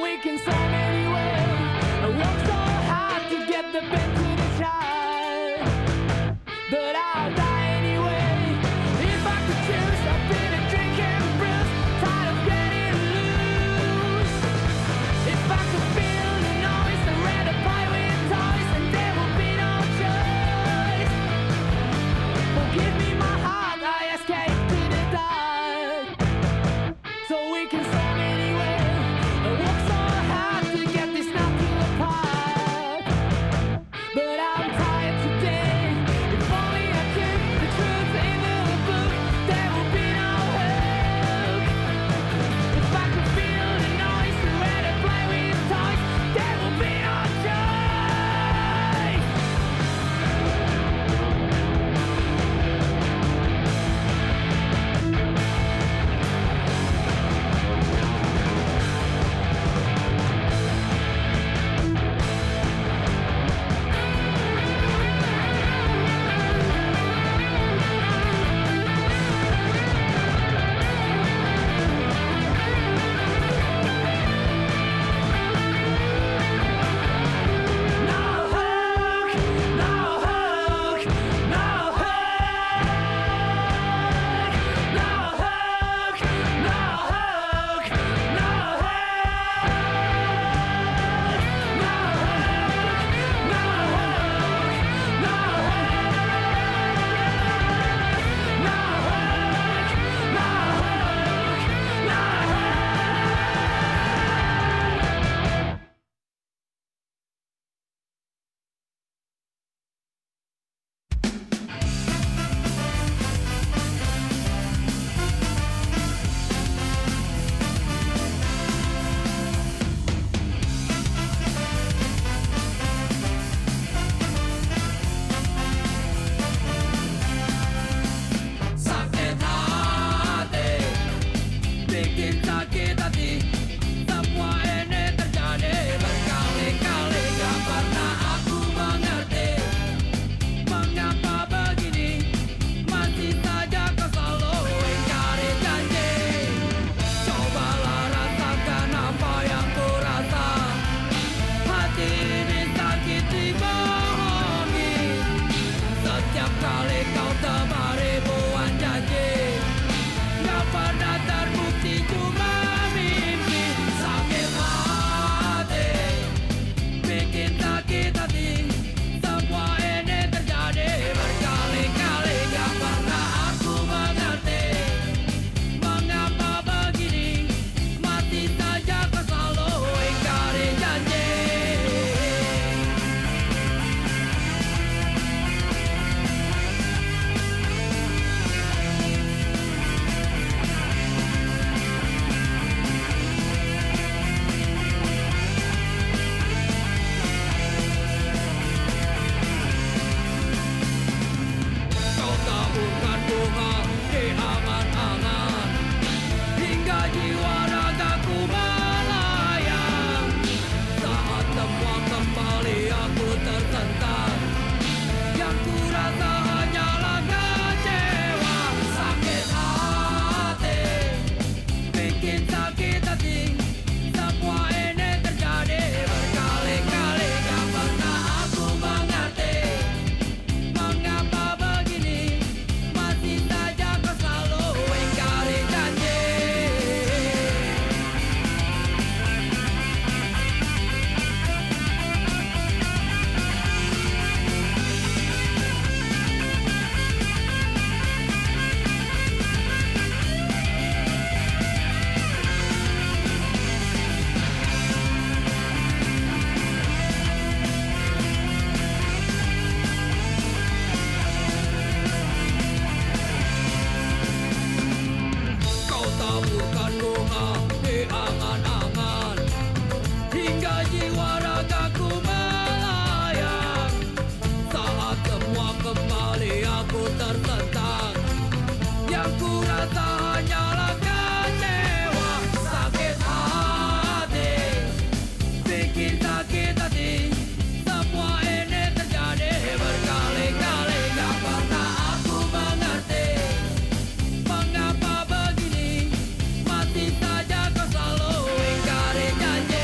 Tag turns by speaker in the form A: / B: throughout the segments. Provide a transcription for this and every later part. A: taking sun anyway. I worked so hard to get the bed to this high. But I'll die anyway. If I could choose, I'd be the drinking bruise. Tired of getting loose. If I could feel the noise, I'd rather play with toys, and there will be no choice. Forgive me my heart, I escaped to the dark. So we can song anyway. I worked so hard to get this nothing apart. But I'm tired today. If only I could, the truth ain't in the book. There will be no hook. If I could feel the noise and where to play with toys, there will be no choice. No hook, no hook, no hook. No hook, no hook, no hook. No hook, no hook, no hook. No hook, no hook, no hook.
B: Something hate bikin sakit hati semua ini terjadi berkali-kali gak pernah aku mengerti mengapa begini masih saja kau selalu ingkari janji cobalah rasakan apa yang ku rasa hati ini sakit dibohongi setiap kali kau tebar ribuan janji Gak pernah terbukti cuma mimpi Sakit hati Bikin sakit hati Semua ini terjadi Berkali-kali gak pernah aku mengerti Mengapa begini Mati saja kau selalu ingkari janji Kau taburkan bunga di angan-angan Hingga jiwa ragaku melayang Saat semua kembali aku tersentak Yang ku rasa hanyalah kecewa Sakit hati Bikin sakit hati Semua ini terjadi berkali-kali Gak pernah aku mengerti Mengapa begini Masih saja kau selalu ingkari janji Kau taburkan bunga di angan-angan Hingga jiwa ragaku melayang Saat semua kembali aku tertentang Yang ku rasa hanyalah kecewa Sakit hati Bikin sakit hati Semua ini terjadi berkali-kali Gak pernah aku mengerti Mengapa begini Mati saja kau selalu ingkari janji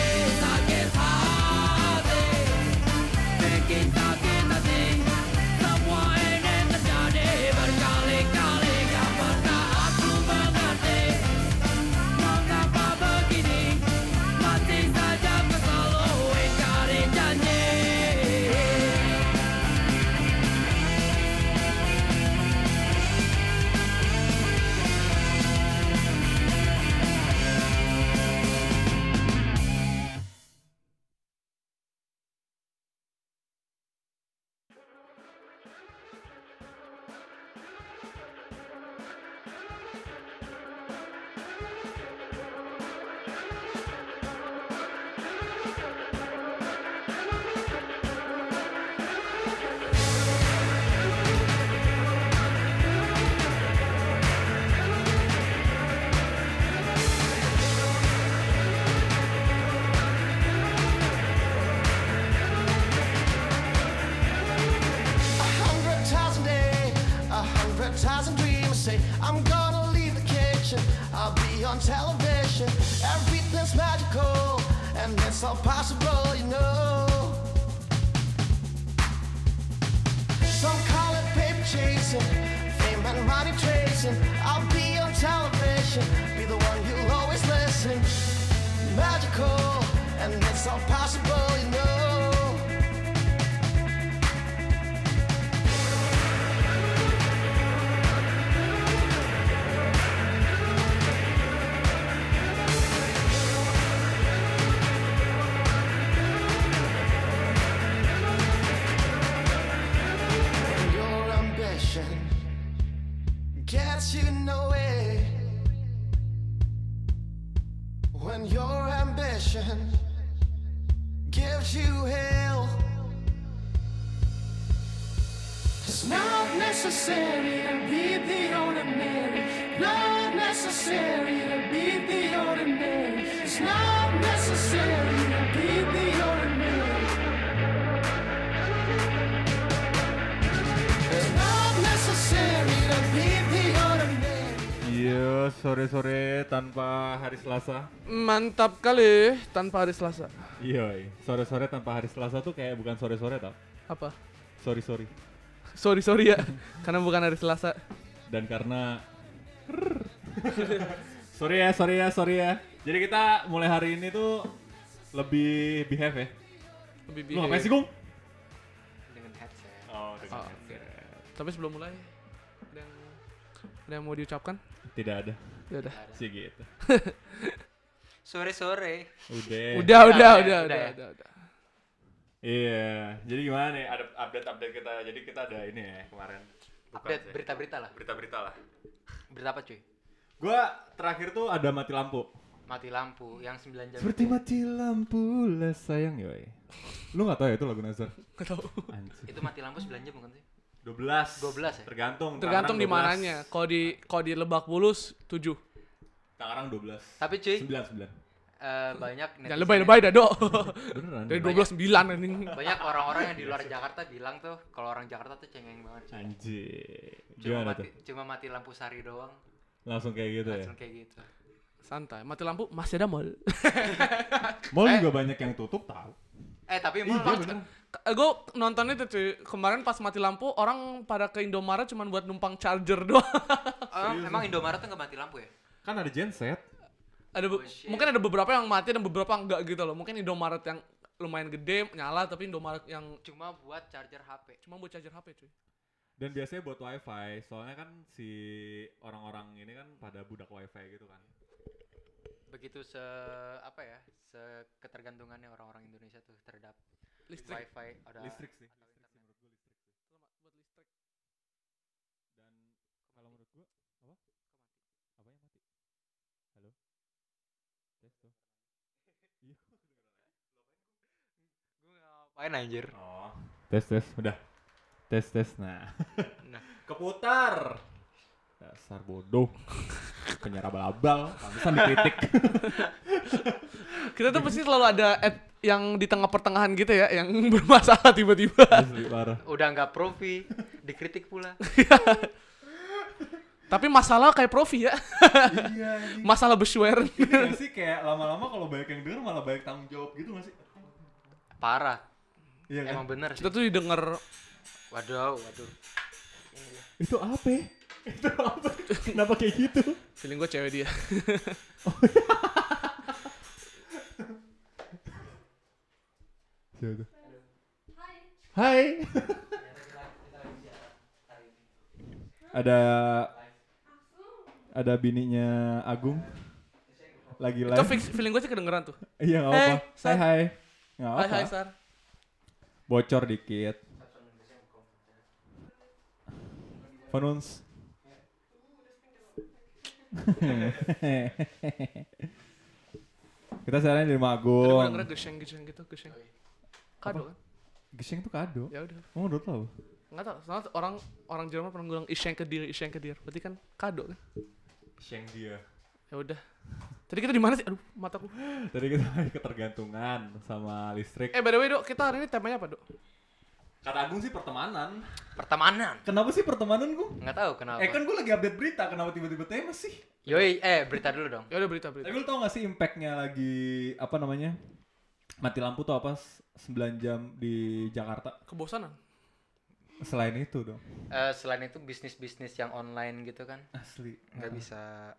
C: fantasizing dreams say I'm gonna leave the kitchen I'll be on television everything's magical and it's all possible you know Some call it paper chasing, fame and money tracing. I'll be on television, be the one you'll always listen. Magical, and it's all possible, you know. Your ambition gets you nowhere. When your ambition gives you hell, it's not necessary to be the ordinary. Not necessary to be the ordinary. It's not necessary to be the ordinary. It's not necessary to be the ordinary.
D: Iya, sore-sore tanpa hari Selasa.
E: Mantap kali tanpa hari Selasa.
D: Iya, iya. sore-sore tanpa hari Selasa tuh kayak bukan sore-sore tau.
E: Apa?
D: Sorry, sorry.
E: Sorry sorry ya, karena bukan hari Selasa.
D: Dan karena Sorry ya, sorry ya, sorry ya. Jadi kita mulai hari ini tuh lebih behave ya.
E: Lebih
D: Lu ngapain
E: behave.
D: sih, Gung?
F: dengan headset.
D: Oh,
E: Oh.
D: dengan headset.
E: Tapi sebelum mulai, ada yang, ada yang mau diucapkan?
D: Tidak ada
E: Ya udah.
D: sih gitu.
F: Sore-sore.
E: Udah, udah,
F: ya,
D: Udah.
E: udah,
F: udah
E: udah,
F: ya.
E: udah, udah.
D: Iya. Jadi gimana nih? Ada update-update kita. Jadi kita ada ini ya kemarin. Bukan
F: Update
D: sih.
F: berita-berita lah.
D: berita-berita lah.
F: Berita apa cuy?
D: Gua terakhir tuh ada mati lampu.
F: Mati lampu yang 9 jam.
D: Seperti mati lampu lah sayang yoi. Lu gak tau ya itu lagu Nazar?
E: Nggak tahu.
D: Anjir.
F: Itu mati lampu 9 jam bukan sih? 12 ya?
D: 12. Tergantung.
E: Tergantung di
D: Tangerang
E: mananya. Kalau di kalau di Lebak Bulus 7.
D: Tangerang 12.
F: Tapi cuy,
D: 9 9.
F: eh, banyak
E: Jangan
F: netizen-
E: lebay-lebay dah, Dok.
D: Beneran.
E: Dari 12 9 anjing.
F: Banyak orang-orang yang di luar Jakarta bilang tuh kalau orang Jakarta tuh cengeng banget. cuy.
D: Anjir.
F: Cuma
D: Gimana
F: mati,
D: tuh?
F: cuma mati lampu sari doang.
D: Langsung kayak gitu ya.
F: Langsung kayak gitu.
E: Santai, mati lampu masih ada mall.
D: Mall juga banyak yang tutup tahu.
F: Eh tapi
D: Iya,
F: mau
D: bener.
E: Gue nonton itu cuy, kemarin pas mati lampu orang pada ke Indomaret cuman buat numpang charger doang.
F: Eh, emang Indomaret tuh nggak mati lampu ya?
D: Kan ada genset.
E: ada be-
F: Oh, shit.
E: mungkin ada beberapa yang mati dan beberapa enggak gitu loh. Mungkin Indomaret yang lumayan gede nyala tapi Indomaret yang
F: Cuma buat charger HP.
E: cuma buat charger HP cuy.
D: Dan biasanya buat wifi, soalnya kan si orang-orang ini kan pada budak wifi gitu kan.
F: Begitu se apa ya? Se ketergantungannya orang-orang Indonesia tuh terhadap
E: Listrik.
F: wifi ada
D: Listrik sih.
F: atau internet.
E: Buat listrik.
D: Dan kalau menurut gua apa? Apa yang mati? Halo. Tes tuh. Iya.
F: Gue ngapain anjir?
D: Oh. Tes tes udah. Tes tes nah.
F: Nah.
D: Keputar. Dasar bodoh. Penyiar abal-abal, pantesan dikritik.
E: Kita tuh pasti selalu ada ad yang di tengah pertengahan gitu ya, yang bermasalah tiba-tiba.
D: Asli Iya parah.
F: Udah nggak profi, dikritik pula.
E: Tapi masalah kayak Profi ya,
D: Iya anjing.
E: masalah besuer.
D: Ini Gitu nggak sih kayak lama-lama kalau banyak yang denger malah banyak tanggung jawab gitu nggak sih?
F: Parah.
D: Iya kan?
F: Emang bener sih.
E: Kita tuh didengar
F: Waduh, waduh.
D: Itu apa? ya? Itu apa? Kenapa kayak gitu?
E: feeling gue cewek dia.
D: Siapa tuh? Hai. ada ada bininya Agung
E: Itu
D: lagi live.
E: fix- feeling gue sih kedengeran tuh. Eh,
D: Iya nggak
E: Hey,
D: apa.
E: Sar.
D: Hai hai. Nggak
E: Hai
D: apa.
E: hai Sar.
D: Bocor dikit. Fanuns. Kita sekarang di rumah
E: Tadi gue
D: Agung.
E: dengernya geseng geseng gitu, geseng.
D: Oh, iya.
E: Kado kan?
D: Geseng tuh kado.
E: Ya udah.
D: Emang menurut lo apa?
E: Nggak tahu, soalnya orang orang Jerman pernah bilang iseng ke dir, iseng ke dir. Berarti kan kado kan?
D: Sheng dia.
E: Ya udah. Tadi kita di mana sih? Aduh, mataku.
D: Tadi kita lagi ketergantungan sama listrik.
E: Eh, by the way, Dok, kita hari ini temanya apa, Dok?
D: Kata Agung sih pertemanan.
F: Pertemanan.
D: Kenapa sih pertemanan gue?
F: Nggak tahu kenapa.
D: Eh kan gue lagi update berita, kenapa tiba-tiba tema sih?
F: Yoi, eh berita dulu dong.
E: Ya udah berita berita.
D: Tapi lu tau gak sih impactnya lagi, apa namanya? Mati lampu tuh apa? 9 jam di Jakarta.
E: Kebosanan.
D: Selain itu dong.
F: Eh, selain itu bisnis-bisnis yang online gitu kan
D: Asli.
F: nggak bisa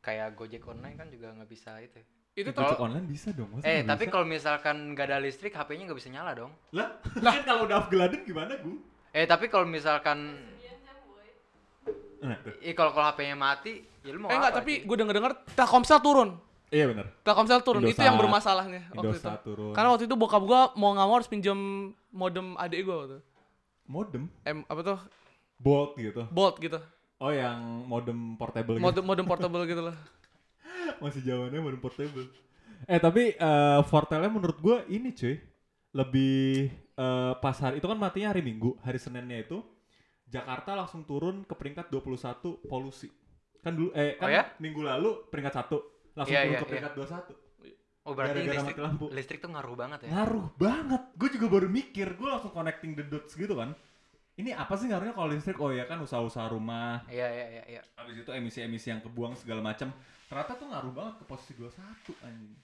F: kayak Gojek online kan juga nggak bisa itu.
E: Itu
D: Kalau
E: tuh
D: online bisa dong. masa
F: Eh
D: nggak
F: tapi
D: bisa?
F: kalau misalkan nggak ada listrik HP-nya nggak bisa nyala dong.
D: Lah, kan kalau udah Afgeladen gimana gue?
F: Eh tapi kalau misalkan
D: Nah, tuh.
F: eh kalau kalau HP-nya mati, ya lu mau
E: Eh
F: apa?
E: enggak, tapi
F: sih?
E: gue denger-denger Telkomsel turun.
D: Iya bener.
E: Telkomsel turun, itu yang
D: Indosat.
E: bermasalahnya waktu itu.
D: Indosat turun.
E: Karena waktu itu bokap gua mau nggak mau harus pinjam modem adik gua waktu itu.
D: Modem,
E: M apa tuh?
D: Bolt gitu.
E: Bolt gitu.
D: Oh yang modem portable gitu.
E: Modem modem portable gitu loh.
D: Masih jawabannya modem portable. Eh tapi eh Fortelnya menurut gue ini cuy. Lebih eh, pas hari, itu kan matinya hari Minggu. Hari Seninnya itu Jakarta langsung turun ke peringkat 21 polusi. Kan dulu, eh kan
F: Oh ya?
D: minggu lalu peringkat 1. Langsung
F: Iya,
D: turun
F: iya,
D: ke peringkat 21.
F: Oh berarti
D: gara-gara
F: listrik,
D: mati lampu.
F: listrik tuh ngaruh banget ya.
D: Ngaruh banget. Gue juga baru mikir, gue langsung connecting the dots gitu kan. Ini apa sih ngaruhnya kalau listrik? Oh ya kan usaha-usaha rumah,
F: Iya iya iya iya.
D: habis itu emisi-emisi yang kebuang segala macam. Ternyata tuh ngaruh banget ke posisi 21 anjing.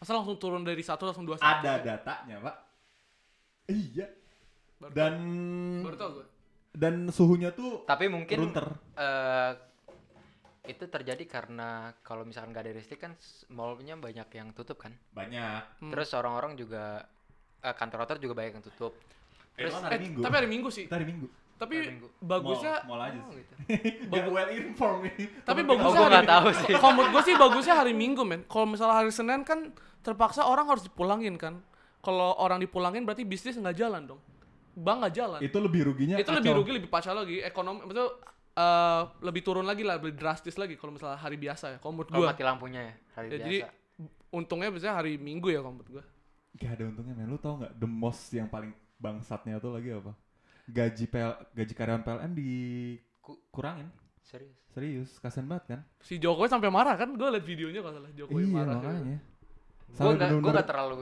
E: Masa langsung turun dari satu langsung dua satu?
D: Ada datanya, Pak. Iya.
E: Baru
D: Dan
E: tau- baru tau gue.
D: dan suhunya tuh
F: Tapi mungkin
D: runter.
F: eh itu terjadi karena kalau misalkan nggak ada listrik kan s- mallnya banyak yang tutup kan.
D: Banyak.
E: Hmm.
F: Terus orang-orang juga eh, kantor kantor juga banyak yang tutup.
D: Eh, itu kan
E: Eh,
D: hari Minggu.
E: tapi hari Minggu sih.
D: Kita hari Minggu.
E: Tapi
F: Hari Minggu.
E: bagusnya
D: mall, mall aja
F: Oh,
D: sih.
F: gitu.
D: Gak well informed nih.
E: tapi
D: Temen
E: bagusnya
F: gua
E: hari-
F: nggak tahu sih.
E: Kalau menurut gue sih bagusnya hari Minggu men. Kalau misalnya hari Senin kan terpaksa orang harus dipulangin kan. Kalau orang dipulangin berarti bisnis nggak jalan dong. Bank nggak jalan.
D: kita- Itu lebih ruginya.
E: itu lebih
D: kacau.
E: rugi lebih pacah lagi ekonomi maksudnya eh, lebih turun lagi lah lebih drastis lagi kalau misalnya hari biasa ya kalau menurut
F: Kalau
E: gue
F: mati lampunya ya hari biasa.
E: jadi untungnya biasanya hari minggu ya kalau menurut gue
D: Gak ada untungnya men, lu tau gak the most yang paling bangsatnya tuh lagi apa? Gaji PL, gaji karyawan PLN dikurangin,
F: Serius.
D: serius, kasian banget kan?
E: si Jokowi sampai marah kan gue liat videonya kalau salah Jokowi
D: iya
E: marah kan.
D: makanya.
F: Gue
D: Sampai
F: nggak gua
D: bener-bener-
F: nggak terlalu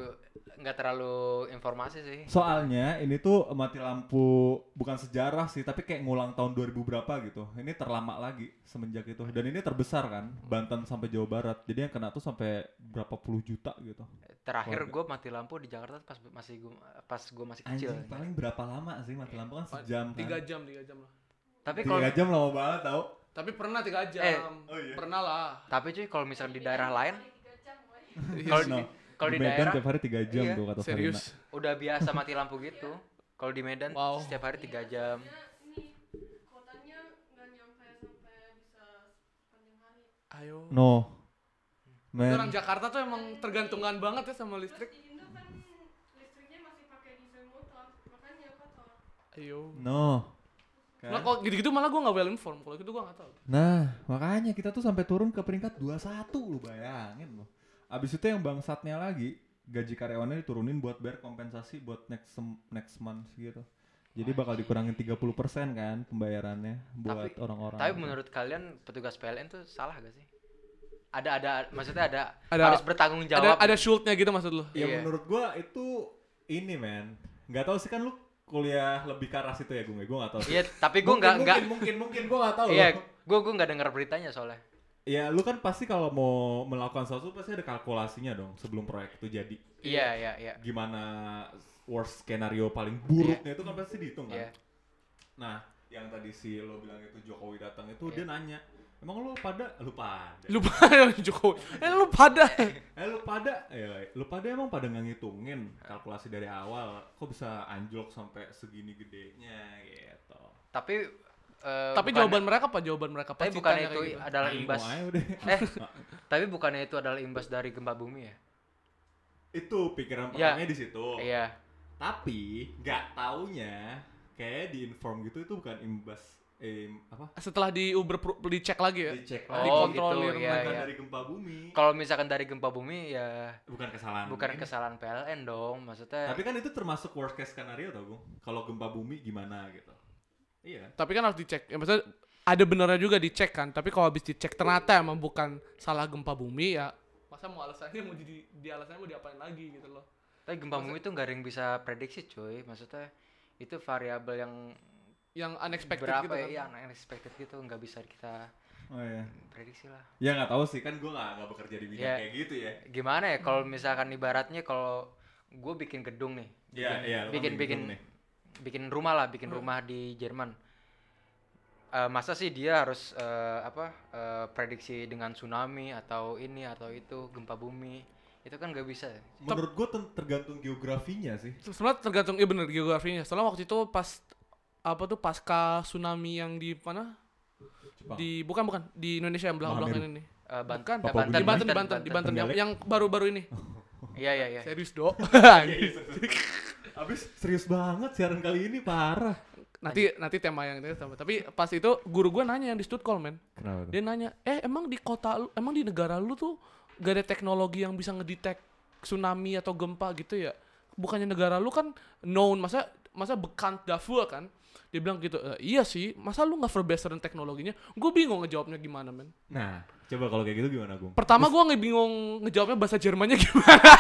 F: nggak terlalu informasi sih.
D: Soalnya ini tuh mati lampu bukan sejarah sih, tapi kayak ngulang tahun 2000 berapa gitu. Ini terlama lagi semenjak itu. Dan ini terbesar kan,
F: Hmm.
D: Banten sampai Jawa Barat. Jadi yang kena tuh sampai berapa puluh juta gitu.
F: Terakhir
D: Keluarga.
F: gue mati lampu di Jakarta pas masih gua, pas gue masih kecil.
D: Anjing, paling berapa lama sih mati lampu kan
E: Pa-
D: sejam
E: tiga
D: kan?
E: jam tiga jam lah
F: Tapi kalau
D: Tiga jam lama banget tau.
E: tapi pernah tiga jam
F: Eh,
D: oh iya.
E: pernah lah
F: tapi cuy kalau misalnya di daerah lain
E: Iya
F: kalau
E: sih.
F: di,
D: No.
F: kalau di
D: Medan
F: daerah
D: tiap hari 3 jam
F: iya,
D: tuh kata Farina.
E: serius
F: udah biasa mati lampu gitu. Kalau di Medan
E: Wow.
F: setiap hari tiga jam.
A: ini kotanya nggak nyampe sampai bisa sepanjang hari
E: ayo
D: No.
E: orang
D: Men.
E: Jakarta tuh emang tergantungan banget ya sama listrik
A: di Indo kan listriknya masih pakai
D: Iya,
A: diesel motor makanya kotor
E: ayo
D: No. Kan?
E: Nah, kalau gitu-gitu malah gue gak well informed. Kalau gitu gue gak tau.
D: Nah, makanya kita tuh sampai turun ke peringkat 21 lu bayangin lu. Abis itu yang bangsatnya lagi, gaji karyawannya diturunin buat bayar kompensasi buat next sem- next month gitu. Jadi bakal dikurangin 30% kan pembayarannya buat
F: Tapi-
D: orang-orang.
F: Tapi menurut kalian petugas PLN tuh salah gak sih? Ada ada maksudnya ada,
E: Ada-
F: harus bertanggung
E: Ada,
F: jawab.
E: ada nya gitu maksud lo?
D: ya
F: Iya.
D: menurut gua itu ini men. Gak tahu sih kan lu kuliah lebih ke arah situ ya gue, gue gak tahu sih.
F: Iya, tapi gue nggak nggak
D: mungkin, mungkin mungkin gue gak tahu.
F: iya, gue gue nggak dengar beritanya soalnya.
D: Ya lu kan pasti kalau mau melakukan sesuatu pasti ada kalkulasinya dong sebelum proyek itu jadi.
F: Iya iya iya.
D: gimana worst skenario paling buruknya itu kan pasti dihitung
F: Iya.
D: kan. Nah, yang tadi si lo bilang itu Jokowi datang itu
F: Iya.
D: dia nanya, "Emang lo pada lu pada?
E: Lu pada Jokowi. Eh lu pada.
D: Eh lu pada? Eh, lu pada emang pada nggak ngitungin kalkulasi dari awal. Kok bisa anjlok sampai segini gedenya gitu."
F: Tapi eh,
E: Tapi
F: bukan-
E: jawaban mereka apa? Jawaban mereka apa?
F: tapi bukan
E: Cintanya
F: itu
E: kayak gitu.
F: adalah
D: Nah,
F: imbas.
D: ilmu aja udah.
F: Eh, tapi bukannya itu adalah imbas dari gempa bumi ya?
D: itu
F: Iya.
D: pikiran pertamanya di situ.
F: Iya.
D: Tapi nggak taunya kayak di inform gitu itu bukan imbas eh, apa?
E: Setelah di Uber Pro- dicek lagi ya.
D: Dicek
F: Oh,
D: lagi.
E: dikontrolir
F: gitu, iya,
E: mereka.
D: bukan
F: iya.
D: dari gempa bumi
F: Kalau misalkan dari gempa bumi ya
D: bukan kesalahan
F: bukan
D: ini.
F: kesalahan PLN dong, maksudnya.
D: tapi kan itu termasuk worst case scenario tau gue kalau gempa bumi gimana gitu iya
E: Tapi kan harus dicek. Ya maksudnya ada benernya juga dicek kan. Tapi kalau habis dicek ternyata emang bukan salah gempa bumi ya masa mau alasannya mau jadi di alasannya mau diapain lagi gitu loh.
F: Tapi gempa bumi itu nggak ada yang bisa prediksi cuy, maksudnya itu variabel yang
E: yang unexpected
F: berapa
E: gitu
F: ya
E: kan.
F: iya, unexpected gitu nggak bisa kita
D: Oh iya.
F: prediksi lah
D: Ya nggak tahu sih kan gue nggak nggak bekerja di bidang
F: Ya.
D: kayak gitu ya.
F: gimana ya kalau misalkan ibaratnya kalau gue bikin gedung nih
D: Iya iya. lu kan
F: bikin bikin
D: gedung nih.
F: bikin rumah lah bikin
E: Hmm.
F: rumah di Jerman Eh, masa sih dia harus eh, apa eh, prediksi dengan tsunami atau ini atau itu gempa bumi itu kan nggak bisa ya.
D: Menurut gue tergantung geografinya sih.
E: Sebenarnya tergantung iya bener geografinya. Soalnya waktu itu pas apa tuh pasca tsunami yang di mana?
D: Jepang.
E: Di bukan bukan di Indonesia yang belakang-belakan ini.
F: Eh, Ban-
E: Bukan,
F: eh,
E: di
D: Papua
E: Banten, di Banten, di Banten, yang,
D: Trenggalek.
E: yang baru-baru ini.
F: Iya iya iya.
E: Serius, Dok.
D: Abis serius banget siaran kali ini parah.
E: nanti nanti tema yang itu sama. Tapi pas itu guru gua nanya yang di Stuttgart, men.
D: Kenapa?
E: Dia nanya, "Eh, emang di kota lu, emang di negara lu tuh gak ada teknologi yang bisa ngedetect tsunami atau gempa gitu ya?" Bukannya negara lu kan known, masa masa bekan dafur kan? Dia bilang gitu, "E, iya sih, masa lu nggak verbesseren teknologinya? Gue bingung ngejawabnya gimana, men.
D: Nah, coba kalau kayak gitu gimana Gung?
E: Pertama gue nggak bingung ngejawabnya bahasa Jermannya gimana.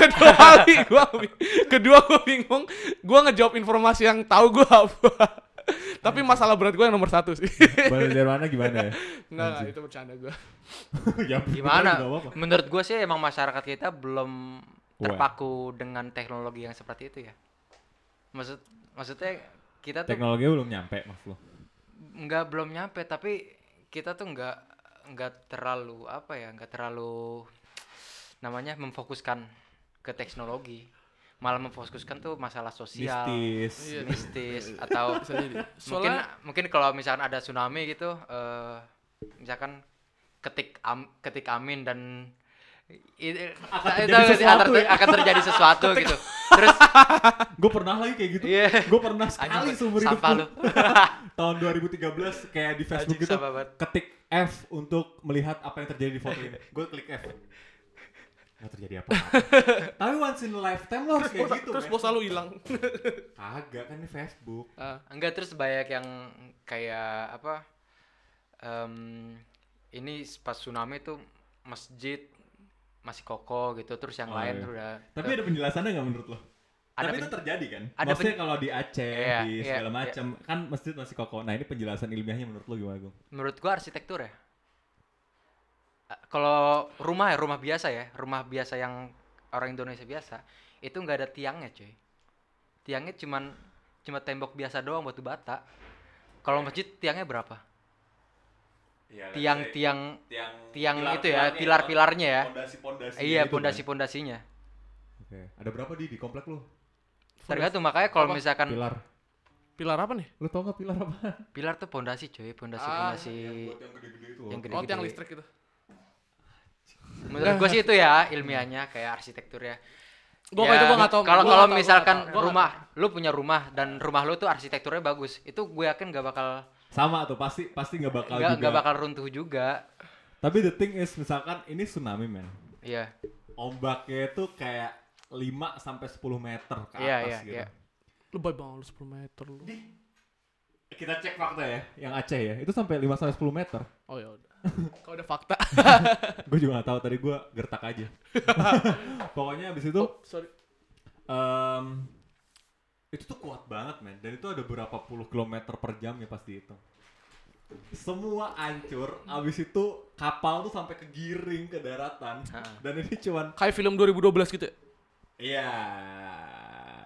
E: kedua kali gue kedua gue bingung gue ngejawab informasi yang tahu gue apa. Tapi masalah berat gue yang nomor satu sih.
D: Bahasa Jermannya gimana ya?
E: Nggak, nggak, itu bercanda gue.
D: ya
F: Gimana?
D: nggak apa-apa.
F: Menurut gue sih emang masyarakat kita belum
D: Wah.
F: terpaku dengan teknologi yang seperti itu ya. Maksud maksudnya kita tuh
D: Teknologinya belum nyampe mas lo.
F: nggak belum nyampe tapi kita tuh nggak nggak terlalu apa ya nggak terlalu namanya memfokuskan ke teknologi malah memfokuskan tuh masalah sosial
D: Mistis.
E: Iya.
F: mistis atau mungkin
E: Soalnya-
F: mungkin kalau misalkan ada tsunami gitu eh, misalkan ketik am- ketik amin dan i- Nah, itu
D: terjadi
F: sih, akan
D: sesuatu
F: ter-
D: ya.
F: akan terjadi sesuatu gitu terus
D: Gue pernah lagi kayak gitu.
F: Iya.
D: Gue pernah sekali
F: anjing
D: seumur hidup.
F: sampah
D: gua.
F: lu
D: Tahun 2013 kayak di Facebook
F: Anjing,
D: gitu.
F: sampah banget.
D: Ketik F untuk melihat apa yang terjadi di foto ini. Gue klik F. Gak terjadi apa. Tapi once in a lifetime lo harus
E: terus
D: kayak
E: pulsa,
D: gitu.
E: terus
D: men.
E: pulsa lu hilang.
D: Kagak kan ini Facebook.
E: Ah,
F: Enggak terus banyak yang kayak apa? em, ini pas tsunami tuh masjid masih kokoh gitu, terus yang
D: Oh,
F: lain
D: iya.
F: tuh udah
D: Tapi ada penjelasannya nggak menurut lo?
F: Ada
D: Tapi itu
F: pen-
D: terjadi kan?
F: ada
D: Maksudnya
F: pen-
D: kalau di Aceh,
F: Iya,
D: di
F: iya,
D: segala
F: iya.
D: macam kan masjid masih kokoh. Nah ini penjelasan ilmiahnya menurut lo gimana Gung?
F: menurut gua arsitektur ya. Eh, Kalau rumah ya rumah biasa ya, rumah biasa yang orang Indonesia biasa itu nggak ada tiangnya cuy. Tiangnya cuman cuma tembok biasa doang batu bata. Kalau masjid tiangnya berapa? Tiang-tiang
D: tiang,
F: tiang itu ya, pilar-pilarnya ya.
D: Pondasi-pondasi.
F: Iya, pondasi-pondasinya.
D: Oke. Ada berapa di di komplek lo?
F: Tergantung makanya kalau misalkan
D: Pilar.
E: pilar apa nih?
D: Lo tau nggak pilar apa?
F: pilar tuh pondasi cuy,
E: Ah,
F: pondasi-pondasi
D: yang gede-gede itu.
F: yang gede
E: Oh, tiang listrik itu.
F: Menurut gua sih itu ya ilmiahnya kayak arsitektur ya.
E: Gua
F: Ya,
E: itu gua nggak tahu.
F: Kalau
E: Gua nggak
F: kalau
E: tahu, gua nggak
F: misalkan
E: tahu. Gua nggak
F: rumah, lu punya rumah dan rumah lu tuh arsitekturnya bagus, itu gue yakin gak bakal
D: Sama tuh pasti pasti nggak bakal
F: nggak
D: juga.
F: nggak bakal runtuh juga.
D: Tapi the thing is misalkan ini tsunami men.
F: Iya.
D: Ombaknya tuh kayak 5 sampai 10 meter ke atas
F: Iya, iya,
D: gitu.
F: iya.
E: Lebay banget lu 10 meter lu.
D: Kita cek fakta ya, yang Aceh ya. Itu sampai 5 sampai 10 meter.
E: Oh ya udah. Kalau udah fakta.
D: gue juga gak tahu tadi gue gertak aja pokoknya abis itu
E: Oh, Sorry.
D: em, itu tuh kuat banget men dan itu ada berapa puluh kilometer per jam ya pasti itu semua hancur abis itu kapal tuh sampai kegiring ke daratan
F: Ha-ha.
D: dan ini cuman
E: Kayak film 2012 gitu ya.
D: iya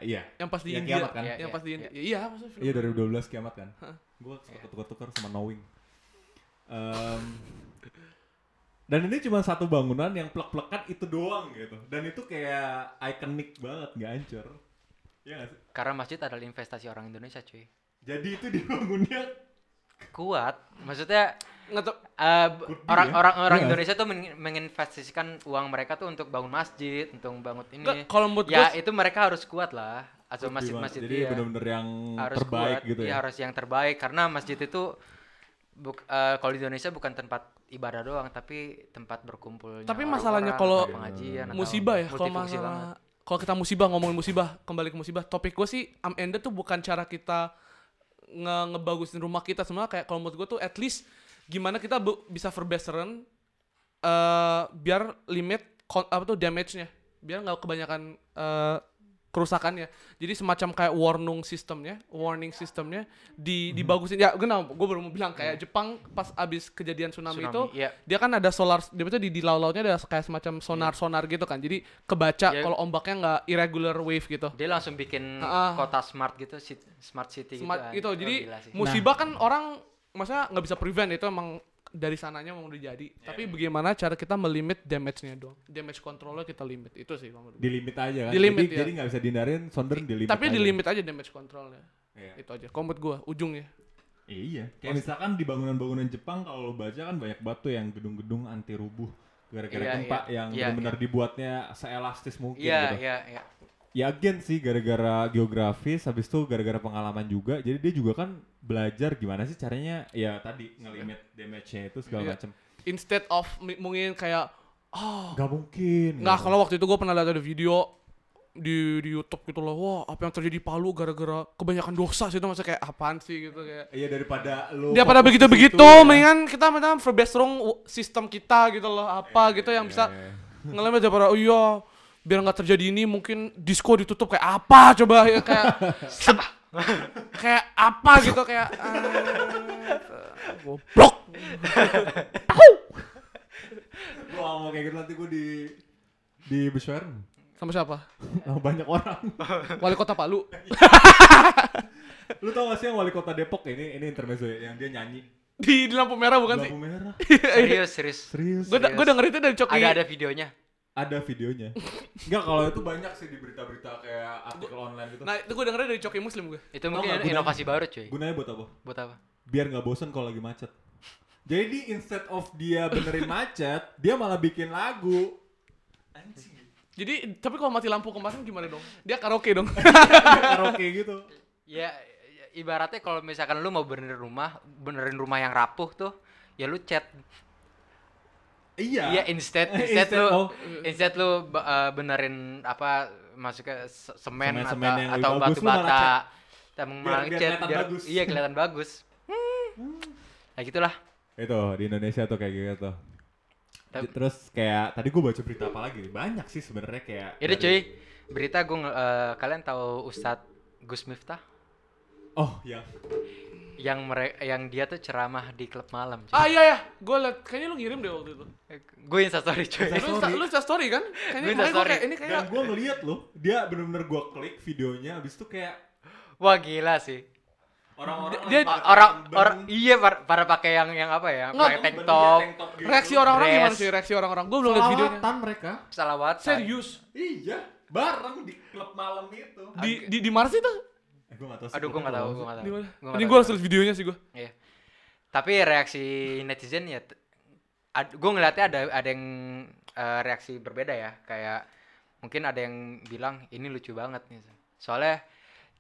D: iya
E: Yang pas di
D: Yang
E: India.
D: kiamat kan?
F: Iya,
E: Yang
F: iya,
E: pas di
F: iya.
E: India. Iya, maksudnya film.
D: iya dari 12 kiamat kan
E: Hah.
D: gue suka tukar-tukar sama knowing Em, dan ini cuma satu bangunan yang plek-plekan itu doang gitu dan itu kayak ikonik banget nggak hancur Iya nggak sih?
F: Karena masjid adalah investasi orang Indonesia cuy.
D: jadi itu dibangunnya
F: Kuat. Maksudnya
E: Nggak tahu.
D: ya?
F: orang-orang orang
D: Iya.
F: Indonesia tuh men- menginvestasikan uang mereka tuh untuk bangun masjid, untuk bangun ini.
E: Nggak, kalau menurut
F: ya
E: gua-
F: itu mereka harus kuat lah. Atau
D: Jadi
F: masjid-masjid
D: jadi
F: iya.
D: bener-bener yang
F: harus
D: terbaik
F: kuat,
D: gitu
F: iya,
D: ya,
F: harus yang terbaik karena masjid itu buk- eh, kalau di Indonesia bukan tempat ibadah doang tapi tempat berkumpulnya
E: Tapi
F: orang-orang,
E: masalahnya kalau
F: tempat pengajian atau
E: musibah ya kalau
F: multifungsi banget.
E: masalah kalau kita musibah ngomongin musibah kembali ke musibah topik gue sih am ender tuh bukan cara kita nge ngebagusin rumah kita semua kayak kalau menurut gue tuh at least gimana kita bu- bisa verbesseran eh biar limit kon- apa tuh damage-nya biar nggak kebanyakan eh kerusakannya. Jadi semacam kayak warning sistemnya, warning sistemnya di dibagusin. Ya, kenal gue baru mau bilang kayak Jepang pas abis kejadian tsunami, itu
F: Hmm. Tsunami, iya.
E: dia kan ada solar dia itu di di laut-lautnya ada kayak semacam sonar-sonar gitu kan. Jadi kebaca
F: Iya.
E: kalau ombaknya nggak irregular wave gitu.
F: Dia langsung bikin
E: Ah.
F: kota smart gitu, sit- smart city
E: Smart
F: gitu.
E: itu.
F: ah.
E: Jadi
F: Oh, gila sih.
D: Nah.
E: musibah kan orang maksudnya nggak bisa prevent itu emang dari sananya emang udah jadi. Tapi bagaimana cara kita melimit damage-nya doang. Damage control-nya kita limit. Itu sih kalau menurut
D: Di limit aja kan.
E: Di limit,
D: jadi,
E: ya.
D: jadi nggak bisa dihindarin sondern di limit.
E: tapi
D: aja.
E: di limit aja damage controlnya
D: Iya.
E: itu aja komut gua ujungnya
D: Iya. Kayak misalkan di bangunan-bangunan Jepang kalau lo baca kan banyak batu yang gedung-gedung anti rubuh gara-gara
F: Iya,
D: gempa
F: iya.
D: yang
F: Iya,
D: benar-benar dibuatnya seelastis mungkin
F: Iya,
D: gitu.
F: iya, iya.
D: Ya again sih gara-gara geografis habis itu gara-gara pengalaman juga. Jadi dia juga kan belajar gimana sih caranya ya tadi ngelimit damage-nya itu segala
E: Iya.
D: macam.
E: instead of mi- mungkin kayak oh
D: Gak mungkin.
E: nggak kalau waktu itu gua pernah lihat ada video di di YouTube gitu loh wah apa yang terjadi di Palu gara-gara kebanyakan dosa sih itu masa kayak apaan sih gitu kayak
D: Iya daripada lo
E: dia pada
D: fokus ke
E: begitu-begitu
D: situ, ya.
E: mendingan kita mendingan perbestron sistem kita gitu loh apa gitu yang bisa
D: Iya, iya.
E: ngelemah daripada oh iya biar nggak terjadi ini mungkin disco ditutup kayak apa coba ya kayak kayak apa gitu kayak eh, goblok
D: Gua nggak mau kayak gitu nanti gue di di Besweran
E: sama siapa
D: sama banyak orang.
E: wali kota Palu
D: Iya. Lu tau gak sih yang wali kota Depok ini ini intermezzo ya, yang dia nyanyi
E: di, di lampu merah bukan sih Iya.
D: lampu merah.
F: Serius, serius.
D: Serius.
E: gue
F: serius.
E: gue denger itu dari Coki
F: Ada ada videonya.
D: Ada videonya. Enggak kalau itu banyak sih di berita-berita kayak artikel online gitu.
E: nah itu gue dengernya dari Coki Muslim gue
F: Itu
D: Tau
F: mungkin
D: nggak gunanya?
F: inovasi baru, cuy.
D: Gunanya buat apa?
F: Buat apa?
D: Biar nggak bosen kalau lagi macet. Jadi instead of dia benerin macet, dia malah bikin lagu.
E: jadi tapi kalau mati lampu kemarin gimana dong dia karaoke dong
D: karaoke gitu.
F: Ya i- ibaratnya kalau misalkan lu mau benerin rumah, benerin rumah yang rapuh tuh, ya lu cat. Iya,
D: Iya.
F: instead
D: Instead,
F: instead lu
D: oh.
F: instead lu ba- eh, benerin apa masuknya se- semen, atau,
D: Semen-semen yang lebih
F: atau
D: bagus,
F: batu
D: lu malah cat.
F: bata. Dan malah
D: biar
F: cat
D: kelihatan
F: biar-
D: bagus. Hmm.
F: iya kelihatan bagus. Ya gitulah.
D: Itu di Indonesia tuh kayak gitu.
F: Tapi-
D: Terus kayak tadi gue baca berita apa lagi? nih? Banyak sih sebenarnya kayak.
F: Ini
D: dari-
F: cuy, berita gue kalian tahu Ustadz Gus Miftah
D: Oh, yang
F: yang mere- yang dia tuh ceramah di klub malam.
E: ah iya ya gue liat kayaknya lu ngirim deh waktu itu
F: Gue instastory cuy.
E: lu insta, lu insta story kan kayaknya
F: Gue
E: makanya gue
F: instastory.
E: kayak ini kayak
D: Dan gue ngeliat loh, dia bener-bener gue klik videonya, abis itu kayak
F: Wah gila sih.
D: orang-orang
E: Dia-
D: lagi pada
F: Orang
D: kembang,
F: orang iya par- pada pakai yang yang apa ya?
E: Nggak,
F: Pakai tank
D: kembangnya
F: top,
D: tank top gitu.
E: reaksi orang-orang gimana
F: Dress.
E: sih reaksi orang-orang gue belum liat videonya
D: Selawatan mereka.
F: salawat.
E: serius
D: Iya, bareng di klub malam itu.
E: di di di mana sih tuh
D: Eh, gue gak tau
F: Aduh gue nggak tahu, gue nggak tahu.
E: di mana
F: Gua nggak
E: ini
F: tahu.
E: gue harus liat videonya sih gue
F: Iya. Tapi reaksi netizen ya, gue ngeliatnya ada ada yang eh, reaksi berbeda ya. Kayak mungkin ada yang bilang ini lucu banget nih. Soalnya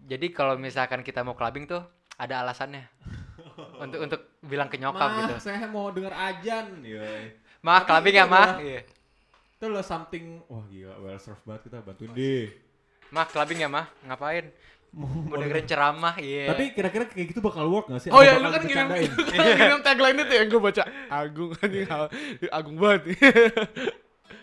F: jadi kalau misalkan kita mau clubbing tuh ada alasannya untuk untuk bilang ke nyokap
D: Mah,
F: gitu.
D: saya mau denger ajan. Yoi.
F: Mah
D: Tapi
F: clubbing
D: itu
F: ya mah.
D: adalah-
F: Iya.
D: Itu loh something, wah gila, well served banget kita bantuin deh.
F: Mah clubbing ya mah. Ngapain?
D: Mau,
F: Mau dengerin ceramah. Iya.
D: Tapi kira-kira kayak gitu bakal work gak sih?
E: Oh
D: Apa
E: iya,
D: bakal
E: lu kan ngirim,
D: dibercandain?
E: lu kan ngirim tagline itu yang gue baca. Agung, anjing, hal- agung banget.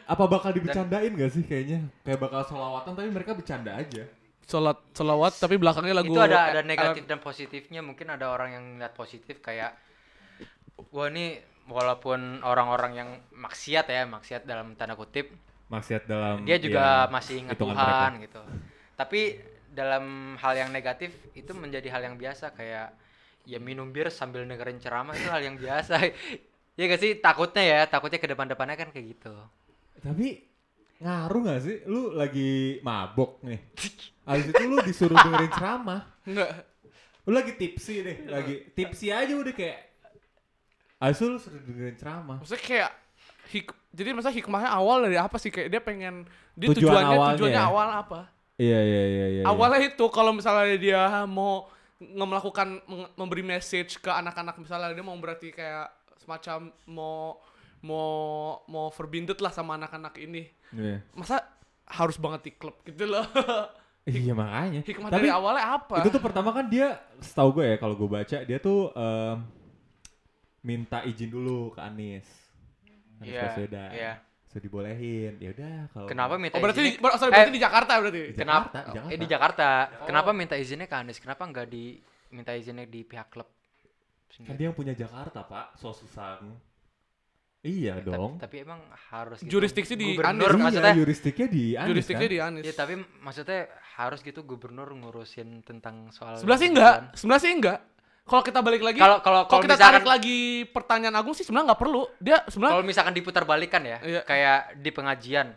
D: Apa bakal dibercandain gak sih kayaknya? Kayak bakal solawatan tapi mereka bercanda aja.
E: Salat, salawat, tapi belakangnya lagu. eh,
F: itu ada ada negatif dan positifnya mungkin ada orang yang lihat positif kayak wah ini walaupun orang-orang yang maksiat ya maksiat dalam tanda kutip
D: Maksiat dalam
F: dia juga
D: ya,
F: masih ingat
D: hitungan
F: Tuhan
D: mereka.
F: gitu tapi dalam hal yang negatif itu menjadi hal yang biasa kayak ya minum bir sambil dengerin ceramah itu hal yang biasa ya gak sih takutnya ya takutnya ke depan-depannya kan kayak gitu
D: Tapi ngaruh gak sih? Lu lagi mabok nih. Habis itu lu disuruh dengerin ceramah.
E: Enggak.
D: Lu lagi tipsi deh, lagi tipsi aja udah kayak Habis itu lu suruh dengerin ceramah.
E: Maksudnya kayak hik jadi masa hikmahnya awal dari apa sih kayak dia pengen dia
D: Tujuan
E: tujuannya
D: awalnya
E: tujuannya
D: ya?
E: awal apa?
D: Iya iya iya iya.
E: Awalnya itu kalau misalnya dia mau nge- melakukan meng- memberi message ke anak-anak misalnya dia mau berarti kayak semacam mau mau mau verbindet lah sama anak-anak ini.
D: Iya.
E: Masa harus banget di klub gitu loh.
D: Iya makanya.
E: Hikmah
D: Tapi
E: dari awalnya apa?
D: itu tuh pertama kan dia setahu gue ya kalau gue baca dia tuh em, minta izin dulu ke Anies. Anies
F: Iya,
D: Baswedan.
F: iya.
D: sudah dibolehin ya udah kalau
F: Kenapa
D: mau-
F: minta
E: Oh berarti di,
F: izinnya-
E: ber- sorry,
F: Eh,
E: berarti di Jakarta berarti. Oh.
D: Di
F: kenapa
D: Jakarta, di
F: eh, di
D: Jakarta.
F: Jakarta kenapa minta izinnya ke Anies kenapa nggak di minta izinnya di pihak klub
D: kan
F: sendiri
D: dia yang punya Jakarta pak so susah iya
F: Ta-
D: dong
F: tapi, emang harus gitu.
E: Jurisdiksi di
F: gubernur
E: Anies.
D: Iya,
F: maksudnya
D: jurisdiknya di Anies
E: Jurisdiknya
D: kan?
E: di Anies.
F: ya tapi maksudnya harus gitu gubernur ngurusin tentang soal
E: Sebelah sih
F: gituan.
E: enggak, sebelah sih enggak. Kalau kita balik lagi,
F: Kalau- kalau-
E: kalau
F: kalau
E: kita
F: misalkan-
E: tarik lagi pertanyaan Agung sih sebenarnya nggak perlu. Dia
F: kalau
E: sebenarnya
F: misalkan diputar balikan ya
E: Iya.
F: kayak di pengajian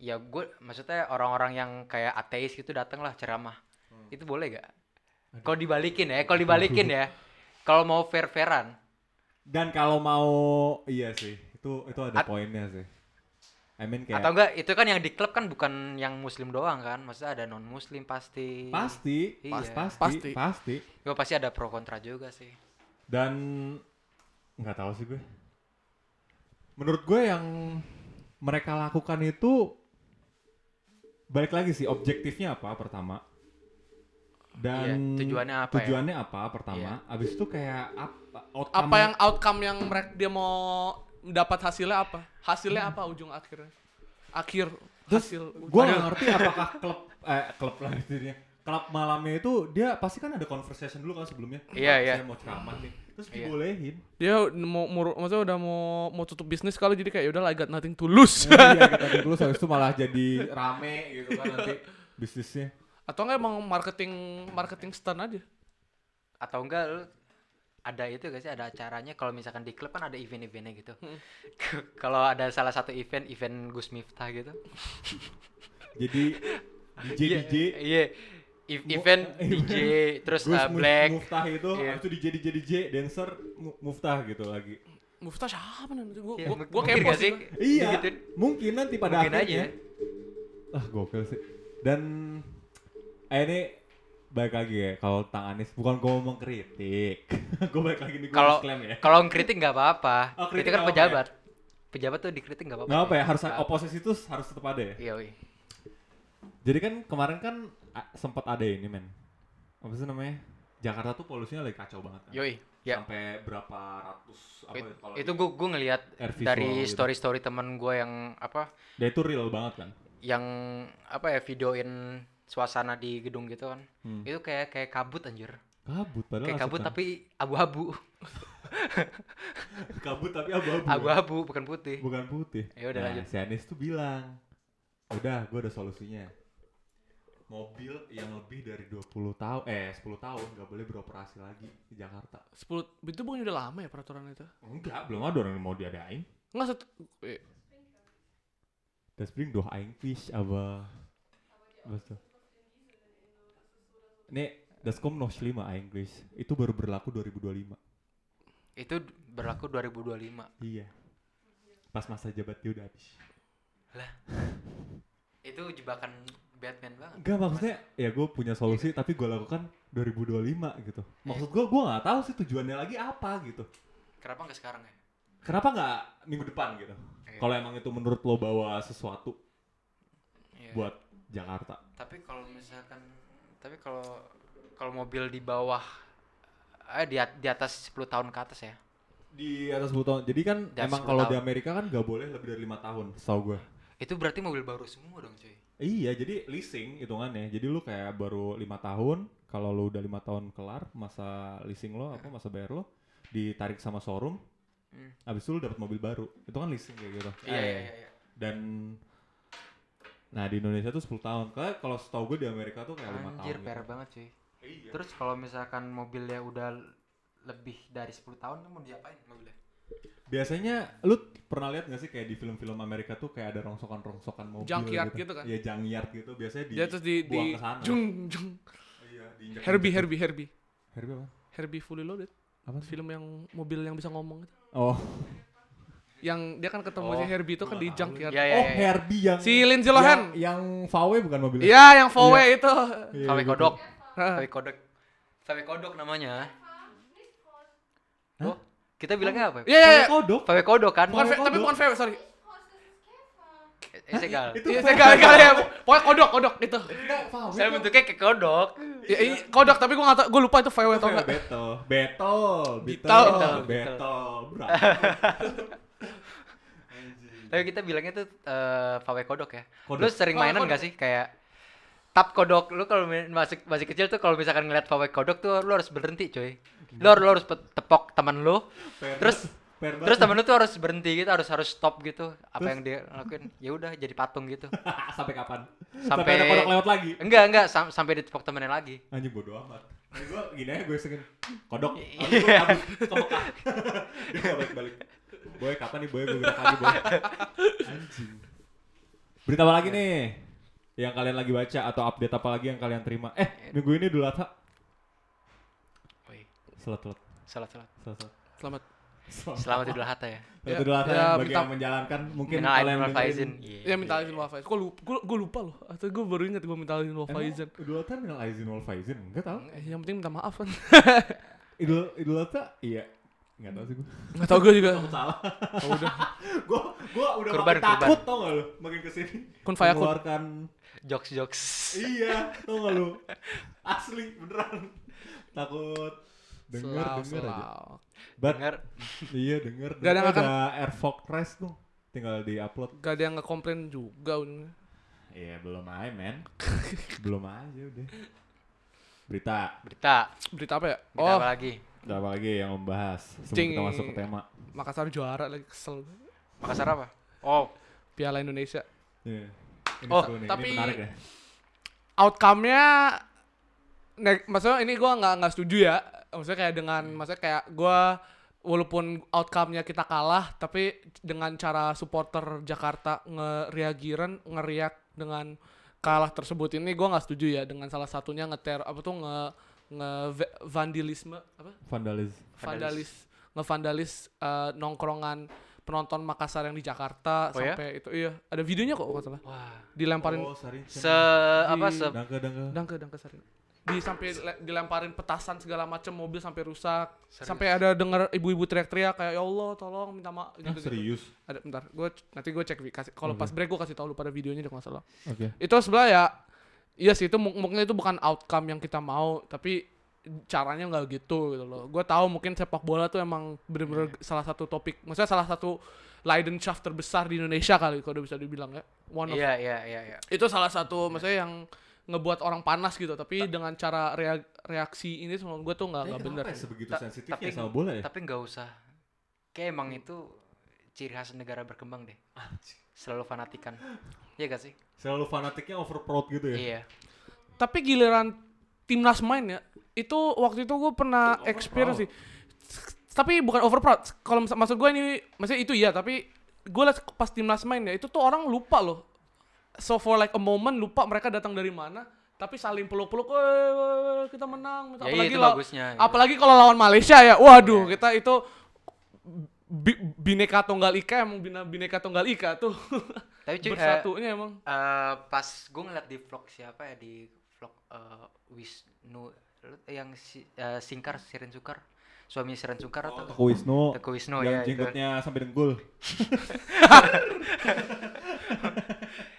F: ya gue maksudnya orang-orang yang kayak ateis gitu datang lah ceramah
D: Hmm.
F: itu boleh gak kalau dibalikin ya kalau dibalikin ya kalau mau fair fairan
D: dan kalau mau iya sih itu itu
F: At-
D: ada poinnya sih I mean kayak
F: atau enggak itu kan yang di klub kan bukan yang muslim doang kan maksudnya ada non muslim pasti
D: pasti
F: Iya.
D: pas- pasti
E: Pasti.
D: pasti
F: Gua pasti ada pro kontra juga sih
D: dan nggak tahu sih gue menurut gue yang mereka lakukan itu balik lagi sih objektifnya apa pertama dan
F: Iya, tujuannya apa ya?
D: tujuannya apa pertama abis itu kayak apa outcome-
E: apa yang outcome yang mereka dia mau dapat hasilnya apa? Hasilnya apa ujung akhirnya? Akhir
D: Terus
E: hasil.
D: gue gak ngerti apakah klub eh klub lah intinya klub malamnya itu dia pasti kan ada conversation dulu kan sebelumnya
F: Iya, iya.
D: saya mau ceramah nih terus
F: Iya.
D: dibolehin
E: dia mau, mau maksudnya udah mau mau tutup bisnis kalau jadi kayak "Ya udah I got nothing to lose.
D: iya kita dulu habis itu malah jadi rame gitu kan nanti bisnisnya
E: Atau enggak emang marketing marketing stand aja?
F: atau enggak lu ada itu gak sih ada acaranya kalau misalkan di klub kan ada event-eventnya gitu
D: Hmm.
F: kalau ada salah satu event event Gus Miftah gitu
D: jadi DJ
F: Iya,
D: DJ
F: Iya. Ev- event DJ terus
D: Gus
F: uh,
D: Muf-
F: Black.
D: Muftah itu
F: Iya.
D: habis itu DJ DJ DJ dancer Mu- Muftah gitu lagi
E: Muftah siapa nih? Gue
F: Iya,
E: gue
F: mung-
E: gue
F: mungkin
E: kepo
F: gak
E: sih. gua.
D: iya
F: Digituin.
D: mungkin nanti pada
F: gitu. Mungkin aja.
D: akhirnya ah gokil sih dan eh, ini balik lagi ya kalau tentang Anies bukan gue mau mengkritik gue balik lagi nih gue
F: Kalau
D: disclaim ya
F: kalau ngkritik nggak apa-apa.
D: Oh,
F: itu
D: kritik
F: kan
D: nggak apa-apa ya?
F: pejabat. Pejabat tuh dikritik nggak apa-apa.
D: nggak apa ya harus
F: Oh, iya, Nggak apa-apa.
D: oposisi itu harus tetap ada ya
F: Iya, wih.
D: jadi kan kemarin kan a- sempat ada ini men apa sih namanya Jakarta tuh polusinya lagi kacau banget kan
F: Yoi. Ya.
D: sampai berapa ratus apa ya, kalau
F: Itu gue gue ngelihat
D: Air visual
F: dari
D: gitu.
F: story-story temen gue yang apa
D: dia itu real banget kan
F: yang apa ya videoin suasana di gedung gitu kan. Itu kayak kayak kabut anjir.
D: Hmm. kabut padahal
F: Kayak
D: asik
F: kabut
D: kan.
F: tapi abu-abu.
D: kabut tapi abu-abu ya.
F: abu-abu bukan putih.
D: bukan putih.
F: Ya udah, lanjut.
D: Nah, Si Anies tuh bilang, udah, gue ada solusinya. Mobil yang lebih dari 20 tahun, eh 10 tahun nggak boleh beroperasi lagi di Jakarta.
E: 10 itu bukan udah lama ya peraturan itu?
D: Enggak, belum ada orang yang mau diadain.
E: Enggak satu eh,
D: Das bringt doch eigentlich, aber was tuh? Nih, das kommt noch schlimmer eigentlich. Itu baru berlaku 2025.
F: Itu berlaku 2025.
D: Iya. Pas masa jabat dia udah habis.
F: Itu jebakan Batman banget.
D: Enggak maksudnya ya gue punya solusi tapi gue lakukan 2025 gitu. Maksud gue gue nggak tahu sih tujuannya lagi apa gitu.
F: Kenapa nggak sekarang ya?
D: Kenapa nggak minggu depan gitu?
F: Iya.
D: Kalau emang itu menurut lo bawa sesuatu
F: Iya.
D: buat Jakarta.
F: Tapi kalau misalkan, tapi kalau kalau mobil di bawah, eh di, at- di atas 10 tahun ke atas ya.
D: Di atas 10 tahun. Jadi kan
F: Di atas
D: emang
F: 10
D: kalau di
F: tahun.
D: Amerika kan nggak boleh lebih dari lima tahun, setahu gue.
F: Itu berarti mobil baru semua dong cuy.
D: Iya, jadi leasing hitungannya. Jadi lu kayak baru lima tahun, kalau lu udah lima tahun kelar masa leasing lo apa masa bayar lo ditarik sama showroom.
F: Hmm.
D: Abis itu lu dapat mobil baru. Itu kan leasing kayak gitu.
F: iya.
D: dan nah di Indonesia tuh 10 tahun kayak kalau setahu gue di Amerika tuh kayak Iya, lima
F: Anjir,
D: tahun gitu. Iya.
F: PR banget cuy. Terus kalau misalkan mobilnya udah lebih dari 10 tahun, mau diapain mobilnya?
D: biasanya lu t- pernah lihat gak sih kayak di film-film Amerika tuh kayak ada rongsokan-rongsokan mobil
E: Junkyard gitu kan?
D: iya junkyard gitu biasanya di
E: dia terus di di
D: buang ke sana.
E: jung jung
D: iya, diinjek-
E: Herbie Herbie Herbie
D: Herbie apa
E: Herbie Fully Loaded
D: apa sih?
E: film yang mobil yang bisa ngomong itu
D: oh
E: yang dia kan ketemu
F: Oh,
E: si Herbie itu kan di junkyard
F: Iya, iya,
D: oh
F: iya.
D: Herbie yang
E: Si Lindsay Lohan.
D: yang, yang VW bukan mobilnya
E: iya yang VW itu
D: Iya,
F: KW
D: gitu.
F: kodok.
E: Hah.
F: KW kodok. KW kodok namanya. Oh, kita bilangnya apa?
E: iya iya iya.
D: VW kodok
F: KW kodok kan?
E: bukan
D: Kalau
E: V tapi
D: kodok.
E: bukan VW sorry
F: Eh, Segal.
D: itu
E: iya
D: VW.
E: saya kali kali ya pokoknya kodok kodok itu
D: Enggak, VW
F: Saya bentuknya kayak kodok.
E: ya, iya, kodok tapi gue nggak tau gue lupa itu VW atau enggak
D: Beto, Oh, Beto,
E: Beto,
D: Beto,
F: Beto.
D: Beto, bro.
F: Tapi kita bilangnya tuh eh pawai kodok ya.
D: Kodok.
F: Lu sering
E: Oh,
F: mainan
E: kodok.
F: gak sih kayak tap kodok lu kalau main- masih masih kecil tuh kalau misalkan ngeliat pawai kodok tuh lu harus berhenti cuy lu, harus- lu harus pe- tepok teman lu terus
D: Fair
F: terus
D: banget.
F: temen lu tuh harus berhenti gitu harus harus stop gitu apa
D: Terus?
F: yang dia lakuin ya udah jadi patung gitu
D: sampai kapan?
F: sampai
D: Sampai, ada kodok lewat lagi.
F: enggak enggak sam- sampai ditepok temennya lagi
D: Anjing bodo amat. Ini gue Ya, gini aja gue isengin kodok.
F: Iya.
D: Abis gue kabur ke Mekah. Dia gak balik-balik. Boy kapan nih boy gue gerak lagi boy. Anjing. Berita apa lagi nih? Yang kalian lagi baca atau update apa lagi yang kalian terima? Eh minggu ini dulu Adha.
F: Woi,
D: Selat selat
F: salat salat
D: selat selat.
E: Selamat.
F: selamat idul adha ya
D: Selamat Idul Adha
E: Ya,
D: bagi
E: minta-
D: yang menjalankan mungkin
F: minal aidin wal
D: dengerin-
F: faizin
E: Ya minta izin Wafa Gue lupa, gua, gua lupa loh. Atau gue baru ingat gue minta izin Wafa
D: Emang
E: izin.
D: Idul Adha minal aizin wal faizin enggak tahu.
E: Eh, yang penting minta maaf kan.
D: Idul Idul Adha iya enggak tahu sih gue.
E: Gak tau gue juga.
D: Salah. udah. gua gua udah
F: Kurban,
D: makin takut
F: kurban.
D: tau gak lu makin kesini.
E: Kun faya kun.
D: Mengeluarkan
F: jokes jokes
D: iya tau gak lu. Asli beneran. Takut denger
E: Selau,
D: denger aja.
E: selau.
D: But
F: dengar
D: iya denger.
E: Gak ada yang
D: denger
E: akan-
D: ada air fog crash tuh. Tinggal di-upload.
E: Gak ada yang ngekomplain juga. ujungnya.
D: Iya belum aja men. belum aja udah. Berita.
F: berita
E: Berita apa ya?
F: berita
E: Oh,
F: apa lagi
D: Ada apa lagi yang membahas sebelum
E: Cing.
D: kita masuk ke tema?
E: Makassar juara lagi kesel. gua.
F: makassar apa oh
E: Piala Indonesia.
D: Iya. Ini
F: Oh,
D: seru nih,
E: tapi-
D: ini menarik ya.
E: Outcome-nya neg- maksudnya ini gua nggak nggak setuju ya. Maksudnya kayak dengan maksudnya kayak gua walaupun outcome-nya kita kalah tapi dengan cara supporter Jakarta ngereagiran ngeriak dengan kalah tersebut ini gua nggak setuju ya dengan salah satunya ngeter apa tuh nge nge ve- vandalisme apa
D: Vandalis.
E: vandalis
F: Vandalis.
E: ngevandalis eh, nongkrongan penonton Makassar yang di Jakarta
F: Oh ya?
E: sampai itu iya ada videonya kok kalau nggak salah
F: wah
E: dilemparin
D: sarin.
F: se apa se
D: Dangke, dangke.
E: dangke dangke sering di sampai le- dilemparin petasan segala macam mobil sampai rusak
F: Serius?
E: sampai ada denger ibu-ibu teriak-teriak kayak ya Allah tolong minta maaf
D: Ah, serius?
E: ada bentar gue nanti gue cek Vi, kasih kalau pas break gue kasih tahu lu pada videonya deh kalau nggak salah
D: Oke.
E: itu sebenarnya ya iya sih itu mung- mungkin itu bukan outcome yang kita mau tapi caranya nggak gitu gitu loh gue tahu mungkin sepak bola tuh emang bener-bener
D: Iya.
E: salah satu topik maksudnya salah satu leidenschaft terbesar di Indonesia kali kalau bisa dibilang ya one of
F: iya iya iya iya
E: itu salah satu maksudnya yang ngebuat orang panas gitu tapi dengan cara rea- reaksi ini menurut gue tuh nggak nggak bener
D: ya sebegitu
F: Ta-
D: sensitifnya
F: tapi-
D: sama bola ya?
F: tapi nggak usah kayak emang itu ciri khas negara berkembang deh selalu fanatikan iya gak sih
D: Selalu fanatiknya over proud gitu ya?
F: iya
E: tapi giliran timnas main ya itu waktu itu gue pernah experience sih tapi bukan overproud kalau mis- maksud gue ini maksudnya itu iya tapi gue liat pas timnas main ya itu tuh orang lupa loh so for like a moment lupa mereka datang dari mana tapi saling peluk-peluk "Eh, "Woi, woi, woi, kita menang
F: Ya, iya, itu
E: la-
F: bagusnya, gitu. Iya.
E: apalagi kalau lawan Malaysia ya waduh kita itu bi- bineka tunggal ika emang bina- bineka tunggal ika tuh
F: tapi cuy eh,
E: bersatunya emang
F: eh, pas gue ngeliat di vlog siapa ya di vlog eh, Wisnu lu- yang si, eh, Singkar Siren Sukar suami Siren Sukar atau
D: Teguh Wisnu.
F: Teguh Wisnu, ya,
D: yang
F: itu.
D: jenggotnya sampai dengkul.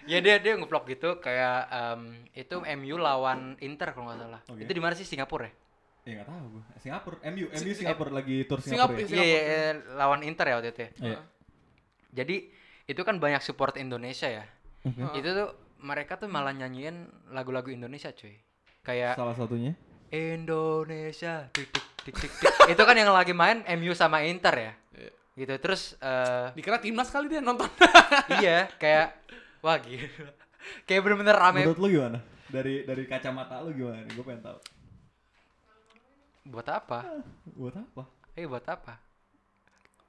F: ya dia dia ngevlog gitu kayak em, itu MU lawan Inter kalau nggak salah
D: Oke.
F: itu di mana sih Singapura ya
D: Ya nggak tahu gue. Singapura. MU. MU Singapura lagi tur Singapura.
E: Singapura,
D: ya?
E: Singapura.
F: iya iya iya, lawan Inter ya waktu itu ya
D: Iya.
F: Jadi itu kan banyak support Indonesia ya.
D: Mhm.
F: Itu tuh mereka tuh malah nyanyiin lagu-lagu Indonesia cuy. Kayak
D: Salah satunya.
F: Indonesia dik, dik, dik, dik, dik. itu kan yang lagi main MU sama Inter ya. Gitu terus eh,
E: Iya. dikira timnas kali dia nonton
F: iya kayak wah gila. kayak bener-bener rame
D: Menurut lu gimana? Dari dari kacamata lu gimana nih? Gue pengen tahu.
F: buat apa?
D: Ah, Buat apa?
F: Eh buat apa?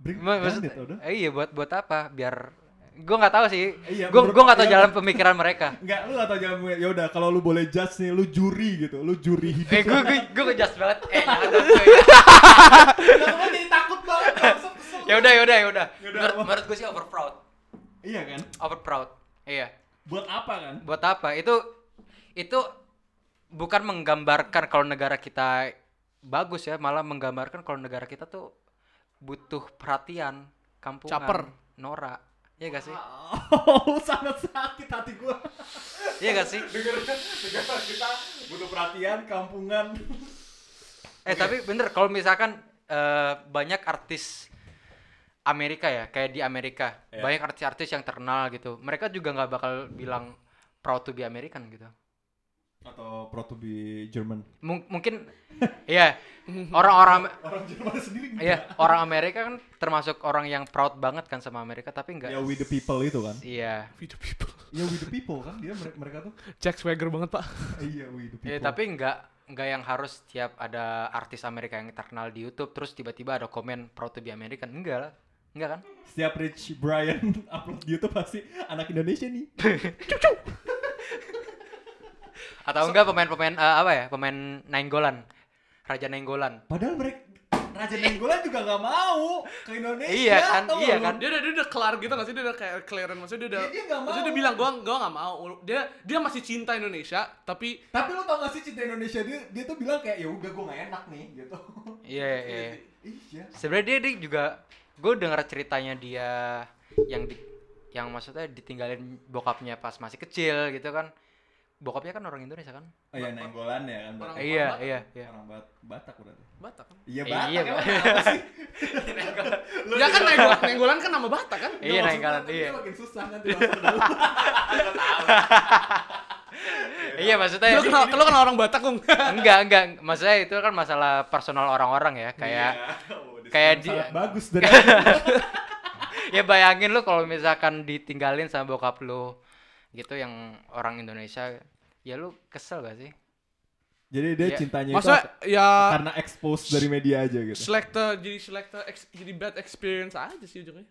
D: Bring
F: Ma-
D: maksud,
F: maksud-
D: udah.
F: eh, iya buat buat apa? Biar gue nggak tahu sih.
D: Iya,
F: gue
D: menurut-
F: gue nggak tahu
D: iya,
F: jalan pemikiran mereka.
D: Enggak, lu atau jangan ya udah kalau lu boleh judge nih, lu juri gitu. Lu juri hidup.
F: Eh gue gue gue ngejas banget. Eh jangan dong, cuy.
D: Kenapa jadi takut banget? langsung kesel.
F: ya udah ya udah ya udah
D: Yaudah,
F: menurut,
D: apa?
F: menurut gue sih overproud
D: Iya kan?
F: overproud iya
D: Buat apa kan?
F: buat apa itu itu bukan menggambarkan kalau negara kita bagus ya malah menggambarkan kalau negara kita tuh butuh perhatian kampungan
E: Caper.
F: Nora Iya gak sih?
D: Oh, sangat sakit hati gua.
F: Iya gak sih?
D: Dengarnya negara kita butuh perhatian kampungan.
F: Eh tapi bener kalau misalkan eh, banyak artis Amerika ya, kayak di Amerika
D: Iya.
F: banyak artis-artis yang terkenal gitu. Mereka juga nggak bakal bilang proud to be American gitu.
D: atau pro to be German
F: Mung- mungkin ya orang-orang
D: orang Jerman sendiri enggak
F: ya orang Amerika kan termasuk orang yang proud banget kan sama Amerika tapi nggak
D: ya we the people itu kan
F: iya
E: We the people.
D: ya we the people kan dia mere- mereka tuh
E: Jack Swagger banget pak.
D: iya we the people
F: Ya, tapi nggak nggak yang harus tiap ada artis Amerika yang terkenal di YouTube terus tiba-tiba ada komen proud to be American enggak lah enggak kan
D: setiap Rich Brian upload di YouTube pasti anak Indonesia nih
F: atau enggak pemain-pemain eh, apa ya pemain Nainggolan Raja Nainggolan
D: padahal mereka Raja Nenggolan juga nggak mau ke Indonesia
F: Iya kan,
D: tau nggak
F: iya
D: lu?
F: kan.
E: Dia udah dia udah kelar gitu nggak sih dia udah kayak clearance maksudnya dia udah.
D: Iya, dia nggak
E: maksudnya
D: mau.
E: dia bilang gua gua nggak mau. Dia dia masih cinta Indonesia tapi
D: tapi lu tau gak sih cinta Indonesia dia dia tuh bilang kayak ya udah gue gak enak nih gitu
F: iya iya
D: iya
F: sebenarnya dia, dia juga gue dengar ceritanya dia yang di, yang maksudnya ditinggalin bokapnya pas masih kecil gitu kan bokapnya kan orang Indonesia kan
D: oh ya Nenggolan ya kan
E: Orang-
D: berarti.
F: iya
E: Batak.
F: iya iya
D: orang Bat- Batak berarti
E: Batak kan.
D: iya
F: Eh,
D: Batak
F: iya,
D: emang
F: Pak.
D: kenapa sih
E: ya kan nenggolan, nenggolan kan nama Batak kan.
F: Iya,
D: Nggak,
F: Nenggolan,
D: maksudnya
F: iya.
D: dia makin susah nanti masuk dulu.
F: iya maksudnya
E: Lo kenal lo kenal orang Batak kung.
F: enggak enggak maksudnya itu kan masalah personal orang-orang ya kayak
D: Iya. Oh, dia
F: kayak
D: sangat-
F: dia-
D: sangat bagus dari
F: ya bayangin lu kalau misalkan ditinggalin sama bokap lu gitu yang orang Indonesia ya lu kesel gak sih
D: jadi dia
F: Iya.
D: cintanya itu
E: Masa ya
D: karena expose dari media aja gitu
E: selector jadi selector ex- jadi bad experience aja sih ujungnya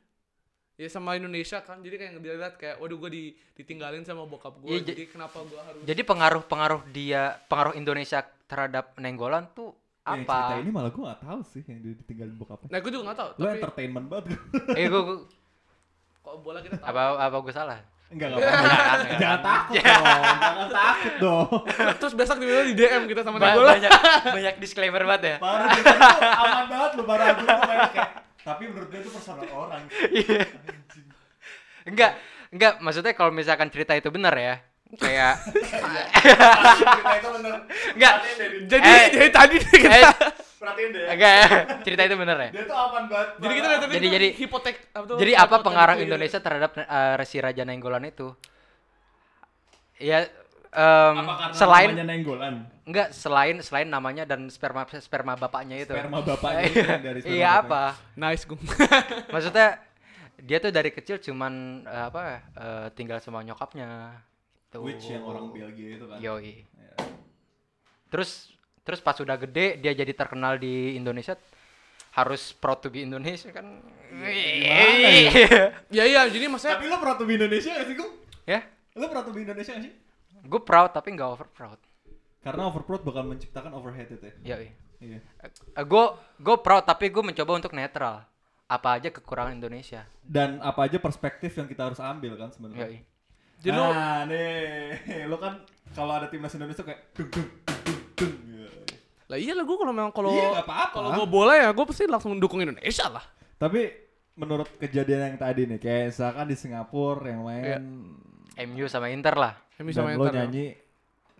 E: ya sama Indonesia kan jadi kayak dia lihat kayak waduh gue di, ditinggalin sama bokap gue
F: Iya, ja-
E: jadi kenapa gue harus
F: jadi pengaruh-pengaruh dia pengaruh Indonesia terhadap Nenggolan tuh
D: Ya, cerita
F: apa
D: ini malah gue gak tahu sih yang dia ditinggalin bokapnya
E: nah gue juga nggak tahu
D: lo
E: tapi
D: entertainment banget
F: eh gua, gua-
E: kok bola kita tahu
F: apa apa gue salah ya.
D: enggak enggak apa-apa jangan takut dong jangan takut dong
E: terus besok tiba-tiba di DM kita sama
F: Ba-
E: Nagola
F: banyak banyak disclaimer banget ya
D: Parah dia tadi tuh aman banget lu parah gue kayak tapi menurut gue itu personal orang. Anjing.
F: enggak enggak maksudnya kalau misalkan cerita itu benar ya kayak
D: Cerita itu bener.
F: enggak
E: jadi
F: Eh.
E: jadi tadi nih kita
F: eh,
D: Perhatiin deh.
F: enggak cerita itu benar ya
D: Dia tuh aman banget.
E: jadi kita
D: parah.
E: tadi
F: Jadi-
E: kita
F: jadi-
E: hipotek apa tuh,
F: Jadi apa
E: hipotek
F: pengaruh
E: itu,
F: Indonesia terhadap eh, si Raja Nainggolan itu? Ya em,
D: Apa karena
F: selain
D: namanya nenggolan?
F: enggak selain selain namanya dan sperma sperma bapaknya itu.
D: Sperma bapaknya
F: Iya,
D: kan dari sperma
F: Iya
D: bapaknya.
F: apa?
E: nice gung
F: Maksudnya dia tuh dari kecil cuman eh, apa eh, tinggal sama nyokapnya. gitu. Tuh.
D: Which yang orang Belgia itu kan.
F: Yoi.
D: Ya.
F: Terus terus pas udah gede dia jadi terkenal di Indonesia harus proud to be Indonesia kan.
D: Iya,
E: ya iya jadi maksudnya
D: Tapi lu pernah tuh di Indonesia gak sih, Gung?
F: ya,
D: Lu pernah tuh di Indonesia gak sih?
F: gue proud tapi nggak over proud.
D: Karena overproud bakal menciptakan overhead itu ya.
F: Yoi.
D: Iya.
F: gue gue Eh, proud tapi gue mencoba untuk netral apa aja kekurangan Indonesia
D: Dan apa aja perspektif yang kita harus ambil kan sebenarnya.
F: Yoi.
E: jadi lo
D: nah, nih, lo kan kalau ada timnas Indonesia kayak dung dung dung dung. gitu.
E: lah iya lah gue kalau memang kalau
D: Iya, nggak apa-apa.
E: kalau gue bola ya gue pasti langsung dukung Indonesia lah
D: Tapi menurut kejadian yang tadi nih, kayak misalkan di Singapura yang main
E: Iya.
F: MU Ya. sama Inter lah
E: yang
D: dan
E: bisa main
D: lo
E: ntar ya.
D: nyanyi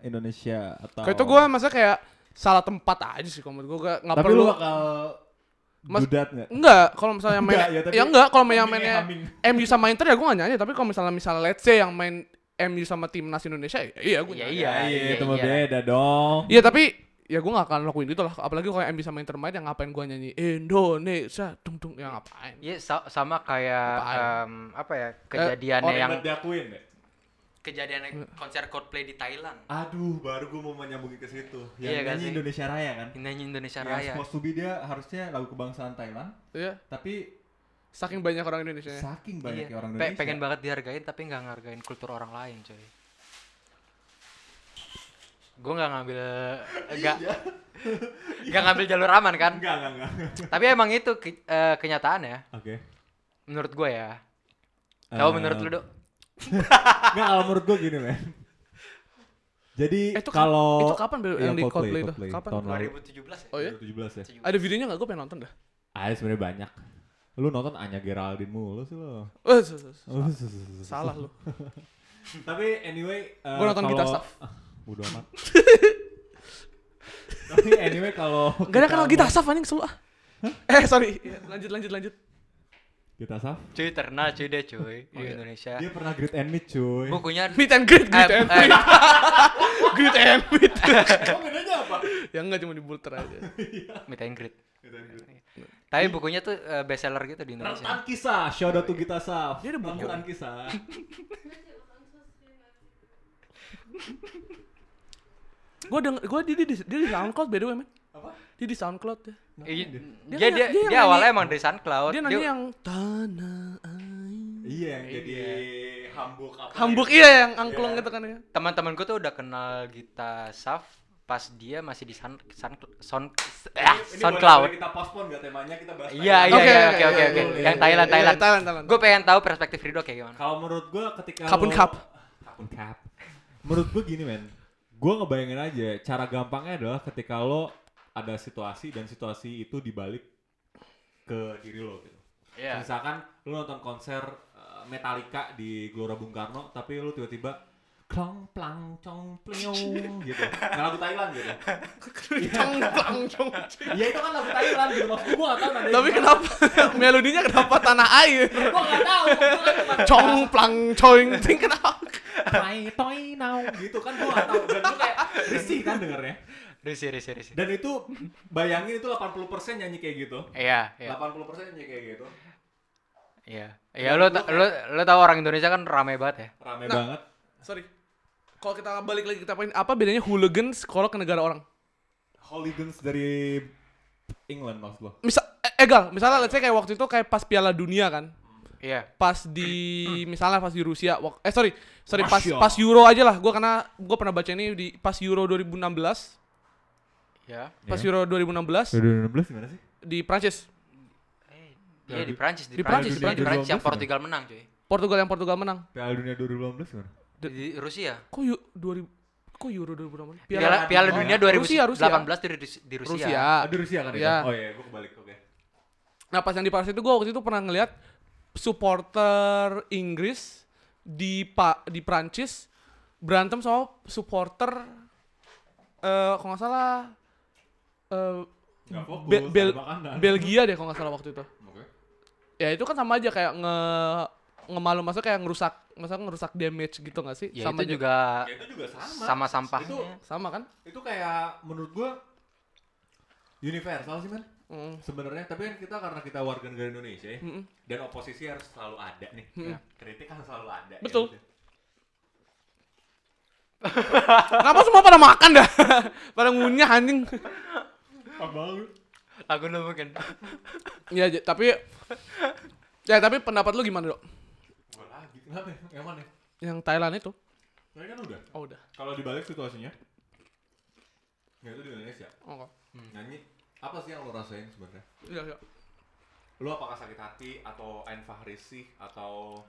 D: Indonesia atau
E: Kayak itu gue masa kayak salah tempat aja sih kalau menurut gue gak, nggak
D: Tapi
E: perlu
D: lu bakal
E: Mas-
D: judat nggak?
E: Enggak, kalau misalnya main
D: Enggak, ya,
E: ya,
D: tapi
E: enggak kalau main yang
D: hummingnya
E: mainnya MU sama Inter ya gue gak nyanyi tapi kalau misalnya misalnya let's say yang main MU sama timnas Indonesia ya iya gue
F: Iya,
E: nyanyi.
F: iya
D: Iya,
F: iya
D: itu mah
F: iya.
D: beda dong.
E: Iya tapi ya gue gak akan lakuin itu lah apalagi kalau yang MU sama Inter main yang ngapain gue nyanyi Indonesia dung dung yang ngapain? Eh,
F: Iya, sa- sama kayak
E: Apaan?
F: em, apa ya kejadiannya
D: Orang
F: yang
D: buat diakuin deh.
F: kejadian konser Coldplay di Thailand
D: Aduh, baru gue mau menyambungin ke situ. Yang
F: Iya kan
D: nyanyi
F: sih?
D: Indonesia Raya kan?
F: nyanyi Indonesia
D: Yang
F: Raya
D: supposed to be dia harusnya lagu kebangsaan Thailand,
E: Iya,
D: tapi
E: saking banyak orang Indonesia.
D: saking
F: Iya.
D: banyak orang
F: Pe-
D: Indonesia.
F: pengen banget dihargain tapi nggak ngehargain kultur orang lain coy gue nggak ngambil eh, nggak
D: Iya.
F: nggak ngambil jalur aman kan
D: Enggak, enggak, enggak.
F: tapi emang itu ke- eh, kenyataan ya
D: Oke.
F: menurut gue ya Kalau
D: Eh,
F: menurut lu dok
D: Nggak, kalau menurut gue gini, men. Jadi
E: Eh, itu kap-
D: kalau
E: itu kapan, Bel,
D: Iya,
E: yang di Coldplay itu?
D: Coldplay,
E: Kapan?
D: Tahun lalu.
F: 2017 ya?
E: Oh iya.
D: 2017 ya.
E: Ada videonya gak gue pengen nonton dah.
D: Ada sebenarnya banyak. Lu nonton Anya Geraldine mulu sih lo.
E: Eh, s- s- s- salah lu.
D: Tapi anyway, eh,
E: Gua nonton
D: kalau-
E: Gita Staff.
D: Ah, Bodo amat. Tapi anyway kalau
E: Gak ada
F: kan,
D: kita
E: kenal kita
D: mau-
E: Asaf anjing selalu ah. Eh sorry, Iya, lanjut lanjut lanjut.
D: Kita saf.
F: cuy terkenal cuy deh cuy di
E: Iya.
F: Indonesia
D: Dia pernah greet and meet cuy.
F: bukunya
E: Meet and greet, greet
F: Eh,
E: and
F: eh,
E: meet. greet and meet.
D: Oh, bedanya apa?
E: ya enggak cuma di bulter aja.
F: meet and greet
D: Greet and greet.
F: tapi bukunya tuh eh, bestseller gitu di
D: Rentan
F: Indonesia
D: kisah, shout out to Gita Saf.
E: Dia ada buku.
D: Rentan kisah.
E: Gue denger, gue dia, dia, di- dia di SoundCloud by the way, man.
D: Apa?
E: Dia di SoundCloud ya. Dia
F: Iya, dia
E: nanya-
F: dia,
E: dia yang
F: dia awalnya
E: nanya-
F: emang dari SoundCloud
E: Dia
F: Oh, Dia- Iya.
E: nanya yang tanah air.
D: Iya, yang jadi hambuk apa?
E: Hambuk
D: ya?
E: iya yang angklung gitu kan ya.
F: teman-teman gue tuh udah kenal Gita Saf pas dia masih di Sun, Sun, Sun, ah,
D: Ini
F: SoundCloud.
D: boleh- boleh Kita postpone nggak temanya kita bahas.
F: Iya
D: Thailand.
F: iya
E: Oke, oke,
F: iya oke oke
E: iya,
F: oke.
E: iya,
F: Yang
E: iya,
F: Thailand
E: iya,
F: Thailand.
E: Thailand, Thailand.
F: Gue pengen tahu perspektif Rido kayak gimana.
D: Kalau menurut gua ketika
E: Kapun
D: lo-
E: kap.
D: Kapun kap. Menurut gua gini men, gua ngebayangin aja cara gampangnya adalah ketika lo ada situasi dan situasi itu dibalik ke diri lo gitu.
F: Iya.
D: Misalkan lu nonton konser eh, Metallica di Gelora Bung Karno tapi lu tiba-tiba klong plang cong pleong gitu. Kayak lagu Thailand gitu.
E: Cong clang cong.
D: Iya itu kan lagu Thailand gitu. Maksud gua gak tau nadanya
E: Tapi
D: gimana.
E: kenapa melodinya kenapa tanah air?
D: Gua gak tau.
E: Cong plang coing ting kenapa?
D: Toy toy now gitu kan gua gak tau. Dan lu kayak risih kan dengernya.
F: Risi risi risi.
D: Dan itu bayangin itu 80% nyanyi kayak gitu.
F: Iya iya
D: 80% nyanyi kayak gitu.
F: iya. Iya lo ta- lo lo tahu orang Indonesia kan rame banget ya.
D: Rame
E: Nah.
D: banget.
E: Sorry. Kalau kita balik lagi kita apa bedanya hooligans kalau ke negara orang?
D: Hooligans dari England maksud lo.
E: misal eh, egal misalnya let's say kayak waktu itu kayak pas Piala Dunia kan
F: Iya.
E: pas di misalnya pas di Rusia wak- eh sorry sorry pas
D: Rusia.
E: pas Euro aja lah gue karena gue pernah baca ini di pas Euro 2016
F: Iya.
E: pas
D: Iya.
E: Euro 2016
D: 2016 gimana sih?
E: di Prancis
F: Iya di Prancis di
E: Di
F: Prancis
E: Prancis,
F: di Prancis,
D: di
F: yang
D: Prancis.
F: Portugal menang cuy.
E: Portugal yang Portugal menang
D: Piala Dunia 2018 gimana?
E: De-
F: Di Rusia.
E: kok Euro 2000 kok Euro 2016
F: Piala, Piala
D: Dunia.
F: Dunia
D: Rusia,
F: 2018
E: Rusia.
F: di, Rus- di Rusia.
E: Rusia
D: Aduh Rusia kan
E: Iya.
D: itu. Oh iya, gua kebalik. Oke.
E: nah pas yang di Paris itu gue waktu itu pernah ngeliat supporter Inggris di pa, di Prancis berantem sama supporter eh kalau nggak salah eh
D: Nggak fokus.
E: Be-
D: ada
E: Bel-
D: makanan.
E: Belgia deh kalau nggak salah waktu itu.
D: Oke.
E: Ya itu kan sama aja kayak nge ngemalu masa kayak ngerusak, masa ngerusak damage gitu nggak sih?
F: Ya
E: sama
F: itu
E: aja.
F: juga
D: Ya, itu juga sama.
F: sama sampahnya.
D: Itu
E: sama kan?
D: itu kayak menurut gua universal sih men
E: Mm.
D: sebenarnya tapi kan kita karena kita warga negara Indonesia ya,
E: Mm-mm. Mm.
D: dan oposisi harus selalu ada nih ya. kritik harus selalu ada ya
E: Betul.
D: udah.
E: Kenapa semua pada makan dah? pada ngunyah anjing.
D: Abang lu.
F: lagu lu mungkin.
E: ya j- tapi ya tapi pendapat lu gimana dok?
D: Gua lagi kenapa ya? yang mana ya?
E: Yang Thailand itu?
D: Tadi kan udah
E: Oh udah.
D: kalau dibalik situasinya ya itu di Indonesia Hmm,
E: Oh,
D: nyanyi apa sih yang lo rasain sebenarnya
E: iya, iya.
D: lo apakah sakit hati atau einfach risih atau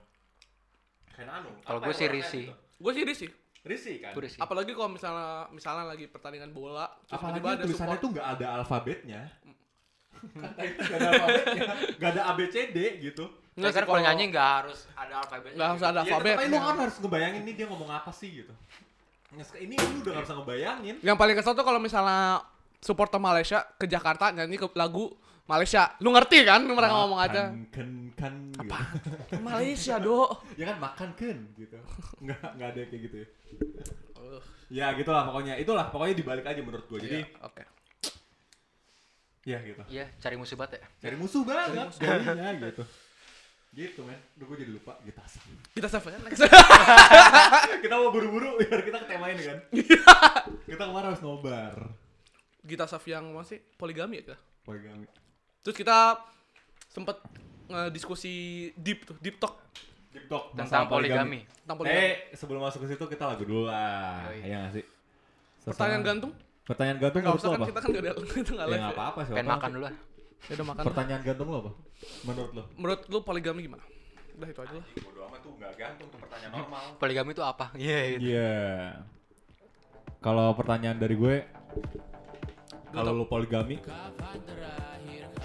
D: kayak anu
F: Kalau
D: Apa
F: gua
D: yang
F: sih
D: lo rasain
F: risih.
D: gitu?
E: Gue sih risih.
D: risih kan
F: Gua risih.
E: Apalagi kalau misalnya misalnya lagi pertandingan bola, terus tiba-tiba
D: Apalagi
E: ada
D: tulisannya
E: support-
D: tuh nggak ada alfabetnya. Kata itu nggak ada alfabetnya, nggak ada ABCD gitu.
F: Tapi
E: Nggak sih,
F: kan kalau nyanyi nggak harus ada alfabetnya.
E: nggak harus ada
D: Ya,
E: alfabet.
D: tapi lu kan harus ngebayangin nih dia ngomong apa sih gitu. Nah, sek- Ini lu udah nggak bisa ngebayangin.
E: Yang paling kesel tuh kalau misalnya supporter Malaysia ke Jakarta nyanyi ke lagu Malaysia. Lu ngerti kan mereka ngomong aja.
D: Makan Ken kan. Gitu.
E: Malaysia, Dok.
D: Ya kan makan ken gitu. Nggak nggak ada yang kayak gitu ya. Ya gitulah pokoknya. Itulah pokoknya dibalik aja menurut gua. Jadi
E: Iya, Oke.
D: ya gitu.
F: Iya, cari musibat ya.
D: Cari musuh banget. Jadinya
E: Iya,
D: gitu. Gitu men. Udah gua jadi lupa. Gitu asal.
E: Kita save ya next.
D: kita mau buru-buru biar kita ketemain kan kita kemarin harus nobar
E: kita save yang apa sih? Poligami ya kita.
D: poligami
E: Terus kita sempet ngediskusi deep tuh, deep talk
D: TikTok
F: Tentang poligami.
E: tentang poligami.
D: eh sebelum masuk ke situ kita lagu dulu lah
F: Yoi.
D: iya nggak sih Sesama-
E: Pertanyaan gantung?
D: pertanyaan gantung
E: Enggak
D: menurut
E: usah
D: lo
E: kan
D: apa
E: kita kan enggak ada kita enggak
D: ya
E: live.
D: nggak
E: Ya,
D: apa-apa siapa
F: Pengen
D: tahu.
F: makan dulu lah.
E: Ya udah makan.
D: pertanyaan gantung lo apa menurut lo
E: Menurut lu poligami gimana? Udah itu aja lah.
D: bodo amat tuh nggak gantung tuh pertanyaan normal
F: Poligami itu apa? Iya, iya.
D: iya kalau pertanyaan dari gue kalau lu poligami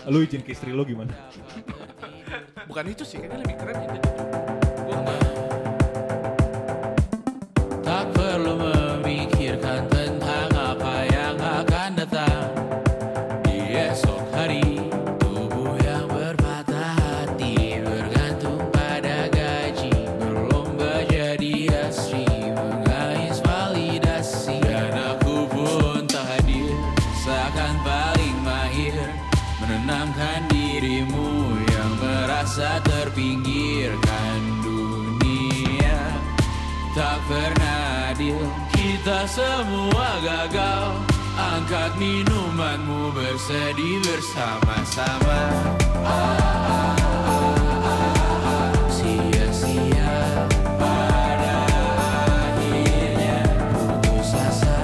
D: lu izin ke istri lu gimana
E: Bukan itu sih, kayaknya lebih keren ya.
G: Tak perlu memikirkan tentang apa yang akan datang Di esok hari Tubuh yang berpatah hati
A: merasa terpinggirkan dunia Tak pernah adil Kita semua gagal Angkat minumanmu bersedih bersama-sama Ah, ah, ah, ah, ah. Sia-sia Pada akhirnya putus asa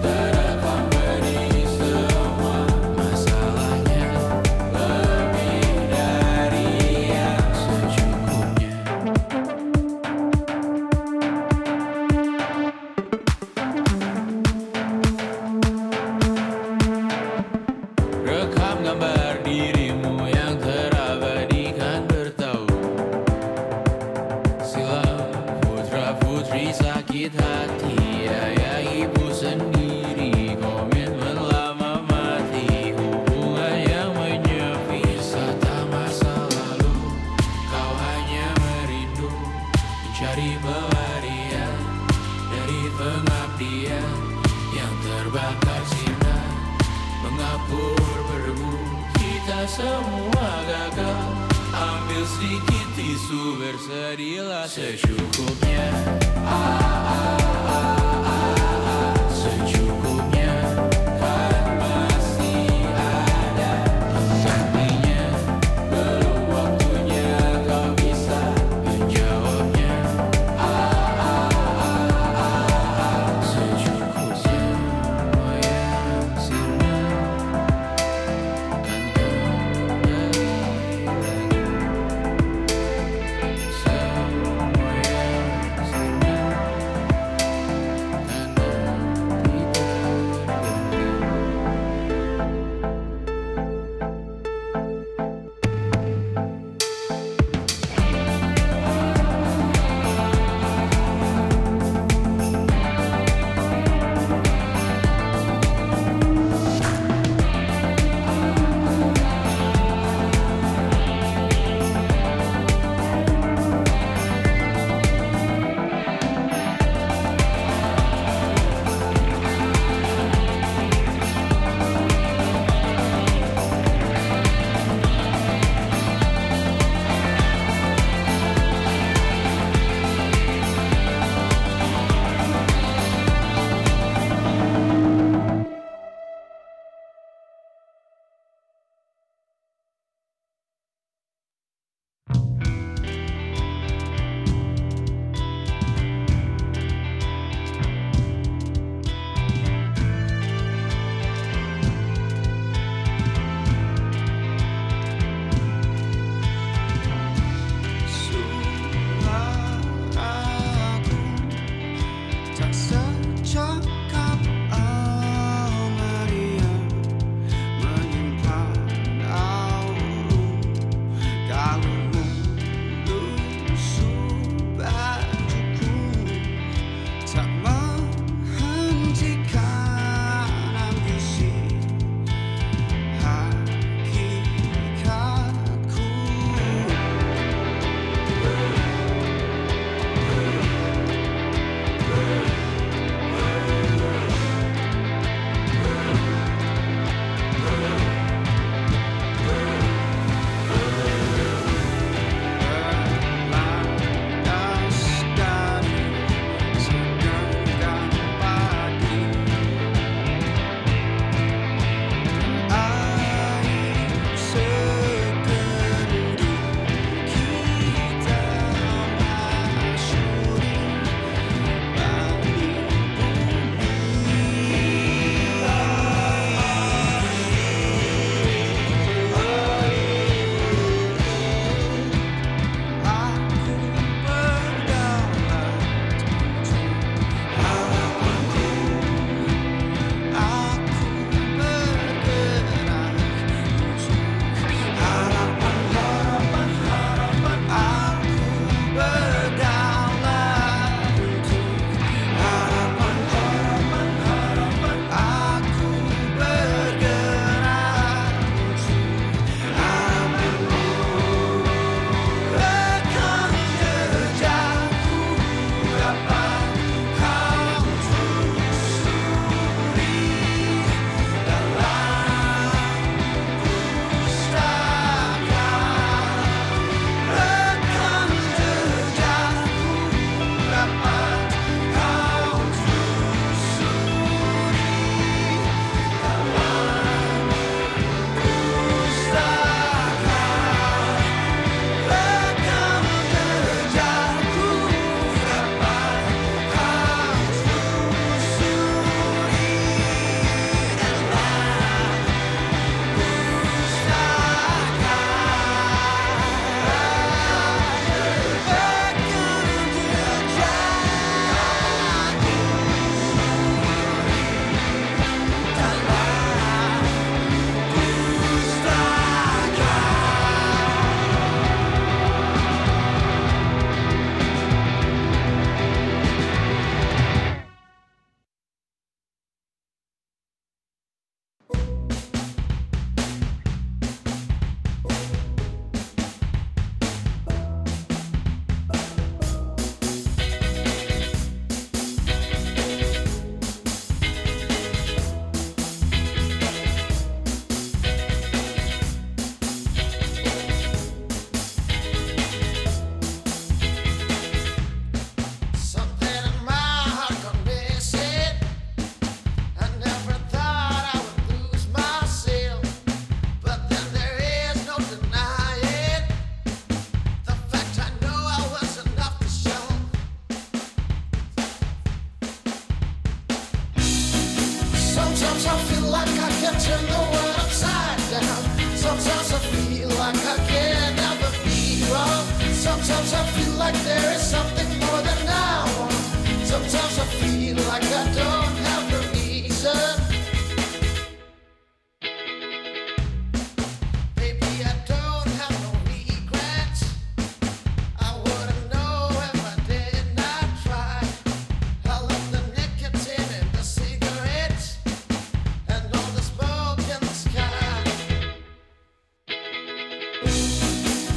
A: Terekam pedih semua masalahnya Lebih dari yang secukupnya Rekam gambar dirimu yang terabadikan bertahun Silam putra putri sakit hati Ayah ibu sendiri komitmen lama mati Hubungan yang menyepi Wisata masa lalu Kau hanya merindu Mencari pelarian Dari pengabdian Yang terbakar sinar Mengapur berbu Kita semua gagal Ambil sedikit tisu Bersedihlah secukupnya ah, ah, ah, ah, ah, Secukupnya Kan pasti ada Penggantinya Belum waktunya Kau bisa menjawabnya ah, ah, ah, ah, ah, Secukupnya Semua yang sirna tanpa lagi Semua yang sirna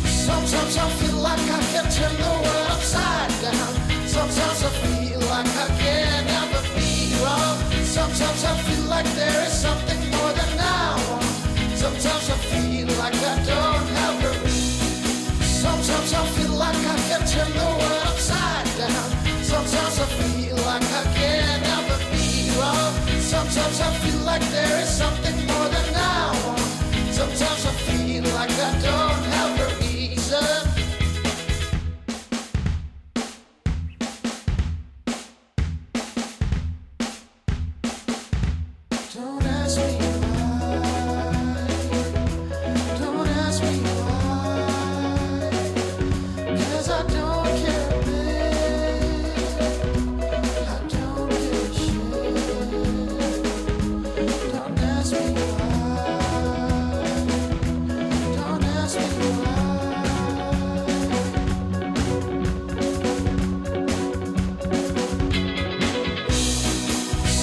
C: Sometimes I feel like I can turn the world upside down. Sometimes I feel like I can never be wrong. Sometimes I feel like there is something more than I want. Sometimes I feel like I don't have a reason. Sometimes I feel like I can turn the world upside down. Sometimes I feel like I can never be wrong. Sometimes I feel like there is something more than I want. Sometimes I feel like I don't have a reason. Don't ask me why. Don't ask me why. 'Cause I don't care a bit. I don't give a shit. Don't ask me why. Don't ask me why.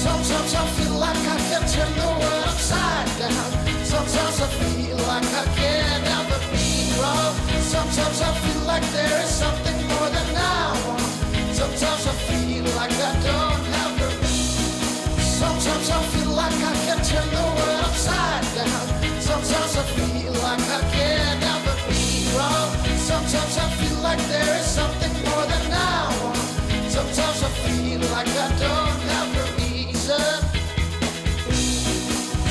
C: Sometimes I feel like I can turn the world upside down. Sometimes I feel like I can never be wrong. Sometimes I feel like there is something more than I want. Sometimes I feel like I don't have a reason. Sometimes I feel like I can turn the world upside down. Sometimes I feel like I can never be wrong. Sometimes I feel like there is something more than I want. Sometimes I feel like I don't have a reason.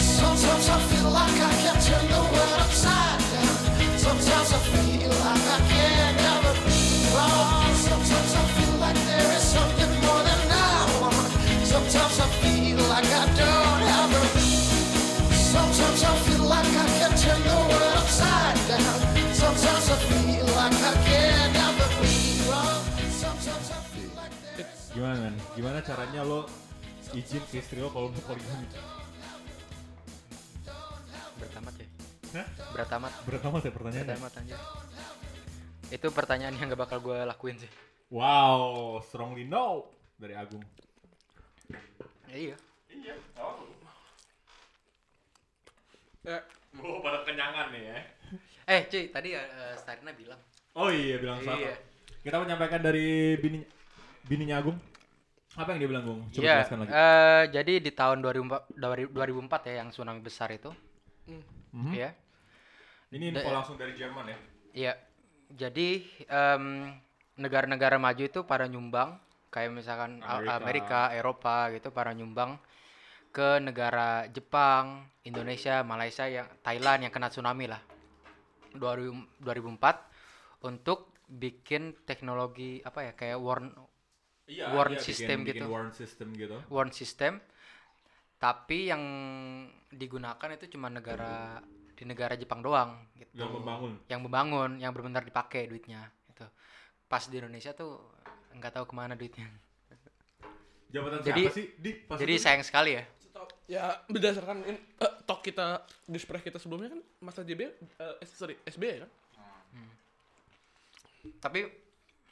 C: Sometimes I feel like I can turn the world upside down. Sometimes I feel like I can never be wrong. Sometimes I feel like there is something more than I want. Sometimes I feel like I don't have a Sometimes I feel like I can turn the world upside down. Sometimes I feel like I can never be wrong. Sometimes I feel like there is
D: Gimana men? Gimana caranya lo izin ke istri lo kalau untuk poligami?
F: Berat amat ya.
D: Hah?
F: Berat amat.
D: Berat amat ya pertanyaannya?
F: Berat amat anjir. Itu pertanyaan yang gak bakal gue lakuin sih.
D: Wow, strongly no dari Agung.
F: Ya, iya.
E: Eh,
D: Oh, pada kenyangan nih ya.
F: Eh, cuy, tadi eh, Starina bilang.
D: Oh iya, bilang sama.
F: Iya.
D: Kita menyampaikan dari bini bininya Agung. Apa yang dia bilang, Gung? Coba
F: Iya.
D: jelaskan lagi.
F: eh, jadi di tahun 2004, 2004 ya yang tsunami besar itu.
D: Mhm.
F: Iya.
D: Ini info
F: da-
D: langsung dari Jerman ya.
F: Iya. Jadi em, negara-negara maju itu pada nyumbang kayak misalkan A-
D: Amerika.
F: Amerika, Eropa gitu para nyumbang ke negara Jepang, Indonesia, Malaysia yang Thailand yang kena tsunami lah. 2000 2004 untuk bikin teknologi apa ya kayak warn
D: Iya,
F: Warn
D: bikin-
F: system
D: bikin
F: gitu.
D: Warn system gitu.
F: warn system tapi yang digunakan itu cuma negara di negara Jepang doang gitu.
D: Yang membangun.
F: yang membangun yang benar-benar dipakai duitnya gitu pas di Indonesia tuh nggak tahu kemana duitnya
D: Jabatan
F: Jadi-
D: siapa sih? Di, pas
F: jadi
D: itu?
F: sayang sekali ya
E: setau- ya berdasarkan in- eh, talk kita di spray kita sebelumnya kan masa JB eh, eh, sorry SB kan
F: tapi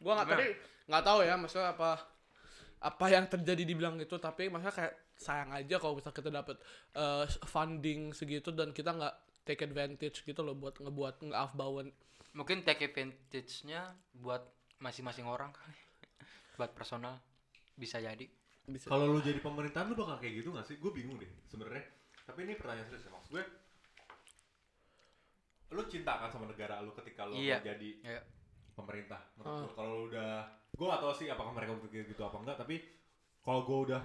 E: gua nggak
F: Gimana?
E: tadi nggak tahu ya maksudnya apa apa yang terjadi dibilang itu tapi maksudnya kayak sayang aja kalau misal kita dapat eh, funding segitu dan kita nggak take advantage gitu loh buat ngebuat nge afbauen
F: mungkin take advantage-nya buat masing-masing orang kali buat personal bisa jadi
E: bisa
D: Kalau lu jadi pemerintahan lu bakal kayak gitu gak sih? Gue bingung deh sebenarnya. Tapi ini pertanyaan serius ya maksud gue. Lu cinta kan sama negara lu ketika lu
F: Iya. Ah.
D: mau jadi
F: ya
D: pemerintah. Menurut gua, kalau lu udah gue gak tahu sih apakah mereka berpikir gitu apa enggak, tapi kalau gue udah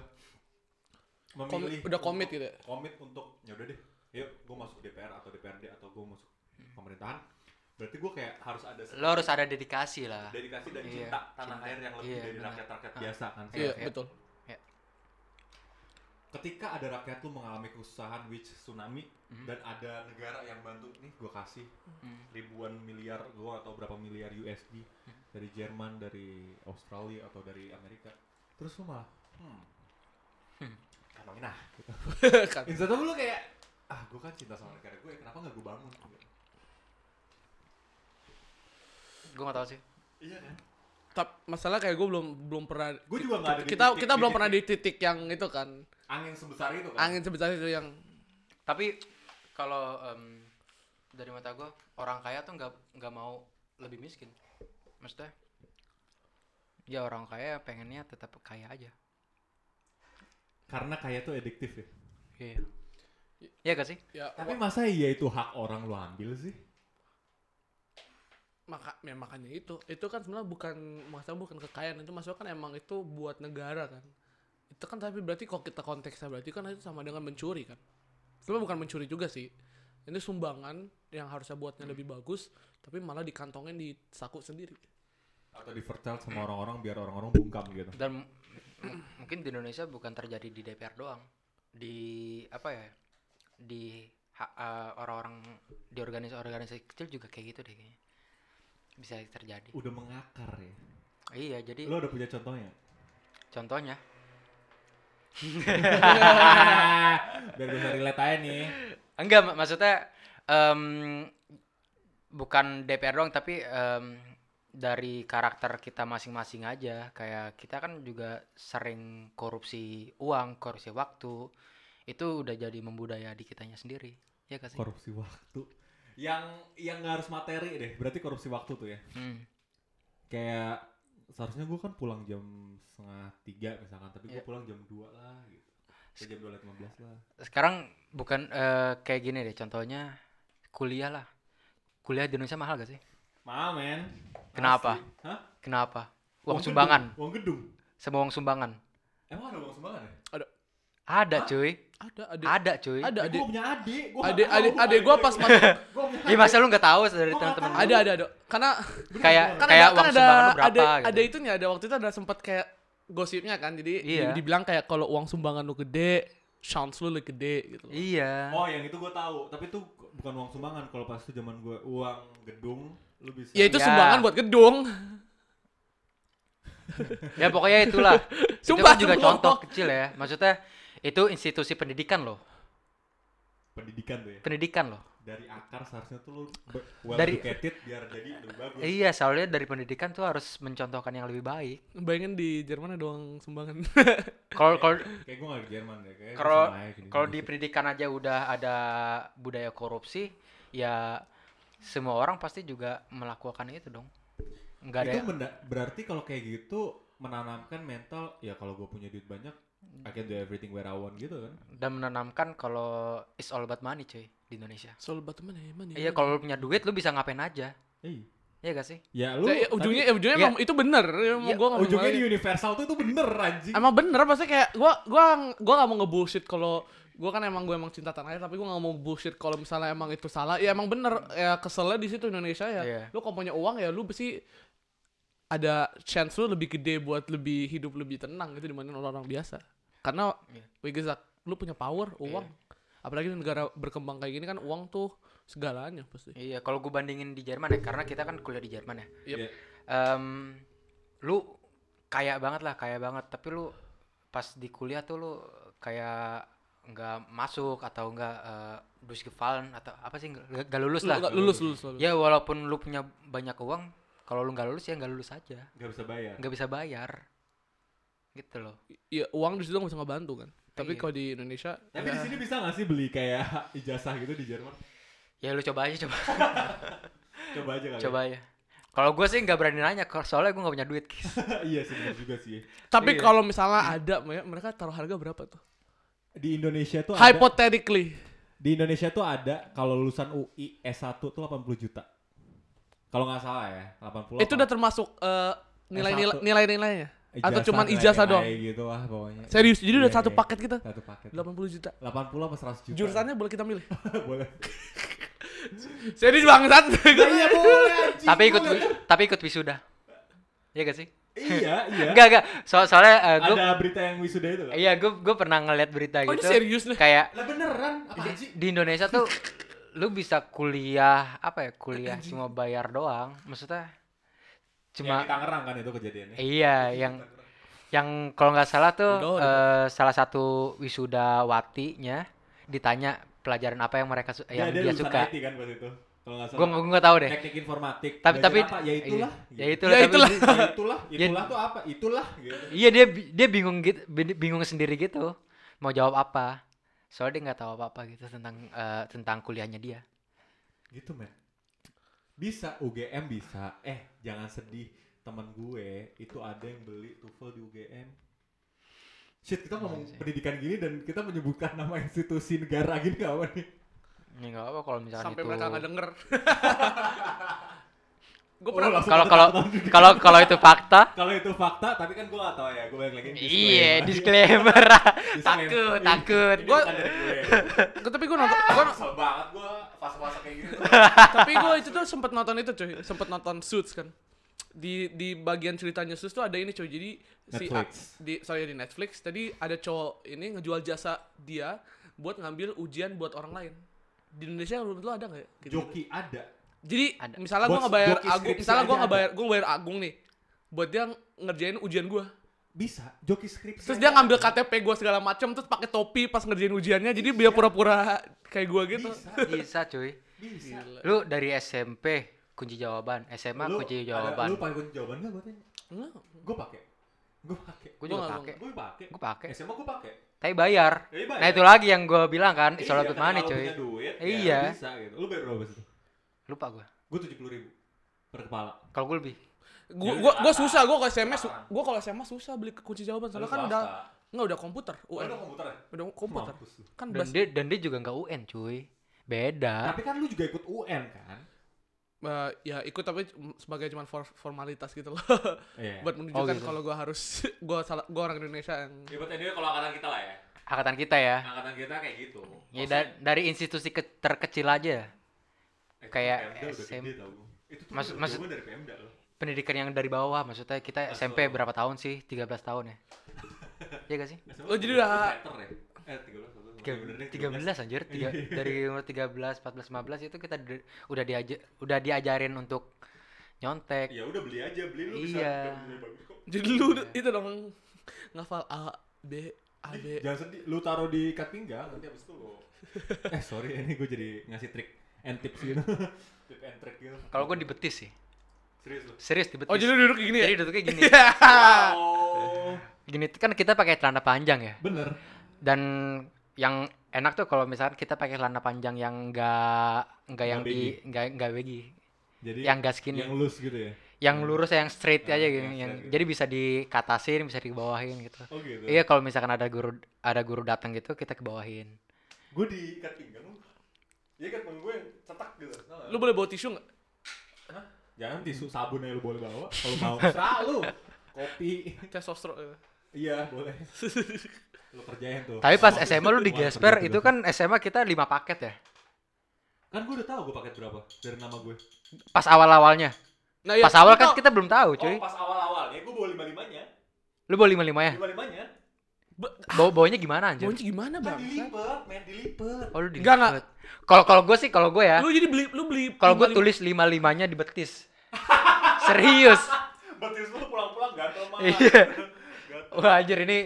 D: memilih
E: udah
D: untuk-
E: komit gitu ya?
D: Komit untuk ya udah deh. Yuk, gue masuk DPR atau DPRD atau gue masuk pemerintahan. Berarti gue kayak harus ada
F: Hmm. lo harus ada dedikasi lah
D: dedikasi dan
F: Iya,
D: cinta tanah
F: cinta.
D: air yang lebih
F: Iya,
D: dari
F: benar.
D: rakyat-rakyat
F: Ah.
D: biasa kan.
E: iya
F: Iya.
E: betul
D: ketika ada rakyat lu mengalami kesusahan which tsunami
F: Mhm.
D: dan ada negara yang bantu nih gue kasih ribuan miliar gua atau berapa miliar USD
F: Mhm.
D: dari Jerman dari Australia atau dari Amerika terus lu malah hmm, emangin ah gitu.
E: Kan.
D: Instead of lu kayak ah gue kan cinta sama negara gue kenapa nggak gue bangun
F: gue nggak tahu sih
D: iya kan
E: Tap, masalah kayak gue belum belum pernah
D: Gua juga nggak ada di
E: kita
D: titik-
E: kita
D: di
E: belum pernah di
D: titik.
E: titik yang itu kan
F: Ah,
D: angin sebesar itu kan
E: angin sebesar itu yang
F: tapi kalau em, dari mata gue orang kaya tuh nggak nggak mau lebih miskin maksudnya ya orang kaya pengennya tetap kaya aja
D: Karena kaya tuh ediktif ya.
F: iya iya gak sih
E: ya
D: Tapi masa iya itu hak orang lu ambil sih?
E: maka ya makanya itu itu kan sebenarnya bukan maksudnya bukan kekayaan itu maksudnya kan emang itu buat negara kan itu kan tapi berarti kalau kita konteksnya berarti kan itu sama dengan mencuri kan cuma bukan mencuri juga sih ini sumbangan yang harusnya buatnya lebih bagus tapi malah dikantongin di saku sendiri
D: Atau dipercaya sama orang-orang biar orang-orang bungkam gitu.
F: Hmm. dan m- m- mungkin di Indonesia bukan terjadi di DPR doang di apa ya di ha- eh, orang-orang di organisasi-organisasi kecil juga kayak gitu deh kayaknya bisa terjadi
D: Udah mengakar ya.
F: iya jadi
D: Lu udah punya contohnya?
F: contohnya
D: biar bisa relate aja nih.
F: enggak mak- maksudnya em, bukan DPR doang tapi em, dari karakter kita masing-masing aja kayak kita kan juga sering korupsi uang korupsi waktu itu udah jadi membudaya di kitanya sendiri ya kasih
D: Korupsi waktu. Yang yang nggak harus materi deh. Berarti korupsi waktu tuh ya.
F: Hmm.
D: Kayak seharusnya gue kan pulang jam setengah tiga misalkan, tapi gue
F: Iya.
D: pulang jam dua lah gitu. Ya, jam dua lima belas lah.
F: sekarang bukan eh, kayak gini deh contohnya kuliah lah kuliah di Indonesia mahal gak sih
D: Mahal men.
F: Kenapa?
D: Asli. Hah?
F: kenapa uang
D: gedung,
F: sumbangan
D: Uang gedung.
F: semua uang sumbangan
D: Emang ada uang sumbangan ya?
F: ada cuy
E: ada ada
F: Ah, ada cuy
E: ada
D: Gue
E: adik
D: punya adik. Gua nggak
E: adik
D: tahu,
E: adik adik
D: gua nggak
E: gue
D: ada
E: pas
D: duit.
E: masuk
D: Gua punya
F: Ih, masa lu nggak tahu dari
D: Gua nggak
F: teman-teman
D: tahu.
F: lu?
E: ada ada ada karena
F: kayak
E: kan ada,
F: kayak uang
E: kan ada,
F: sumbangan lu berapa
E: ada,
F: gitu.
E: ada itunya ada waktu itu ada sempat kayak gosipnya kan jadi di-
F: Iya.
E: dibilang kayak kalau uang sumbangan lu gede chance lu lebih gede gitu loh.
F: Iya.
D: Oh, yang itu gue tahu, tapi itu bukan uang sumbangan. Kalau pas itu zaman gue uang gedung, lu bisa.
E: ya itu
F: Iya.
E: sumbangan buat gedung
F: Ya pokoknya itulah. itu
E: Sumpah,
F: kan juga
E: sumpah.
F: contoh kecil ya. Maksudnya itu institusi pendidikan loh.
D: pendidikan tuh ya.
F: Pendidikan loh.
D: Dari akar seharusnya tuh lu be- well
F: Dari-
D: educated biar jadi lebih bagus.
F: Iya, soalnya dari pendidikan tuh harus mencontohkan yang lebih baik.
E: bayangin di Jerman ada uang sumbangan
F: Kalau kalau
D: Kayak gue gak ke Jerman deh, Ya kayak gitu.
F: kalau kalau di pendidikan aja udah ada budaya korupsi, ya semua orang pasti juga melakukan itu dong. Enggak ada. ya?
D: itu
F: yang-
D: benda- berarti kalau kayak gitu menanamkan mental ya kalau gue punya duit banyak I can do everything where I want gitu kan
F: dan menanamkan kalau it's all about money cuy di Indonesia.
E: soal batu mana ya mana
F: Iya, kalau lu punya duit lu bisa ngapain aja.
D: Eh,
F: Iya gak sih?
D: ya lu
E: Tapi ujungnya
D: tapi
E: ujungnya
F: Iya.
E: emang itu bener emang
F: Iya,
E: gua nggak mau
D: ujungnya
E: ngomong
D: di
E: lagi.
D: universal tuh itu bener anjing
E: emang bener pasti kayak gua gua gua gak mau ngebullshit kalau gua kan emang gua emang cinta tanah air tapi gua gak mau bullshit kalau misalnya emang itu salah ya emang bener ya keselnya di situ Indonesia ya
F: Iya.
E: lu kalau punya uang ya lu pasti ada chance lu lebih gede buat lebih hidup lebih tenang gitu dibanding orang-orang biasa karena
F: Iya.
E: because like, lu punya power uang apalagi di negara berkembang kayak gini kan uang tuh segalanya pasti
F: Iya, kalau gue bandingin di Jerman ya, karena kita kan kuliah di Jerman ya.
E: Yep.
D: Iya.
F: Em, lu kaya banget lah, kaya banget. Tapi lu pas di kuliah tuh lu kayak nggak masuk atau nggak eh, durchgefallen atau apa sih nggak nggak lulus
E: Lu
F: lah.
E: nggak lulus lulus, lulus.
F: Ya walaupun lu punya banyak uang, kalau lu nggak lulus ya nggak lulus aja,
D: Gak bisa bayar
F: nggak bisa bayar. Gitu loh.
E: ya uang di situ nggak bisa ngebantu kan tapi
F: Iya.
E: kalau di Indonesia
D: tapi di sini bisa gak sih beli kayak ijazah gitu di Jerman
F: Ya lu coba aja coba,
D: coba aja kali ya.
F: coba aja. Kalau gue sih nggak berani nanya, ko- soalnya gue nggak punya duit. guys.
D: iya sih bener juga sih
E: tapi
F: Iya.
E: kalau misalnya ada me- mereka taruh harga berapa tuh
D: di Indonesia tuh ada,
E: hypothetically
D: di Indonesia tuh ada kalau lulusan UI S1 tuh 80 juta kalau nggak salah ya 80
E: itu udah termasuk eh, nilai-nilai
D: S1.
E: nilai-nilainya atau
D: Ijazah,
E: cuman
D: nilai
E: ijazah
D: nilai
E: doang
D: gitu lah pokoknya
E: serius jadi udah
D: Iya,
E: satu
D: iya.
E: paket kita
D: satu paket
E: 80 juta
D: 80 apa 100 juta
E: jurusannya boleh kita milih
D: boleh
E: serius bangsat Gua-
D: iya boleh anjing,
F: tapi ikut
D: boleh.
F: tapi ikut wisuda. Iya gak sih?
D: iya iya
F: Enggak, enggak. So- soalnya eh, gua
D: ada berita yang wisuda itu kan
F: iya gua gua pernah ngeliat berita
E: Oh, ini
F: gitu.
E: serius nih?
F: Kayak
D: lah beneran apa sih
F: di Indonesia tuh lu bisa kuliah apa ya? Kuliah cuma bayar doang. Maksudnya
D: yang
F: cuma
D: di Tangerang kan itu kejadiannya
F: iya
D: Gitu.
F: yang yang kalau nggak salah tuh
E: Udah, udah.
F: eh, salah satu wisudawatinya ditanya pelajaran apa yang mereka su- yang
D: dia,
F: dia
D: lulusan
F: suka.
D: IT kan pas itu kalau nggak salah
F: Gua gua nggak tahu deh.
D: teknik informatik
F: Tapi
D: Belajar
F: tapi
D: apa? ya itulah
F: Iya, ya
D: gitu.
F: itulah,
E: Ya
F: tapi-
E: itulah.
D: Ya itulah
F: Ya-
D: itulah tuh apa itulah gitu
F: Iya dia bi- dia bingung gitu, bin- bingung sendiri gitu mau jawab apa. Soalnya dia nggak tahu apa-apa gitu tentang eh, tentang kuliahnya dia.
D: gitu men bisa UGM bisa eh jangan sedih teman gue itu ada yang beli TOEFL di UGM shit kita ngomong
F: Iya sih.
D: pendidikan gini dan kita menyebutkan nama institusi negara gini gak apa nih
F: Ini Ya nggak apa kalau misalkan
E: sampai
F: itu.
E: mereka nggak denger. gue
D: Oh,
E: pernah
D: langsung
F: Kalau
D: ada
F: kalau
D: catatan.
F: kalau kalau itu fakta,
D: kalau itu fakta tapi kan gue gak tau ya gue balik lagi
F: iya
D: disclaimer. Iya.
F: disclaimer.
D: Disclaimer.
F: takut,
D: Ini-
F: takut.
D: ini
F: Gua
D: bukan dari gue.
E: tapi gue nonton gua-
D: Kesel banget gue fase-fase kayak gitu
E: tapi gue itu tuh sempet nonton itu cuy sempet nonton Suits kan di di bagian ceritanya Suits tuh ada ini cuy jadi
D: Netflix.
E: si di sorry di Netflix tadi ada cowok ini ngejual jasa dia buat ngambil ujian buat orang lain di Indonesia menurut lo ada nggak ya? Gitu-gitu.
D: joki ada
E: jadi
F: Ada.
E: misalnya gue
D: Bos-
E: ngebayar
D: joki
E: Agung
D: skripsi
E: misalnya gue
D: aja
E: ngebayar gue ngebayar Agung nih buat dia ngerjain ujian gue
D: bisa joki skripsi
E: terus
D: aja
E: dia ngambil
D: ada.
E: KTP gue segala macem terus pakai topi pas ngerjain ujiannya jadi dia pura-pura kayak gue gitu
D: bisa
F: bisa cuy.
D: bisa
E: Gila.
F: Lu dari SMP kunci jawaban, SMA
D: Lu
F: kunci
D: ada- lu
F: jawaban.
D: pakai kunci jawaban nggak buat ini?
E: Enggak.
D: gue pakai gue pakai
F: Gue
E: gua
F: juga
E: nggak-
F: pakai.
D: gue pakai
F: Gue pakai.
D: SMA gue pakai
F: Tapi bayar.
D: Tapi bayar.
F: Nah itu lagi yang gue bilang kan,
D: Iya,
F: soal itu
D: karena
F: money
D: kalau
F: cuy.
D: punya duit, ya
F: Iya.
D: lu bisa gitu lu bayar berapa sih
F: Lupa gue.
D: gue tujuh puluh ribu per kepala
F: Kalau gue lebih.
E: Gua,
D: Ya
E: gua,
D: udah,
E: gua
D: apa?
E: susah, gua kalau SMA, su-
D: Apa?
E: gua kalau SMA susah beli kunci jawaban soalnya
D: Lu
E: kan
D: swasta.
E: udah nggak udah komputer,
D: Oh,
E: UN.
D: ada komputer ya?
E: Udah komputer.
D: Mampus lu.
E: Kan
F: Dan
E: bas,
F: dia, dan dia juga nggak UN cuy. Beda.
D: tapi kan lu juga ikut UN kan
E: eh, ya ikut tapi cum- sebagai cuman for- formalitas gitu loh.
D: iya
E: Buat menunjukkan
F: gitu.
E: kalau gua harus gua salah gua orang Indonesia yang
D: ya buat dia kalau angkatan kita lah ya
F: Angkatan kita ya.
D: angkatan kita kayak gitu
F: Ya, da- dari institusi ke- terkecil aja.
D: Eh,
F: kayak
D: Pemda udah
F: SM.
D: gede tau gua. itu tuh
F: Maksud-
D: jawaban
F: maksud-
D: dari Pemda loh Ah,
F: Pendidikan yang dari bawah maksudnya kita SMP berapa tahun sih? 13 tahun ya. Iya gak sih?
D: SMA
E: Oh, jadi
D: tuh
E: udah-
D: fighter ya eh tiga belas
F: Tiga- 13 anjir. Tiga,
D: Iya.
F: dari umur 13, 14, 15 itu kita di- udah diajar udah diajarin untuk nyontek.
D: ya udah beli aja beli lu bisa
F: Iya.
D: dapat nilai bagus kok.
E: jadi lu itu dong ngafal A B A B.
D: Jangan sedih, lu taruh di ikat pinggang nanti abis itu lu. eh sorry, ini gue jadi ngasih trik and tips gitu. Tip and trick gitu.
F: Kalau gue di betis sih.
D: serius lu.
F: Serius di betis.
E: Oh, jadi lu duduk kayak gini ya?
F: Jadi duduknya gini.
D: Oh,
F: Gini kan kita pakai celana panjang ya.
D: bener.
F: Dan yang enak tuh kalau misalkan kita pakai celana panjang yang enggak enggak yang
D: Nggak
F: di enggak enggak wegi.
D: Jadi
F: Yang gas gini.
D: Yang loose gitu ya.
F: yang lurus yang straight
D: Ah,
F: aja gitu
D: yang
F: yang
D: straight gitu.
F: jadi bisa dikatasin bisa dibawahin gitu
D: Oh gitu.
F: iya kalau misalkan ada guru ada guru datang gitu kita kebawahin
D: Gue di ikat pinggang. lu. Iya kan temen gue yang cetak gitu. tau nggak?
E: Lu boleh bawa tisu nggak?
D: Jangan tisu sabun aja lu boleh bawa kalau mau. Serah lu. Kopi.
E: Testosterone.
D: Iya, boleh. Lu kerjain tuh.
F: tapi pas
D: Kopi.
F: SMA lu
D: Wah,
F: digesper
D: kerja
F: itu
D: tuh.
F: kan SMA kita lima paket ya
D: kan gue udah tahu gue paket berapa dari nama gue.
F: pas awal awalnya
E: Nah,
F: pas awal
E: lu
F: kan
E: tau-
F: kita belum tahu cuy
D: iya. Oh, pas awal-awalnya gue bawa lima-limanya.
F: lu bawa ya? lima limanya
D: Lima-limanya.
E: Ba-
F: bawa bawanya gimana anjir
E: Baunya gimana,
D: Kan
E: Bang?
D: dilipet, ya. main dilipet.
F: oh lu di
E: Enggak, enggak.
F: kalau kalau gue sih kalau gue ya
E: Lu jadi beli lu beli
F: kalau gue
E: lima-
F: tulis lima limanya di betis serius
D: Betis lu pulang-pulang gatel malah.
F: Iya.
D: Gatel.
F: wah anjir ini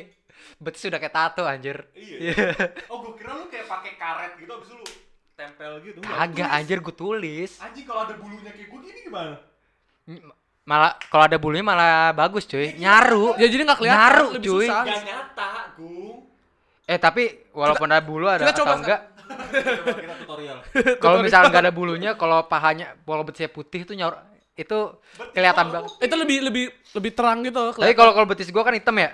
F: betis udah kayak tato anjir
D: Iya. Oh, gue kira lu kayak pakai karet gitu abis itu lu tempel gitu. Enggak, lu
F: agak
D: tulis.
F: anjir gue tulis
D: Anjing kalau ada bulunya kayak gue gini gimana?
F: M- malah kalau ada bulunya malah bagus cuy nyaru
E: Ya jadi nggak kelihatan,
F: Ngaruh,
E: lebih
F: cuy.
E: susah.
D: Gak nyata, Gung.
F: eh tapi walaupun ada bulu ada
E: kita coba
F: atau enggak
D: Coba kita tutorial.
F: kalau misalnya nggak ada bulunya kalau pahanya kalau betisnya putih tuh nyaru itu kelihatan banget
E: Itu lebih lebih lebih terang gitu loh.
F: tapi kalau kalau betis gua kan hitam ya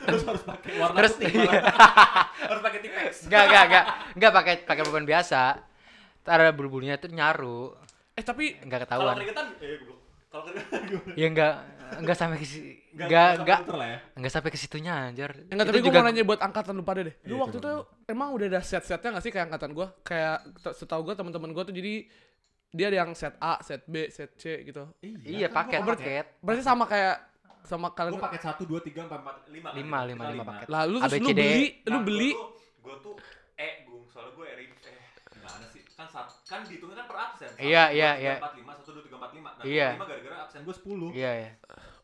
D: Terus harus pakai warna
F: Terus-
D: putih.
F: iya.
D: malah. harus pakai Tipex.
F: nggak nggak nggak nggak pakai pakai pemain biasa Ntar ada bulu bulunya tuh nyaru
E: Eh tapi
F: nggak
D: Kalau
F: ketahuan
D: keringetan, eh goblok. Kalau keringetan gimana?
F: ya nggak nggak sampai ke si-
D: Nggak-
F: nggak
D: nggak
F: nggak
D: komputer lah ya.
F: nggak sampai ke situnya anjir
E: Enggak,
F: Itu
E: Eh, tapi gue
F: juga-
E: mau nanya buat angkatan lu pada deh. Lu
D: Iya,
E: waktu itu
D: coba.
E: emang udah ada set-setnya gak sih kayak angkatan gue? Kayak te- setahu gue teman-teman gue tuh jadi dia ada yang set A, set B, set C gitu.
F: iya
D: kan
F: paket
D: gua
F: paket
E: Berarti sama kayak sama
D: Gue
E: kalian.
D: paket 1, 2, 3, 4, 4, 5
F: lima lima lima paket
E: Lah lu terus lu
F: ABCD.
D: Nah,
E: beli, lu beli.
D: Gue tuh E, Gung. Soalnya gue E, eh gimana sih? Kan saat, kan dihitungnya kan per absen. Satu,
F: Iya,
D: dua,
F: iya,
D: tiga,
F: iya.
D: Empat, lima, satu, dua, tiga, empat, lima. Nah,
F: Iya.
D: lima gara-gara absen gue sepuluh.
F: iya iya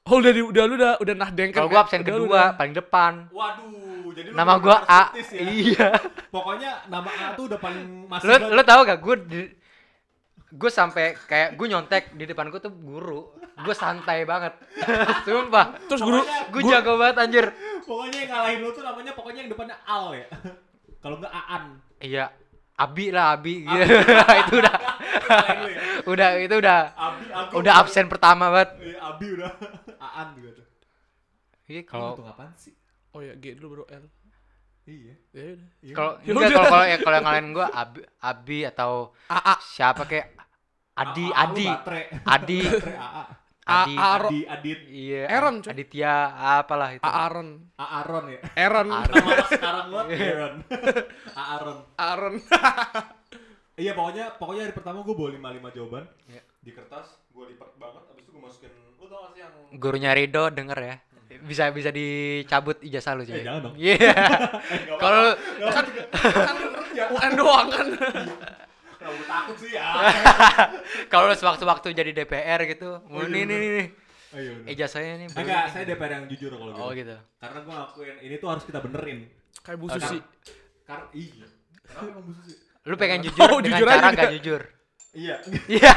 E: Oh udah di, udah lu udah udah nah dengkel.
F: kalau
E: kan?
F: gua absen
E: Udah, lu
F: kedua
E: udah-
F: paling depan
D: Waduh, jadi lu
F: nama
D: bener-bener
F: gua A
D: skeptis ya.
F: iya
D: Pokoknya nama A tuh udah paling masuk.
F: lu
D: banget.
F: lu tau gak gue gue sampai kayak gue nyontek di depan gue tuh guru gue santai banget sumpah
E: Terus guru
F: gue jago banget anjir
D: Pokoknya yang ngalahin lu tuh namanya pokoknya yang depannya Al ya. Kalau enggak Aan.
F: iya abi lah abi gitu itu udah
D: Lain lu ya.
F: udah itu udah
D: Abi, Abi
F: udah absen pertama banget.
D: Iya, Abi udah. Aan juga tuh.
F: Iya
D: Kalau
F: kalau
D: apaan sih?
E: Oh ya, G dulu baru L.
D: Iya.
E: Ya udah.
D: iya.
F: kalau
E: Ya
F: enggak,
E: udah.
F: kalau kalau ya, kalau yang kalian gua Abi, Abi atau
E: AA.
F: siapa kayak Adi
D: Apa- apa lu
F: Adi
D: Batre.
F: Adi
D: Batre AA.
F: Adi
E: Aaro.
D: Adi Adit
F: iya
E: Aaron, cuy.
F: Aditya apalah itu
E: Aaron.
D: Aaron ya.
E: Aaron.
F: Aaron. Iya.
D: Nama anak sekarang lo Aaron. Aaron.
E: Aaron.
D: Iya pokoknya pokoknya hari pertama gue bawa 55 jawaban.
F: Iya.
D: Di kertas gue lipat banget abis itu gue masukin lu tau gak sih yang
F: gurunya Rido denger ya bisa bisa dicabut ijazah lu cuy
D: Eh, jangan dong.
F: iya kalau
D: kan kan ya
E: UN doang kan.
D: kalau gue takut sih ya.
F: kalau lu sewaktu-waktu jadi DPR gitu
D: Oh, iya,
F: nih nih
D: bener.
F: nih
D: Ayo.
F: ijazahnya nih baru
D: Enggak,
F: nih.
D: saya DPR yang jujur kalau gitu.
F: oh gitu
D: Karena gue ngakuin ini tuh harus kita benerin.
E: Kayak Bu Susi.
D: Karena iya. Kenapa emang Bu Susi?
F: lu pengen
E: Nggak
F: jujur
E: tahu, Oh,
F: dengan
E: jujur aja
F: cara
E: dia.
F: gak jujur
D: Iya.
F: iya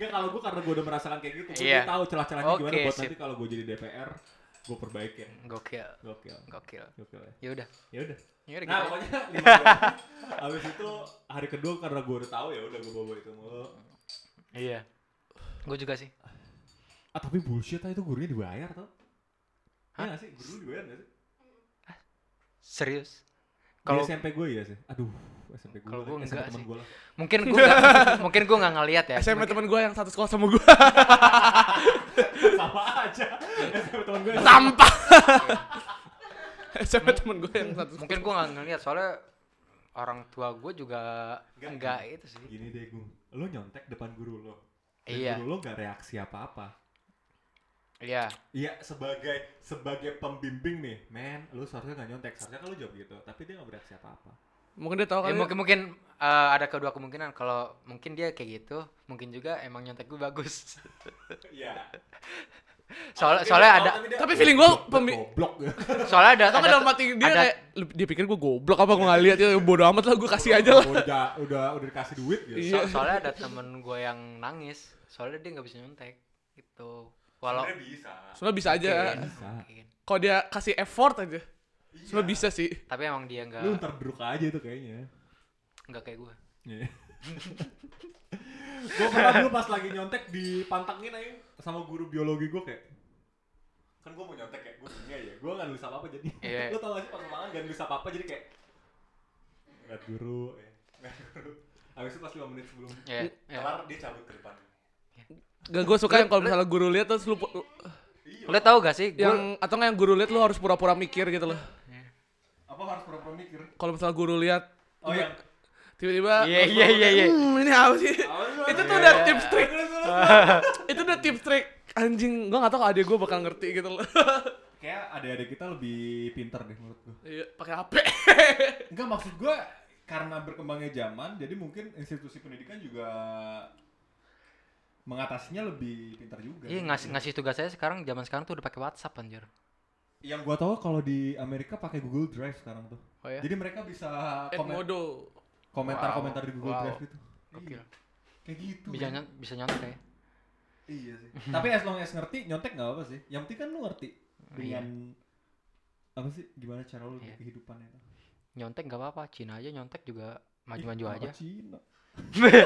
D: Enggak kalau gue karena gue udah merasakan kayak gitu, gue
F: Iya.
D: tahu celah-celahnya gimana
F: Oke,
D: buat
F: Iya, sip.
D: nanti kalau gue jadi DPR gue perbaikin.
F: gokil
D: Gokil.
F: gokil
D: Gokil ya.
F: ya udah
D: Ya udah.
F: ya udah
D: Nah,
F: gitu.
D: pokoknya lima jam. Habis itu hari kedua karena gue udah tahu ya udah gue bawa itu mulu.
F: iya gue juga sih
D: Ah, tapi bullshit ah itu gurunya dibayar tau. Iya gak sih? Guru dibayar gak sih?
F: serius
D: Kalau
F: kalau
D: SMP gue iya sih. Aduh, SMP gue.
F: Kalau
D: lagi,
F: gue
D: SMP
F: enggak
D: temen
F: sih.
D: gue lah.
F: mungkin gue nggak mungkin gue nggak ngelihat ya
E: SMA
F: Mungkin-
E: teman gue yang satu sekolah sama gue.
D: Sama aja. SMP temen gue.
E: Sampah. SMA teman gue yang satu.
F: mungkin gue nggak ngelihat soalnya orang tua gue juga
D: Nggak.
F: enggak itu sih
D: Gini deh, Gung. Lo nyontek depan guru lo. Dan
F: Iya.
D: Guru lo gak reaksi apa-apa.
F: iya
D: Iya, sebagai sebagai pembimbing nih, men, lu seharusnya gak nyontek, seharusnya kan lu jawab gitu, tapi dia gak bereaksi apa-apa.
E: Mungkin dia tahu
F: Ya,
E: kali.
F: mungkin mungkin eh, ada kedua kemungkinan kalau mungkin dia kayak gitu mungkin juga emang nyontek gue bagus
D: Iya.
F: soalnya soalnya ada
E: Tapi feeling gua pembi-
D: goblok. ya.
F: soalnya ada
E: Atau kan
F: ada-
E: dalam hati dia
F: ada-
E: kayak "Lu- dia pikir gue goblok apa gue nggak lihat ya bodo amat lah gue kasih aja lah.
D: udah udah udah dikasih duit gitu.
F: so-
E: Iya.
F: soalnya ada temen gue yang nangis soalnya dia nggak bisa nyontek gitu walau
D: Sebenarnya bisa.
E: Sebenarnya bisa aja. Iya,
F: Mungkin,
D: Bisa.
F: mungkin.
E: Kalau dia kasih effort aja. Sebenarnya bisa sih.
F: Iya. tapi emang dia
D: Lu
F: nggak
D: ntar druk aja itu kayaknya.
F: nggak kayak gue
D: Iya. gue pernah dulu pas lagi nyontek dipantengin aja sama guru biologi gue kayak kan gue mau nyontek kayak gue punya ya gue nggak nulis apa apa jadi
F: Iya.
D: lo tau gak sih pas semangat gak nulis apa apa jadi kayak ngeliat guru ya ngeliat guru abis itu pas 5 menit sebelum
F: Iya, iya.
D: kelar dia cabut ke depan
E: Gak gue suka yang kalau misalnya guru lihat terus lu pu-
F: Lu tau gak sih? Gua,
E: yang atau nggak yang guru lihat lu harus pura-pura mikir gitu loh.
D: apa harus pura-pura mikir
E: Kalau misalnya guru lihat
D: oh iya
E: tiba-tiba
F: Iya, iya, iya, iya.
E: "Hmm, ini apa sih? itu tuh udah tips trik. itu udah tips trik anjing. Gue nggak tahu kalau adik gue bakal ngerti gitu loh.
D: kayak adik-adik kita lebih pinter deh menurut gue
E: Iya, pakai HP.
D: Enggak maksud gue karena berkembangnya zaman, jadi mungkin institusi pendidikan juga mengatasinya lebih pintar juga.
F: iya ngasih ngasih tugas saya sekarang zaman sekarang tuh udah pakai WhatsApp anjir.
D: Yang gue tahu kalau di Amerika pakai Google Drive sekarang tuh.
F: Oh
E: iya.
F: ya.
D: Jadi mereka bisa komen-
E: Edmodo.
D: komentar-komentar di Google
F: Wow.
D: Drive gitu.
F: Oke.
D: Iya, Kayak gitu.
F: Bisa
D: men.
F: nyon- bisa nyontek ya.
D: Iya sih. Tapi as long as ngerti, nyontek nggak apa sih. Yang penting kan lu ngerti dengan apa sih gimana cara lu di
F: Iya.
D: kehidupannya itu.
F: Nyontek nggak apa-apa. Cina aja nyontek juga maju-maju
D: Ih,
F: aja.
D: kenapa Cina.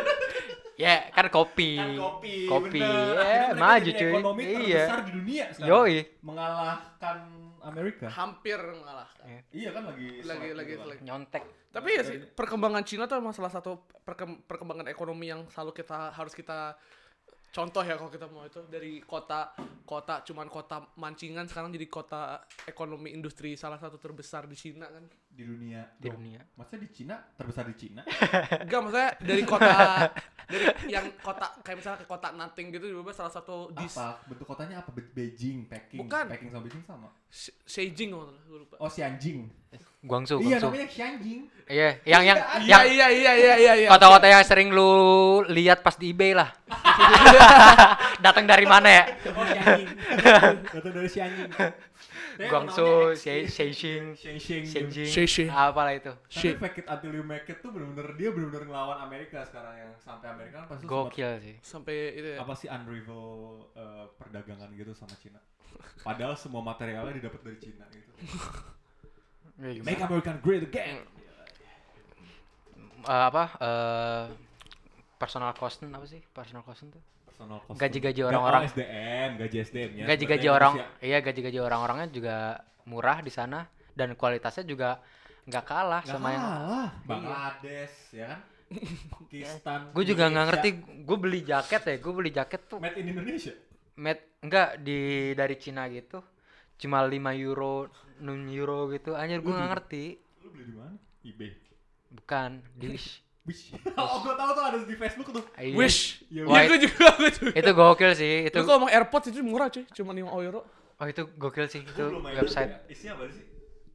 F: Ya, kan kopi.
D: Kan kopi,
F: Kopi. Ya,
D: bener. Akhirnya mereka
F: maju
D: jadi
F: cuy.
D: Ekonomi
F: Iya.
D: terbesar di dunia sekarang.
F: Yoi.
D: Mengalahkan Amerika.
E: Hampir mengalahkan.
D: Iya kan lagi
E: Lagi
D: selek
E: lagi
D: gitu kan.
E: selek.
F: Nyontek.
E: Tapi ya sih perkembangan Cina tuh emang salah satu perkem- perkembangan ekonomi yang selalu kita harus kita contoh ya kalau kita mau itu dari kota kota cuman kota mancingan sekarang jadi kota ekonomi industri salah satu terbesar di Cina kan.
D: di dunia.
F: Di
D: Dong.
F: dunia.
D: Maksudnya di Cina terbesar di Cina?
E: Enggak maksudnya dari kota dari
F: ya,
E: yang kota kayak misalnya ke kota Nanting gitu tiba-tiba salah satu di
D: apa? Bentuk kotanya apa? Be- Beijing, Peking.
E: Bukan.
D: Peking sama Beijing sama.
E: Sh- Shenzhen kalau nggak salah, gue lupa.
D: Oh, Xianjing.
F: Eh, Guangzhou,
D: iya,
F: Guangzhou.
D: namanya Xianjing.
F: Iya, yang yang
E: Iya
F: yang
E: iya iya iya iya iya.
F: kota-kota yang sering lu lihat pas di eBay lah. Datang dari mana ya?
D: Oh, Xianjing. Kata dari Xianjing.
F: Guangzhou, Xe- Xixing,
D: Xianjing. Xianjing.
F: Shenzhen,
E: Xixing.
F: apalah itu.
D: Tapi
E: Shit.
D: fake it until you make it tuh bener-bener dia bener-bener ngelawan Amerika sekarang yang sampai Amerika kan pasti sempat
F: Gokil sih.
E: Sampai itu ya.
D: apa sih unrival eh, perdagangan gitu sama Cina. Padahal semua materialnya didapat dari Cina gitu.
F: Ya, gimana?
D: Make America Great Again.
F: Eh, apa eh personal cost apa sih? Personal cost tuh.
D: Personal cost.
F: Gaji-gaji
D: Nggak,
F: orang-orang.
D: oh, SDM, gaji SDM ya.
F: Gaji-gaji
D: Berarti
F: orang,
D: manusia.
F: iya gaji-gaji orang-orangnya juga murah di sana dan kualitasnya juga nggak kalah
D: Nggak
F: sama yang
D: kalah.
E: Iya.
D: Bangladesh ya kan. Pakistan.
F: Gue Eh, juga nggak
D: Indonesia.
F: ngerti. Gue beli jaket ya, gue beli jaket tuh
D: Made in Indonesia.
F: made enggak di dari Cina gitu. Cuma 5 euro, 6 euro gitu. Anjir gue nggak ngerti.
D: Lu beli di mana? eBay.
F: Bukan di Wish.
D: Wish. oh, gue tahu tuh ada di Facebook tuh.
F: Iya.
E: Wish.
D: Iya,
E: Wah,
F: Wish.
E: gue juga, gue juga.
F: Itu gokil sih. Itu
E: Itu kalau ngomong AirPods itu murah cuy, cuma 5 euro.
F: oh itu gokil sih itu
D: Lu belum main
F: website.
D: juga ya? Isinya apa sih?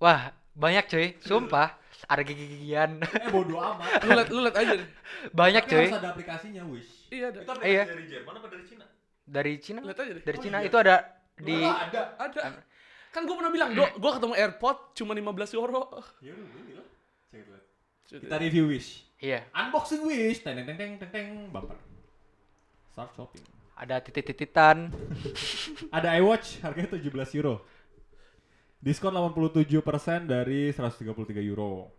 F: Wah, banyak cuy. Sumpah, ada gigi-gigian.
D: Eh bodo amat.
E: Lu liat, lu liat aja deh.
F: banyak
D: Tapi
F: cuy.
D: harus ada aplikasinya Wish.
E: Iya, ada.
D: Itu aplikasi
F: Iya.
D: dari Jerman apa dari Cina?
F: Dari Cina.
E: Lihat aja deh.
F: Dari
D: Oh
F: Cina
D: iya.
F: itu ada di
D: Lu ada.
E: Ada. Kan gue pernah bilang, "Dok, gue ketemu AirPod cuma 15 euro.
D: Ya lu lu bilang. Cek dulu. Kita review Wish.
F: iya,
D: Unboxing Wish. Teng teng teng teng teng teng bumper. Start shopping.
F: ada titik-tititan.
D: Ada iWatch harganya 17 euro. Diskon 87% dari 133 euro.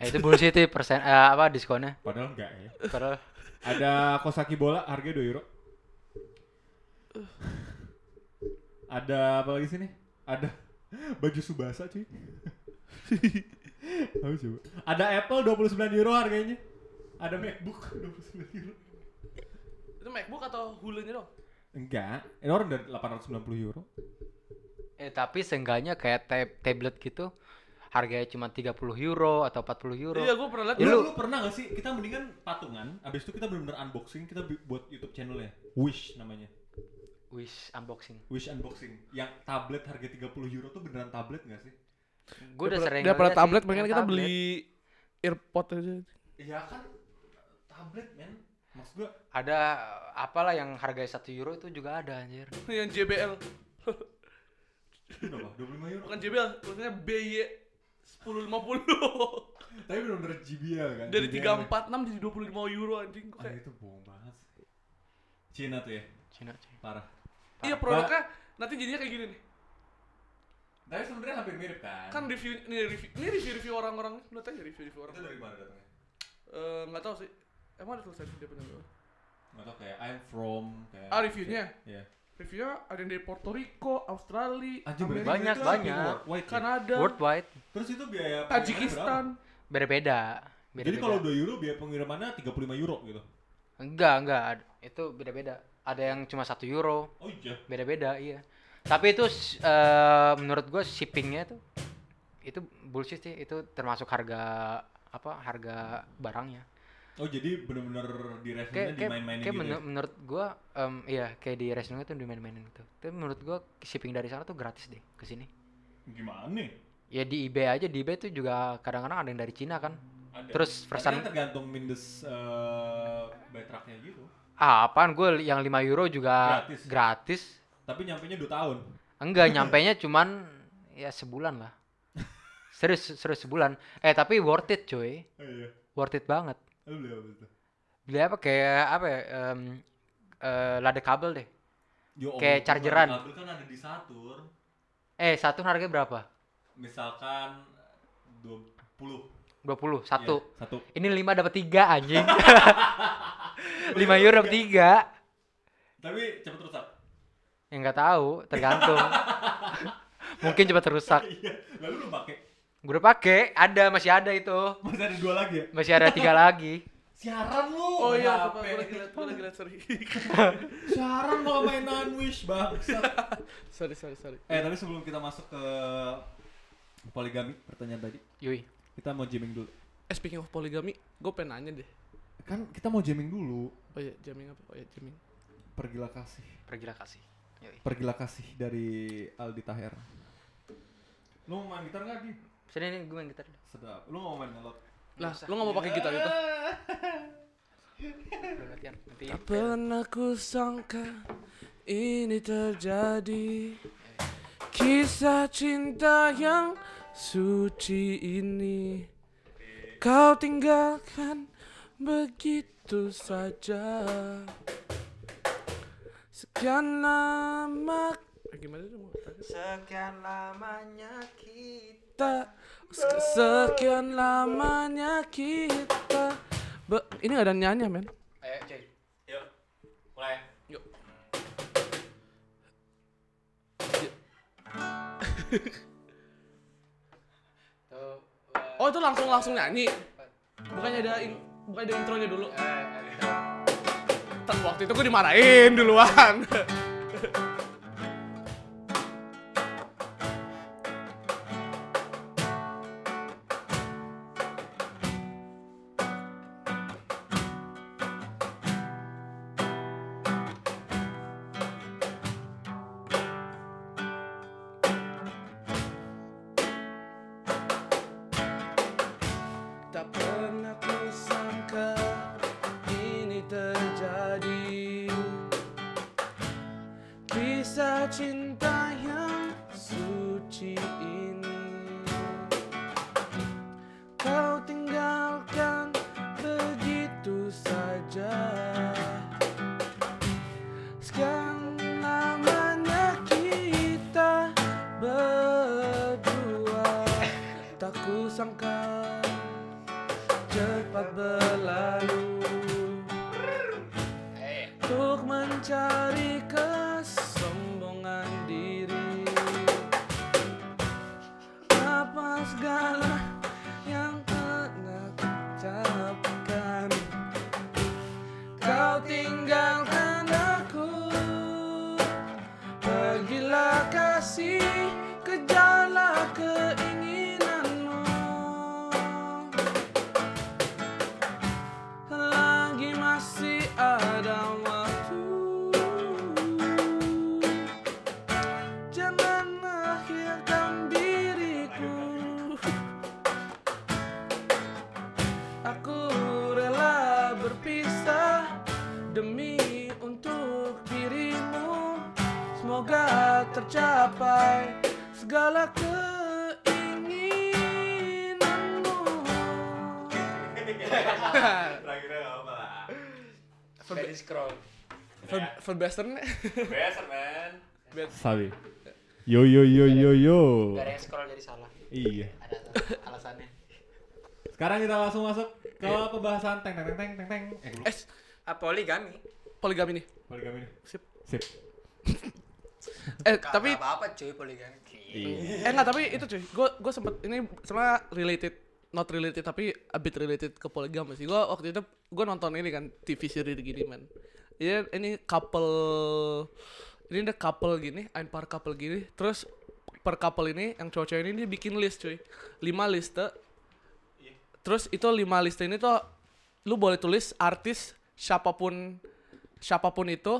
F: Eh, itu bullshit sih persen eh, apa diskonnya.
D: Padahal enggak ya.
F: Padahal
D: Ada Kosaki bola harganya 2 euro. Ada apa lagi sini? Ada baju Subasa cuy. Tahu coba. Ada Apple 29 euro harganya. Ada MacBook 29 euro.
E: Itu MacBook atau Hulunya dong?
D: Enggak, ini orang dari 890 euro.
F: eh tapi seenggaknya kayak tab- tablet gitu harganya cuma 30 euro atau 40 euro.
E: Iya, gue pernah liat.
F: Ya,
D: lu,
F: lu-
D: lu pernah gak sih kita mendingan patungan, abis itu kita bener-bener unboxing, kita bi- buat YouTube channelnya, Wish namanya,
F: Wish unboxing.
D: Wish unboxing. Yang tablet harga 30 euro tuh beneran tablet gak sih?
F: Gue udah sering
E: Dia pernah
F: ngeliat sih,
E: tablet,
F: yang
E: mendingan kita
F: tablet.
E: beli AirPod aja.
D: Iya kan, tablet men. Maksud gua,
F: ada eh, apalah yang harganya 1 euro itu juga ada anjir.
E: Yang JBL.
D: itu berapa? 25 euro.
E: Bukan JBL, maksudnya BY 1050.
D: Tapi bener-bener GBL kan?
E: Dari
D: GBL.
E: 346 jadi 25 euro anjing. Gua
D: Ah
E: kayak,
D: itu bohong banget sih. Cina tuh ya,
F: Cina cuy.
D: parah.
E: Iya, produknya nanti jadinya kayak gini nih.
D: Tapi sebenarnya hampir mirip kan?
E: Kan review ini review ini review review orang-orang. Lu tanya review-review orang.
D: Itu dari mana datangnya?
E: Eh, nggak tahu sih. Emang ada tulisan dia punya nggak?
D: Gak tau kayak I'm from
F: Ya,
D: kayak
E: Ah, reviewnya?
D: Iya
E: Reviewnya ada yang dari Puerto Rico, Australia, Amerika,
D: Anjing, berarti
F: Banyak,
D: itu hampir
F: banyak.
D: worldwide ya?
E: Kanada,
F: Worldwide
D: Terus itu biaya pengiriman
E: Tajikistan.
F: beda-beda.
D: berapa?
F: beda
D: Jadi kalau 2 euro biaya pengirimannya 35 euro gitu.
F: Enggak, enggak. Ad- Itu beda-beda. Ada yang cuma satu euro,
D: Oh iya.
F: beda-beda, iya. Tapi itu s- eh, menurut gue shippingnya itu itu bullshit sih. Itu termasuk harga apa harga barangnya.
D: Oh jadi benar-benar di revenue
F: Kayak kayak,
D: dimain-mainin
F: kayak
D: gitu.
F: menur-
D: ya?
F: menurut gue, em, iya kayak di restoran itu dimain-mainin itu. Tapi menurut gue shipping dari sana tuh gratis deh ke sini.
D: Gimana nih?
F: Ya di eBay aja, di eBay tuh juga kadang-kadang ada yang dari Cina kan.
D: Ada.
F: Terus
D: Tapi
F: pesan
D: kan tergantung mindes eh by trucknya gitu.
F: ah, apaan gue yang 5 euro juga
D: Gratis.
F: gratis.
D: Tapi nyampe nya 2 tahun.
F: Enggak, nyampainya cuman ya sebulan lah. Serius, serius sebulan. Eh tapi worth it cuy,
D: Oh, iya.
F: worth it banget.
D: Lu beli apa itu?
F: Beli apa kayak apa ya? em, eh, lada kabel deh.
D: Yo,
F: Kayak
D: Allah, kan
F: chargeran.
D: Kabel kan ada di Satur.
F: Eh satu harganya berapa?
D: Misalkan 20.
F: 20, satu.
D: Iya, satu.
F: Ini 5 dapat 3 anjing. 5 euro dapat 3.
D: Tapi cepet rusak.
F: Ya enggak tahu, tergantung. Mungkin cepat rusak.
D: Iya. Lalu lu pakai.
F: Gue udah pakai, ada masih ada itu.
D: Masih ada dua lagi ya?
F: Masih ada tiga lagi.
D: Siaran lu.
E: Oh iya,
D: HP.
E: gue lagi liat, gue lagi liat, sorry.
D: Siaran malah mainan wish bangsat.
E: sorry, sorry, sorry.
D: Eh tapi sebelum kita masuk ke poligami pertanyaan tadi,
F: Yui.
D: kita mau jamming dulu.
E: Eh, speaking of polygami, gue pengen nanya deh.
D: Kan kita mau jamming dulu.
E: Oh iya, jamming apa? Oh iya, jamming.
D: Pergilah kasih.
F: Pergilah kasih. Yui.
D: Pergilah kasih dari Aldi Taher. Lu mau main gitar nggak Di?
F: Sini nih gue main gitar. dulu.
D: Sedap. Lu mau main melot?
E: Lah,
F: usah.
E: lu gak mau pakai gitar itu?
F: Belum latihan. Nanti
E: Tak pernah ku sangka ini terjadi Kisah cinta yang suci ini Kau tinggalkan begitu saja Sekian lama Eh, Gimana tuh? mau tanya?
F: Sekian lamanya kita.
E: kita Sek- sekian lamanya kita Be- ini gak ada nyanyi men
F: Ayo cuy. Tuh,
E: Oh itu langsung langsung nyanyi. Bukannya ada in, bukannya ada intronya dulu.
F: Eh,
E: Ter waktu itu gue dimarahin duluan. Tak pernah ku sangka ini terjadi Kisah cinta yang suci ini Kau tinggalkan begitu saja Sekian lamanya kita berdua Tak kusangka cepat berlalu Untuk mencari kesombongan diri Apa segala yang pernah kucapkan Kau tinggalkan aku Pergilah kasih Kejarlah keinginanmu Selagi masih ada waktu Jangan akhirkan diriku Aku rela berpisah Demi untuk dirimu Semoga tercapai Segala keinginanmu
H: Terakhirnya gak apa lah.
F: Very scroll. Iya.
E: Verbastern
H: Biasa man.
D: Sabi. Yo yo yo yo yo.
E: Oh.
F: Gak ada yang scroll jadi salah.
D: Iya.
F: Ada alasannya.
D: Sekarang kita langsung masuk ke
F: Iya.
D: pembahasan teng teng teng teng teng teng. Eh,
E: eh
F: Ah, poligami.
E: poligami nih
D: balik kami nih.
E: sip
D: Sip.
E: eh
F: Gak
E: tapi
F: apa-apa cuy poligami.
D: Iya.
E: eh nggak tapi itu cuy gue gue sempet ini sebenarnya related not related tapi a bit related ke poligami sih gue waktu itu gue nonton ini kan TV series gini man Iya ini couple ini ada couple gini ein par couple gini terus per couple ini yang cowok-cowok ini dia bikin list cuy lima liste
F: Iya.
E: terus itu lima list ini tuh lu boleh tulis artis siapapun siapapun itu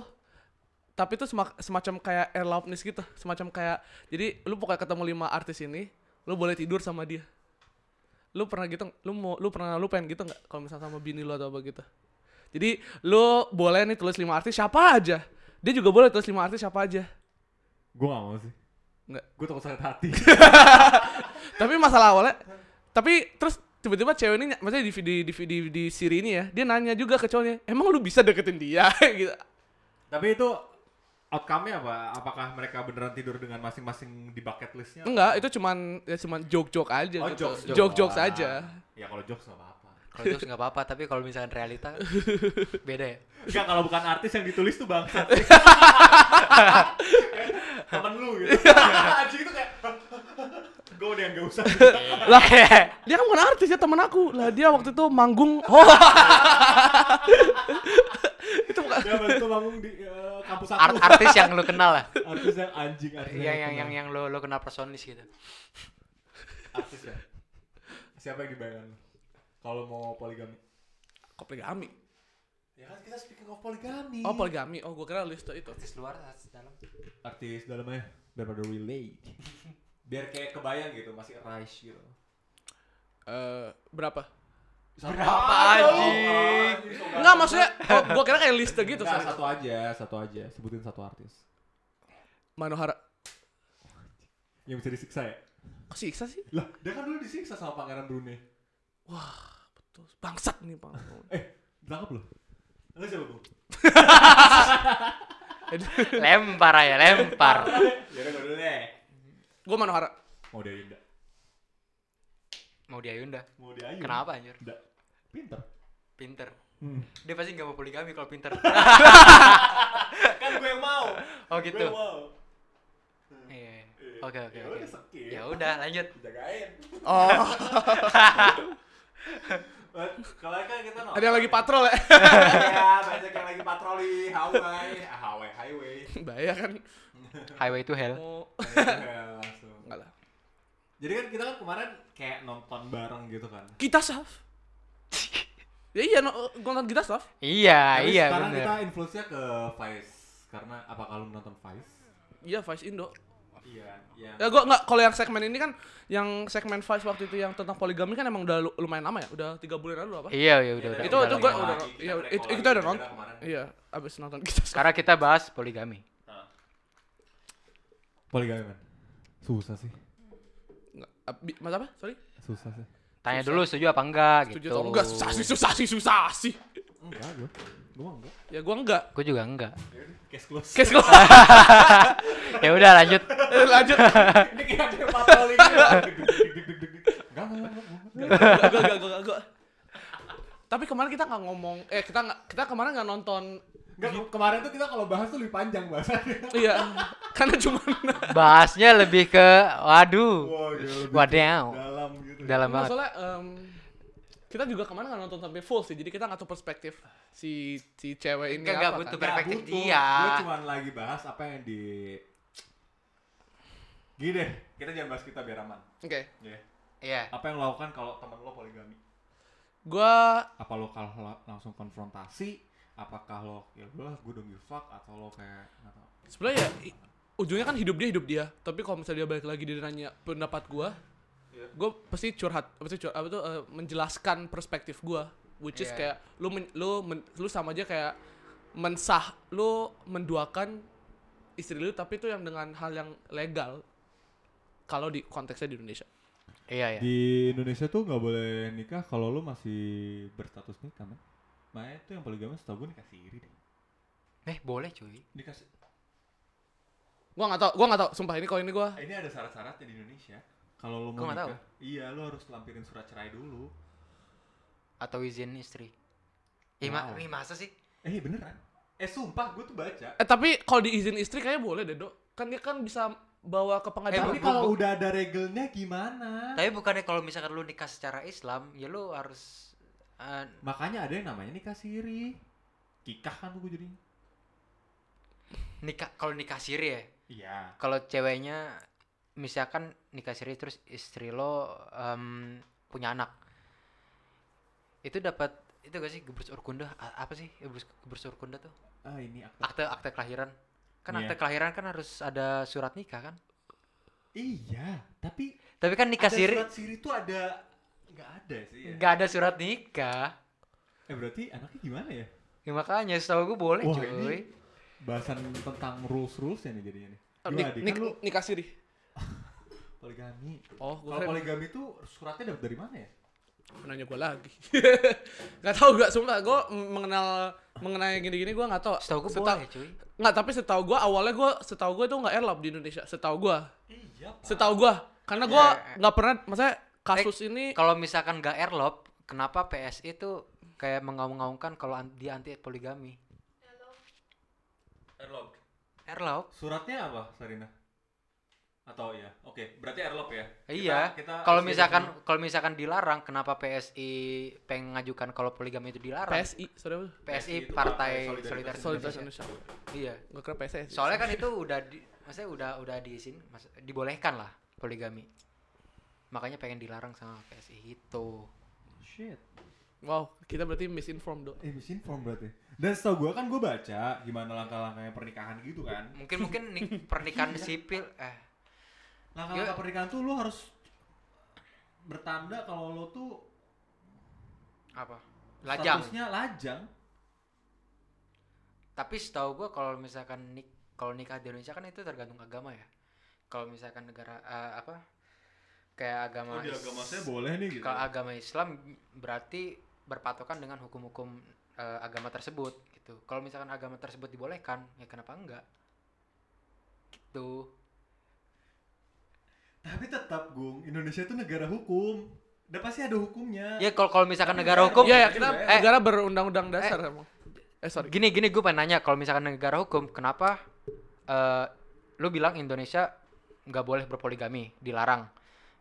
E: tapi itu sema- semacam kayak erlaubnis gitu semacam kayak jadi lu pokoknya ketemu lima artis ini lu boleh tidur sama dia lu pernah gitu ng- lu mau lu pernah lu pengen gitu nggak kalau misalnya sama bini lu atau apa gitu jadi lu boleh nih tulis lima artis siapa aja dia juga boleh tulis lima artis siapa aja
D: Gue gak mau sih.
E: Nggak.
D: Gue takut sakit hati.
E: tapi masalah awalnya tapi terus tiba-tiba cewek ini ny- maksudnya di di di di, di siri ini ya dia nanya juga ke cowoknya emang lu bisa deketin dia gitu
D: Tapi itu outcome-nya apa? Apakah mereka beneran tidur dengan masing-masing di bucket listnya?
F: Hmm,
E: enggak itu cuman ya cuman joke-joke aja
D: Oh,
E: gitu.
D: jokes, jokes.
E: joke-joke
D: Ah.
E: saja
D: Ya kalau jokes gak apa-apa.
F: Kalau jokes nggak apa-apa, tapi kalau misalkan realita beda ya.
D: Enggak kalau bukan artis yang ditulis tuh bangsat. Temen lu gitu.
F: Iya.
D: Anjing itu kayak gue udah yang gak usah.
E: lah dia kan bukan artis ya teman aku lah dia waktu itu manggung oh itu bukan
D: Dia bantu bangun di eh, kampus aku.
F: Art artis yang lu kenal lah. Iya,
D: artis yang anjing artis
F: yang yang yang
D: terkenal.
F: yang lu lu kenal personis gitu.
D: artis ya. Siapa yang dibayangkan lu? kalau mau poligami?
E: kok poligami
D: Ya kan kita speaking of poligami.
E: oh poligami oh gue kira list itu
F: Artis luar, artis dalam.
D: artis dalamnya biar pada relate. Biar kayak kebayang gitu masih rise gitu.
E: Eh, berapa
D: Berapa
F: anjing?
E: Enggak maksudnya oh, gue kira kayak list gitu
D: Enggak,
E: sorry.
D: satu aja, satu aja. Sebutin satu artis.
E: Manohara
D: Yang bisa disiksa ya?
E: kok siksa sih
D: Lah, dia kan dulu disiksa sama pangeran Brunei.
E: Tuh, bangsat nih bang
D: Eh, ditangkap loh. Lu siapa, Bung?
F: Lempar ya, lempar.
D: Ya udah gua dulu deh.
E: gue Manohara
D: Mau dia Yunda.
F: Mau dia Yunda.
D: Mau dia Ayu.
F: Kenapa anjir?
D: Nggak. Pinter.
F: Pinter.
D: Hmm.
F: Dia pasti nggak mau poligami kalau pinter.
D: Kan gue yang mau.
F: Oh gitu.
D: mau.
F: Iya. Oh oke oke.
D: Ya
F: oke.
D: udah, skip.
F: Ya udah lanjut.
H: Jagain.
E: Oh,
H: Buat- Kalau kan kita nonton.
E: ada yang lagi patrol ya?
H: Iya, banyak yang lagi patroli highway,
D: Ah,
H: highway, highway.
E: Bahaya kan? Oh.
F: Highway to Hell.
E: Mau
H: Ya, langsung.
E: enggak lah.
D: Jadi kan kita kan kemarin kayak nonton bareng gitu kan.
E: Kita saf. ya iya, no, gua nonton kita saf.
F: Iya,
D: Tapi
F: iya
D: sekarang
F: bener.
D: kita influence-nya ke Vice karena apa kalau nonton Vice?
E: Iya, Vice Indo.
D: Iya, iya.
E: Ya gua enggak kalau yang segmen ini kan yang segmen Vice waktu itu yang tentang poligami kan emang udah lu- lumayan lama ya, udah tiga bulan lalu apa?
F: Iya, iya udah
E: itu
F: udah. udah
E: itu
F: lama.
E: gua
H: lama
E: udah
H: lagi, kita
E: iya,
H: break
E: itu
H: lagi,
E: kita udah
H: kita
E: nonton.
H: kemarin.
E: Iya, abis nonton kita saf.
F: Sekarang kita bahas poligami.
D: Poligami man. Susah sih.
E: Nggak, abi- Mas apa? Sorry.
D: Susah sih.
F: Tanya dulu setuju apa enggak
E: Setuju
F: gitu.
E: atau enggak? Susah sih, susah sih, susah sih.
D: Enggak gue. Gue mah enggak.
E: Ya gua enggak.
F: Gua juga enggak.
D: Case close.
E: Kes gua.
F: Ya udah lanjut.
E: Eh, lanjut.
D: Ini kayak ada patroli gitu. Dik, dik, dik, dik, dik. Enggak, enggak, enggak, enggak.
E: Gak, gak, gak, gak, gak. Tapi kemarin kita nggak ngomong, eh kita nggak, kita kemarin nggak nonton, gitu.
D: Enggak, ke- kemarin tuh kita kalau bahas tuh lebih panjang bahasannya.
E: iya, karena cuman
F: Bahasnya lebih ke waduh.
D: Wah, gila, lebih
F: Wadaw.
D: Dalam gitu.
F: Nah, Dalam banget.
E: masalah Nah, em, kita juga kemarin nggak nonton sampai full sih, jadi kita nggak tahu perspektif si si cewek ini
F: Enggak, enggak
E: apa
F: butuh
E: kan.
F: perspektif Iya.
D: butuh.
F: dia.
D: Gue cuma lagi bahas apa yang di Gini deh, kita jangan bahas kita biar aman.
E: Oke,
D: Ya.
F: Iya.
D: Apa yang lo lakukan kalau teman lo poligami?
E: gua
D: Apa lo kalau la- langsung konfrontasi? Apakah lo ya udahlah gue don't give a fuck atau lo kayak nggak tahu?
E: sebenarnya ya, i- ujungnya kan hidup dia hidup dia, tapi kalau misalnya dia balik lagi dia nanya pendapat gua,
D: Iya.
E: gua pasti curhat, pasti curhat, apa tuh eh, menjelaskan perspektif gua, which is
F: Iya.
E: kayak lu men- lu men- lu sama aja kayak mensah lu menduakan istri lu tapi itu yang dengan hal yang legal kalau di konteksnya di Indonesia.
F: Iya, iya.
D: Di Indonesia tuh nggak boleh nikah kalau lo masih berstatus nikah, man. Makanya tuh yang poligami setahu gue nikah siri deh.
F: Eh, boleh cuy.
D: Nikah si-
E: Gua nggak tau, gua nggak tau. Sumpah ini kalau ini gua
D: ini ada syarat-syaratnya di Indonesia. Kalau lo
F: Gua
D: mau
F: nggak
D: nikah, iya lo harus lampirin surat cerai dulu.
F: Atau izin istri. Ih, ma-
D: Wow.
F: ih, masa sih?
D: Eh beneran? Eh sumpah gue tuh baca.
E: eh tapi kalau diizin istri kayaknya boleh deh, Dok. Kan dia kan bisa bawa
F: Eh,
E: ke pengadilan.
D: Tapi
F: bu-
D: kalau
F: bu-
D: udah ada regelnya gimana?
F: Tapi bukannya kalau misalkan lu nikah secara Islam, ya lu harus eh,
D: Makanya ada yang namanya nikah siri. Kikah kan gue jadi.
F: nikah kalau nikah siri ya.
D: Iya.
F: Kalau ceweknya misalkan nikah siri terus istri lo em, punya anak. Itu dapat itu gak sih gebrus urkunda A- apa sih gebrus gebrus urkunda tuh?
D: Ah ini akte.
F: Akte akte kelahiran. Kan
D: Iya.
F: akte kelahiran kan harus ada surat nikah kan?
D: Iya, tapi
F: Tapi kan nikah
D: ada
F: siri
D: surat siri tuh ada nggak ada sih ya.
F: nggak ada surat nikah.
D: Eh berarti anaknya gimana ya?
F: Ya, makanya setahu gue boleh
D: Wah,
F: cuy.
D: ini Bahasan tentang rules rules ya nih jadinya nih.
E: Eh,
D: Lu
E: nik-
D: adik,
E: nik-
D: kan lu
E: nikah siri.
D: poligami.
E: Oh, gua
D: Kalau
E: kira-
D: poligami tuh
F: kan-
D: suratnya dapat dari mana ya?
E: nanya gue lagi nggak tahu gue sumpah gue mengenal mengenai gini-gini gue nggak tahu
F: Setahu gue
E: Seta-
F: boleh cuy.
E: nggak tapi setahu gue awalnya gue setahu gue itu nggak elap di Indonesia setahu gue
D: Iya.
E: setahu gue karena gue
F: Ya, ya.
E: nggak pernah maksudnya kasus ini
F: Eh, Kalau misalkan nggak airlop, kenapa PSI itu kayak mengaung-ngaungkan kalau an- dia anti poligami?
H: Erlop.
F: Airlop?
D: Suratnya apa, Sarina? Atau ya, oke, berarti airlock ya?
F: iya.
D: Kita- kita
F: Kalau
D: isi
F: misalkan kalau misalkan dilarang, kenapa PSI pengen ngajukan kalau poligami itu dilarang?
E: PSI sorry apa?
F: PSI
D: itu
F: Partai
D: Partai
F: Solidaritas,
E: Solidaritas
F: Indonesia.
E: Indonesia
F: Iya.
E: gue kira PSI
F: Soalnya kan itu udah di, maksudnya udah udah diizin, mas, dibolehkan lah poligami. Makanya pengen dilarang sama PSI itu.
D: dulu. Shit.
E: wow kita berarti misinformed dong
D: Eh, misinform berarti. Dan setahu gue kan gue baca gimana langkah-langkahnya pernikahan gitu kan. Iya.
F: Mungkin mungkin nih pernikahan sipil eh Iya.
D: Langkah-langkah pernikahan tuh lo harus bertanda kalau lo tuh
F: apa? Lajang.
D: statusnya lajang.
F: Tapi setahu gua kalau misalkan nik kalau nikah di Indonesia kan itu tergantung agama ya. Kalau misalkan negara eh, apa kayak agama
D: Oh, di
F: Is-
D: agama saya boleh nih gitu.
F: kalau agama Islam berarti berpatokan dengan hukum-hukum eh, agama tersebut gitu. Kalau misalkan agama tersebut dibolehkan, ya kenapa enggak? Gitu.
D: Tapi tetap, Gung, Indonesia tuh negara hukum. Udah pasti ada hukumnya.
F: Ya
D: Iya,
F: kalau kalau misalkan negara hukum
E: ya ya kita
F: Eh.
E: negara berundang-undang dasar emang eh sorry
F: Gini gini gue pengen nanya kalau misalkan negara hukum kenapa eh, lu bilang Indonesia nggak boleh berpoligami, dilarang.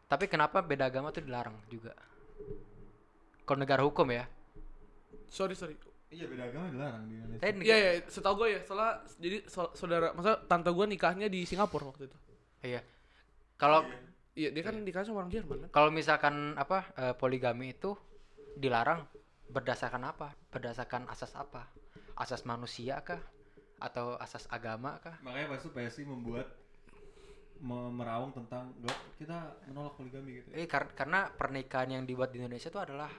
F: Tapi kenapa beda agama tuh dilarang juga? Kalau negara hukum ya.
E: Sorry, sorry.
D: Iya beda agama dilarang di Indonesia.
F: Tapi
E: Iya,
F: nega-
E: iya, setahu gue ya, soalnya jadi so- saudara, masa tante gue nikahnya di Singapura waktu itu.
F: iya. Kalau
E: Iya, dia kan nikah sama orang Jerman kan?
F: kalau misalkan apa eh, poligami itu dilarang berdasarkan apa? Berdasarkan asas apa? Asas manusia kah? Atau asas agama kah?
D: Makanya pas itu PSI membuat me- meraung tentang "Nggak, kita menolak poligami gitu.
F: Eh, kar- karena pernikahan yang dibuat di Indonesia itu adalah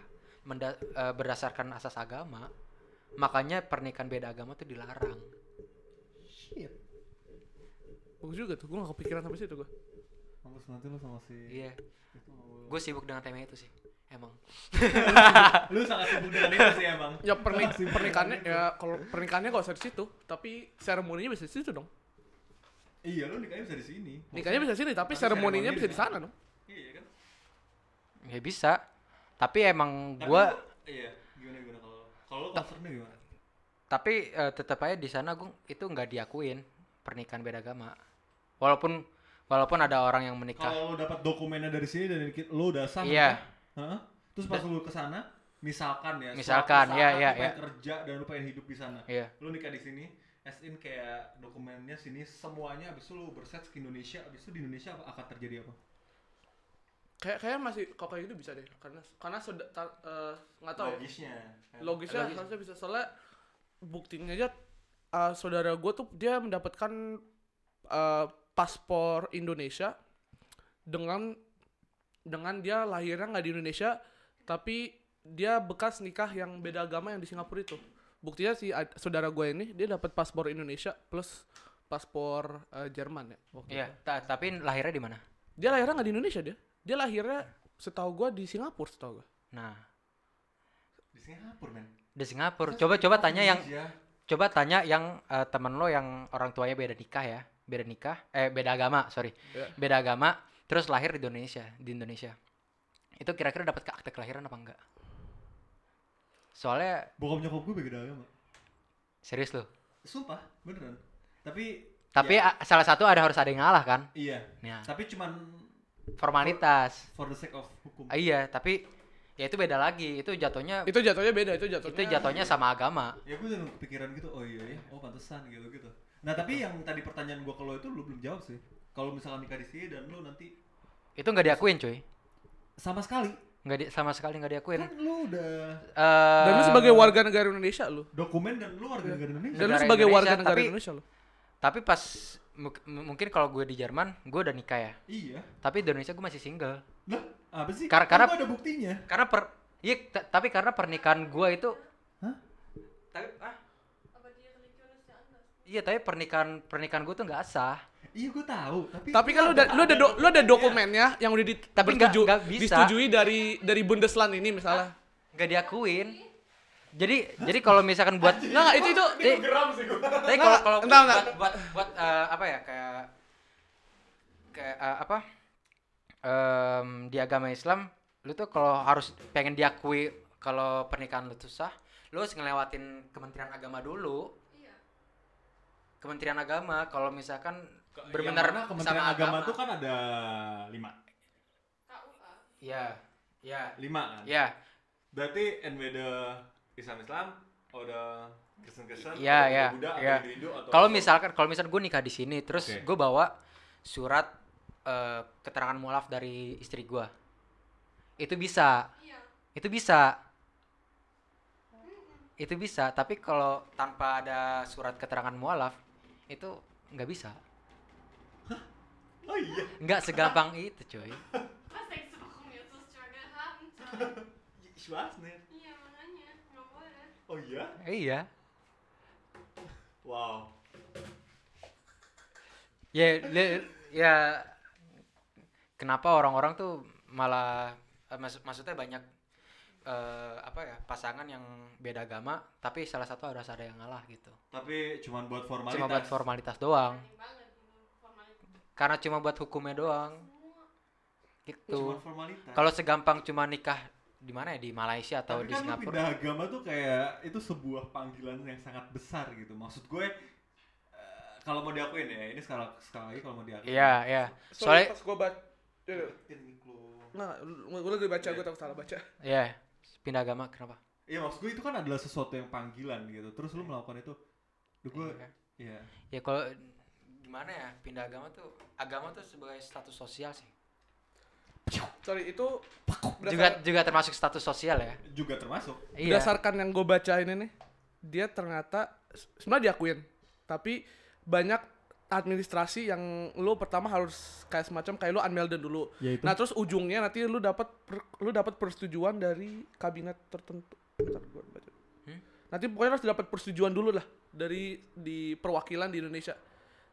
F: menda- eh, berdasarkan asas agama. Makanya pernikahan beda agama itu dilarang.
E: Bagus juga tuh, gue gak kepikiran sampai situ gue.
D: Mampus nanti lu sama si
F: Iya. Gue sibuk dengan tema itu sih. Emang.
D: Lu sangat sibuk dengan itu sih emang.
E: Ya pernik pernikahannya, ya kalau pernikahannya gak usah di situ, tapi seremoninya bisa di situ dong.
D: Iya, lu nikahnya bisa di sini.
E: Nikahnya bisa di sini, tapi
D: Tapi
E: seremoninya
D: seremoninya
E: bisa
D: di
E: di sana dong.
D: Iya kan?
F: Ya bisa. Tapi emang
D: Tapi
F: gue
D: lu- iya, gimana gimana kalau kalau lu concernnya gimana?
F: tapi eh, tetap aja di sana gue itu nggak diakuin pernikahan beda agama. Walaupun walaupun ada orang yang menikah.
D: Kalau lu dapat dokumennya dari sini dan dikit- lu udah sah.
F: Iya.
D: nikah, Heeh. Terus pas lu ke sana, misalkan ya, suatu
F: Misalkan,
D: saat
F: iya, iya,
D: lu pengen
F: iya.
D: kerja dan lu pengen hidup di sana.
F: Iya.
D: Lu nikah di sini, as in kayak dokumennya sini semuanya abis itu lu berset ke Indonesia, abis itu di Indonesia apa- akan terjadi apa?
E: Kayak kayak masih kalau kayak gitu bisa deh, karena karena sudah ta- eh, nggak tahu ya.
D: Logisnya.
E: Logisnya
F: Logis.
E: harusnya bisa soalnya buktinya aja eh, saudara gue tuh dia mendapatkan eh, paspor Indonesia dengan dengan dia lahirnya nggak di Indonesia tapi dia bekas nikah yang beda agama yang di Singapura itu buktinya si ad- saudara gue ini dia dapat paspor Indonesia plus paspor eh, Jerman ya waktu
F: Iya.
E: itu.
F: Ta- tapi lahirnya di mana?
E: dia lahirnya nggak di Indonesia dia dia lahirnya setahu gue di Singapura setahu gue
F: Nah,
D: Di Singapura, men.
F: di Singapura. Coba coba tanya yang
D: Indonesia.
F: coba tanya yang eh, temen lo yang orang tuanya beda nikah ya beda nikah eh beda agama sorry
E: Iya.
F: beda agama terus lahir di Indonesia di Indonesia itu kira-kira dapat ke akte kelahiran apa enggak soalnya
D: Bokap nyokap gue beda agama. Iya.
F: serius lo
D: Sumpah, beneran. Tapi
F: tapi
D: ya,
F: a- salah satu ada harus ada yang ngalah kan
D: iya.
F: Nah,
D: Tapi cuman
F: formalitas
D: for the sake of hukum.
F: Ah, iya tapi ya itu beda lagi itu jatuhnya itu,
E: itu jatuhnya beda itu jatuhnya
F: jatuhnya sama agama
D: ya gue udah kepikiran gitu oh iya ya oh pantesan gitu gitu nah tapi yang tadi pertanyaan gue kalau itu lu belum jawab sih kalau misalkan nikah di sini dan lu nanti
F: itu nggak diakuin cuy
D: sama sekali
F: nggak di- sama sekali nggak diakuin
D: kan lu udah
F: Eh,
E: dan lu sebagai warga negara Indonesia lu
D: dokumen dan lu warga negara Indonesia
E: Dan lu
F: Negara
E: sebagai
F: Indonesia,
E: warga negara
F: tapi-
E: Indonesia lo.
F: tapi pas mu- mungkin kalau gue di Jerman gue udah nikah ya
D: iya
F: tapi di Indonesia gue masih single
D: lah apa sih
F: Kar- karena-
D: Kan gua ada buktinya
F: karena per iya t- tapi karena pernikahan gue itu
D: Hah?
F: tapi ah
A: Apa dia religionus ya anda?
F: iya tapi pernikahan pernikahan gue tuh nggak sah
D: iya gue tahu tapi
E: Tapi kan lu ada lu ada do- lu ada dokumennya yang udah di
F: Iya. Tapi nggak-
E: bertuju-
F: nggak bisa.
E: disetujui dari dari Bundesland ini misalnya.
F: nggak diakuin jadi jadi kalau misalkan buat
E: Nggak, nggak, itu itu eh.
F: Tapi- tapi kalau
E: nggak,
F: kalau
E: entar,
F: buat,
E: entar.
F: buat buat, eh, apa ya kayak kayak eh, apa Em, di agama Islam lu tuh kalau harus pengen diakui kalau pernikahan lu tuh sah lu harus ngelewatin Kementerian Agama dulu
A: Iya.
F: Kementerian Agama kalau misalkan
D: Yang
F: benar-benar
D: mana
F: sama
D: kementerian agama, tuh kan ada lima
A: KUA.
F: Ya, ya,
D: lima kan
F: ya,
D: berarti and with the Islam Islam ada Kristen Kristen
F: ya, ya, ya. Kalau misalkan, kalau misalkan gue nikah di sini, terus
D: Oke.
F: gue bawa surat eh, keterangan mualaf dari istri gue, itu bisa,
A: Iya.
F: itu bisa, itu bisa. Tapi kalau tanpa ada surat keterangan mualaf, itu nggak bisa.
D: oh iya
F: Nggak segampang itu, cuy.
A: Pas denkst du, warum jetzt das Struggle haben? soll?
D: Ich weiß nicht.
A: Iya makanya nggak boleh.
D: oh iya
F: Iya.
D: wow
F: Ya, li- ya kenapa orang-orang tuh malah eh, mas- maksudnya banyak eh, apa ya pasangan yang beda agama tapi salah satu harus ada yang ngalah gitu.
D: tapi cuman buat formalitas
F: Cuma buat formalitas doang.
A: Aneh banget itu formalitas
F: Karena cuma buat hukumnya doang
A: semua.
D: cuman
F: gitu.
D: formalitas
F: Kalau segampang cuma nikah di mana ya di Malaysia atau di
D: Tapi kan lu
F: Singapura.
D: pindah agama tuh kayak itu sebuah panggilan yang sangat besar gitu maksud gue eh, kalau mau diakuin ya ini sekali sekali lagi kalau mau diakuin
F: Iya, iya. Soalnya
E: pas gue baca
D: Ini clue.
E: Nah, gue lagi baca, gue takut salah baca.
F: iya pindah agama kenapa?
D: Iya maksud gue itu kan adalah sesuatu yang panggilan gitu. Terus lu melakukan itu, Duh, gue,
F: Iya.
D: iya.
F: Ya kalau gimana ya pindah agama tuh agama tuh sebagai status sosial sih.
E: Sorry, itu
F: Juga
E: berdasar-
F: juga termasuk status sosial ya.
D: Juga termasuk.
F: Iya.
E: berdasarkan yang gue baca ini nih, dia ternyata sebenarnya diakuin, tapi banyak administrasi yang lu pertama harus kayak semacam kayak lu unmelden dulu.
G: Ya, itu.
E: Nah, terus ujungnya nanti lu dapat per- lu dapat persetujuan dari kabinet tertentu. Bentar, gua baca.
F: Hmm?
E: Nanti pokoknya harus dapat persetujuan dulu lah dari di perwakilan di Indonesia.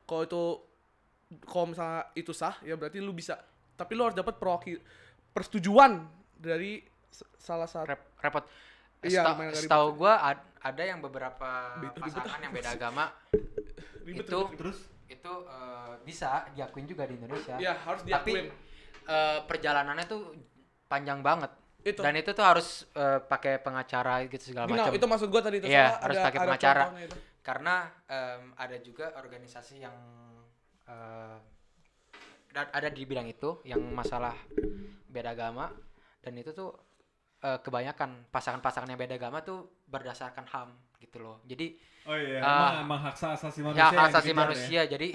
E: Kalau itu kalau misalnya itu sah ya berarti lu bisa. Tapi lu harus dapat perwakil persetujuan dari s- salah satu
F: Rep- repot.
E: Iya,
F: Setau-
E: lumayan agak ribet
F: Setahu gua ad- ada yang beberapa
E: Ribet, ribet
F: pasangan yang beda agama itu
D: Terus
F: itu eh, bisa diakuin juga di Indonesia.
E: Ya harus
F: Tapi
E: diakuin.
F: eh, perjalanannya tuh panjang banget.
E: Itu.
F: Dan itu tuh harus eh, pakai pengacara gitu segala
E: Genau,
F: macam.
E: itu maksud gue tadi itu
F: Iya,
E: salah,
F: harus
E: ada-
F: pakai
E: ada
F: pengacara.
E: contohnya itu.
F: karena em, ada juga organisasi yang eh, da- ada di bidang itu yang masalah beda agama dan itu tuh eh, kebanyakan pasangan-pasangan yang beda agama tuh berdasarkan ham gitu loh jadi
D: oh iya,
F: Ah.
D: emang, emang hak sa- asasi manusia.
F: ya
D: yang
F: hak asasi
D: dikejar ya.
F: manusia jadi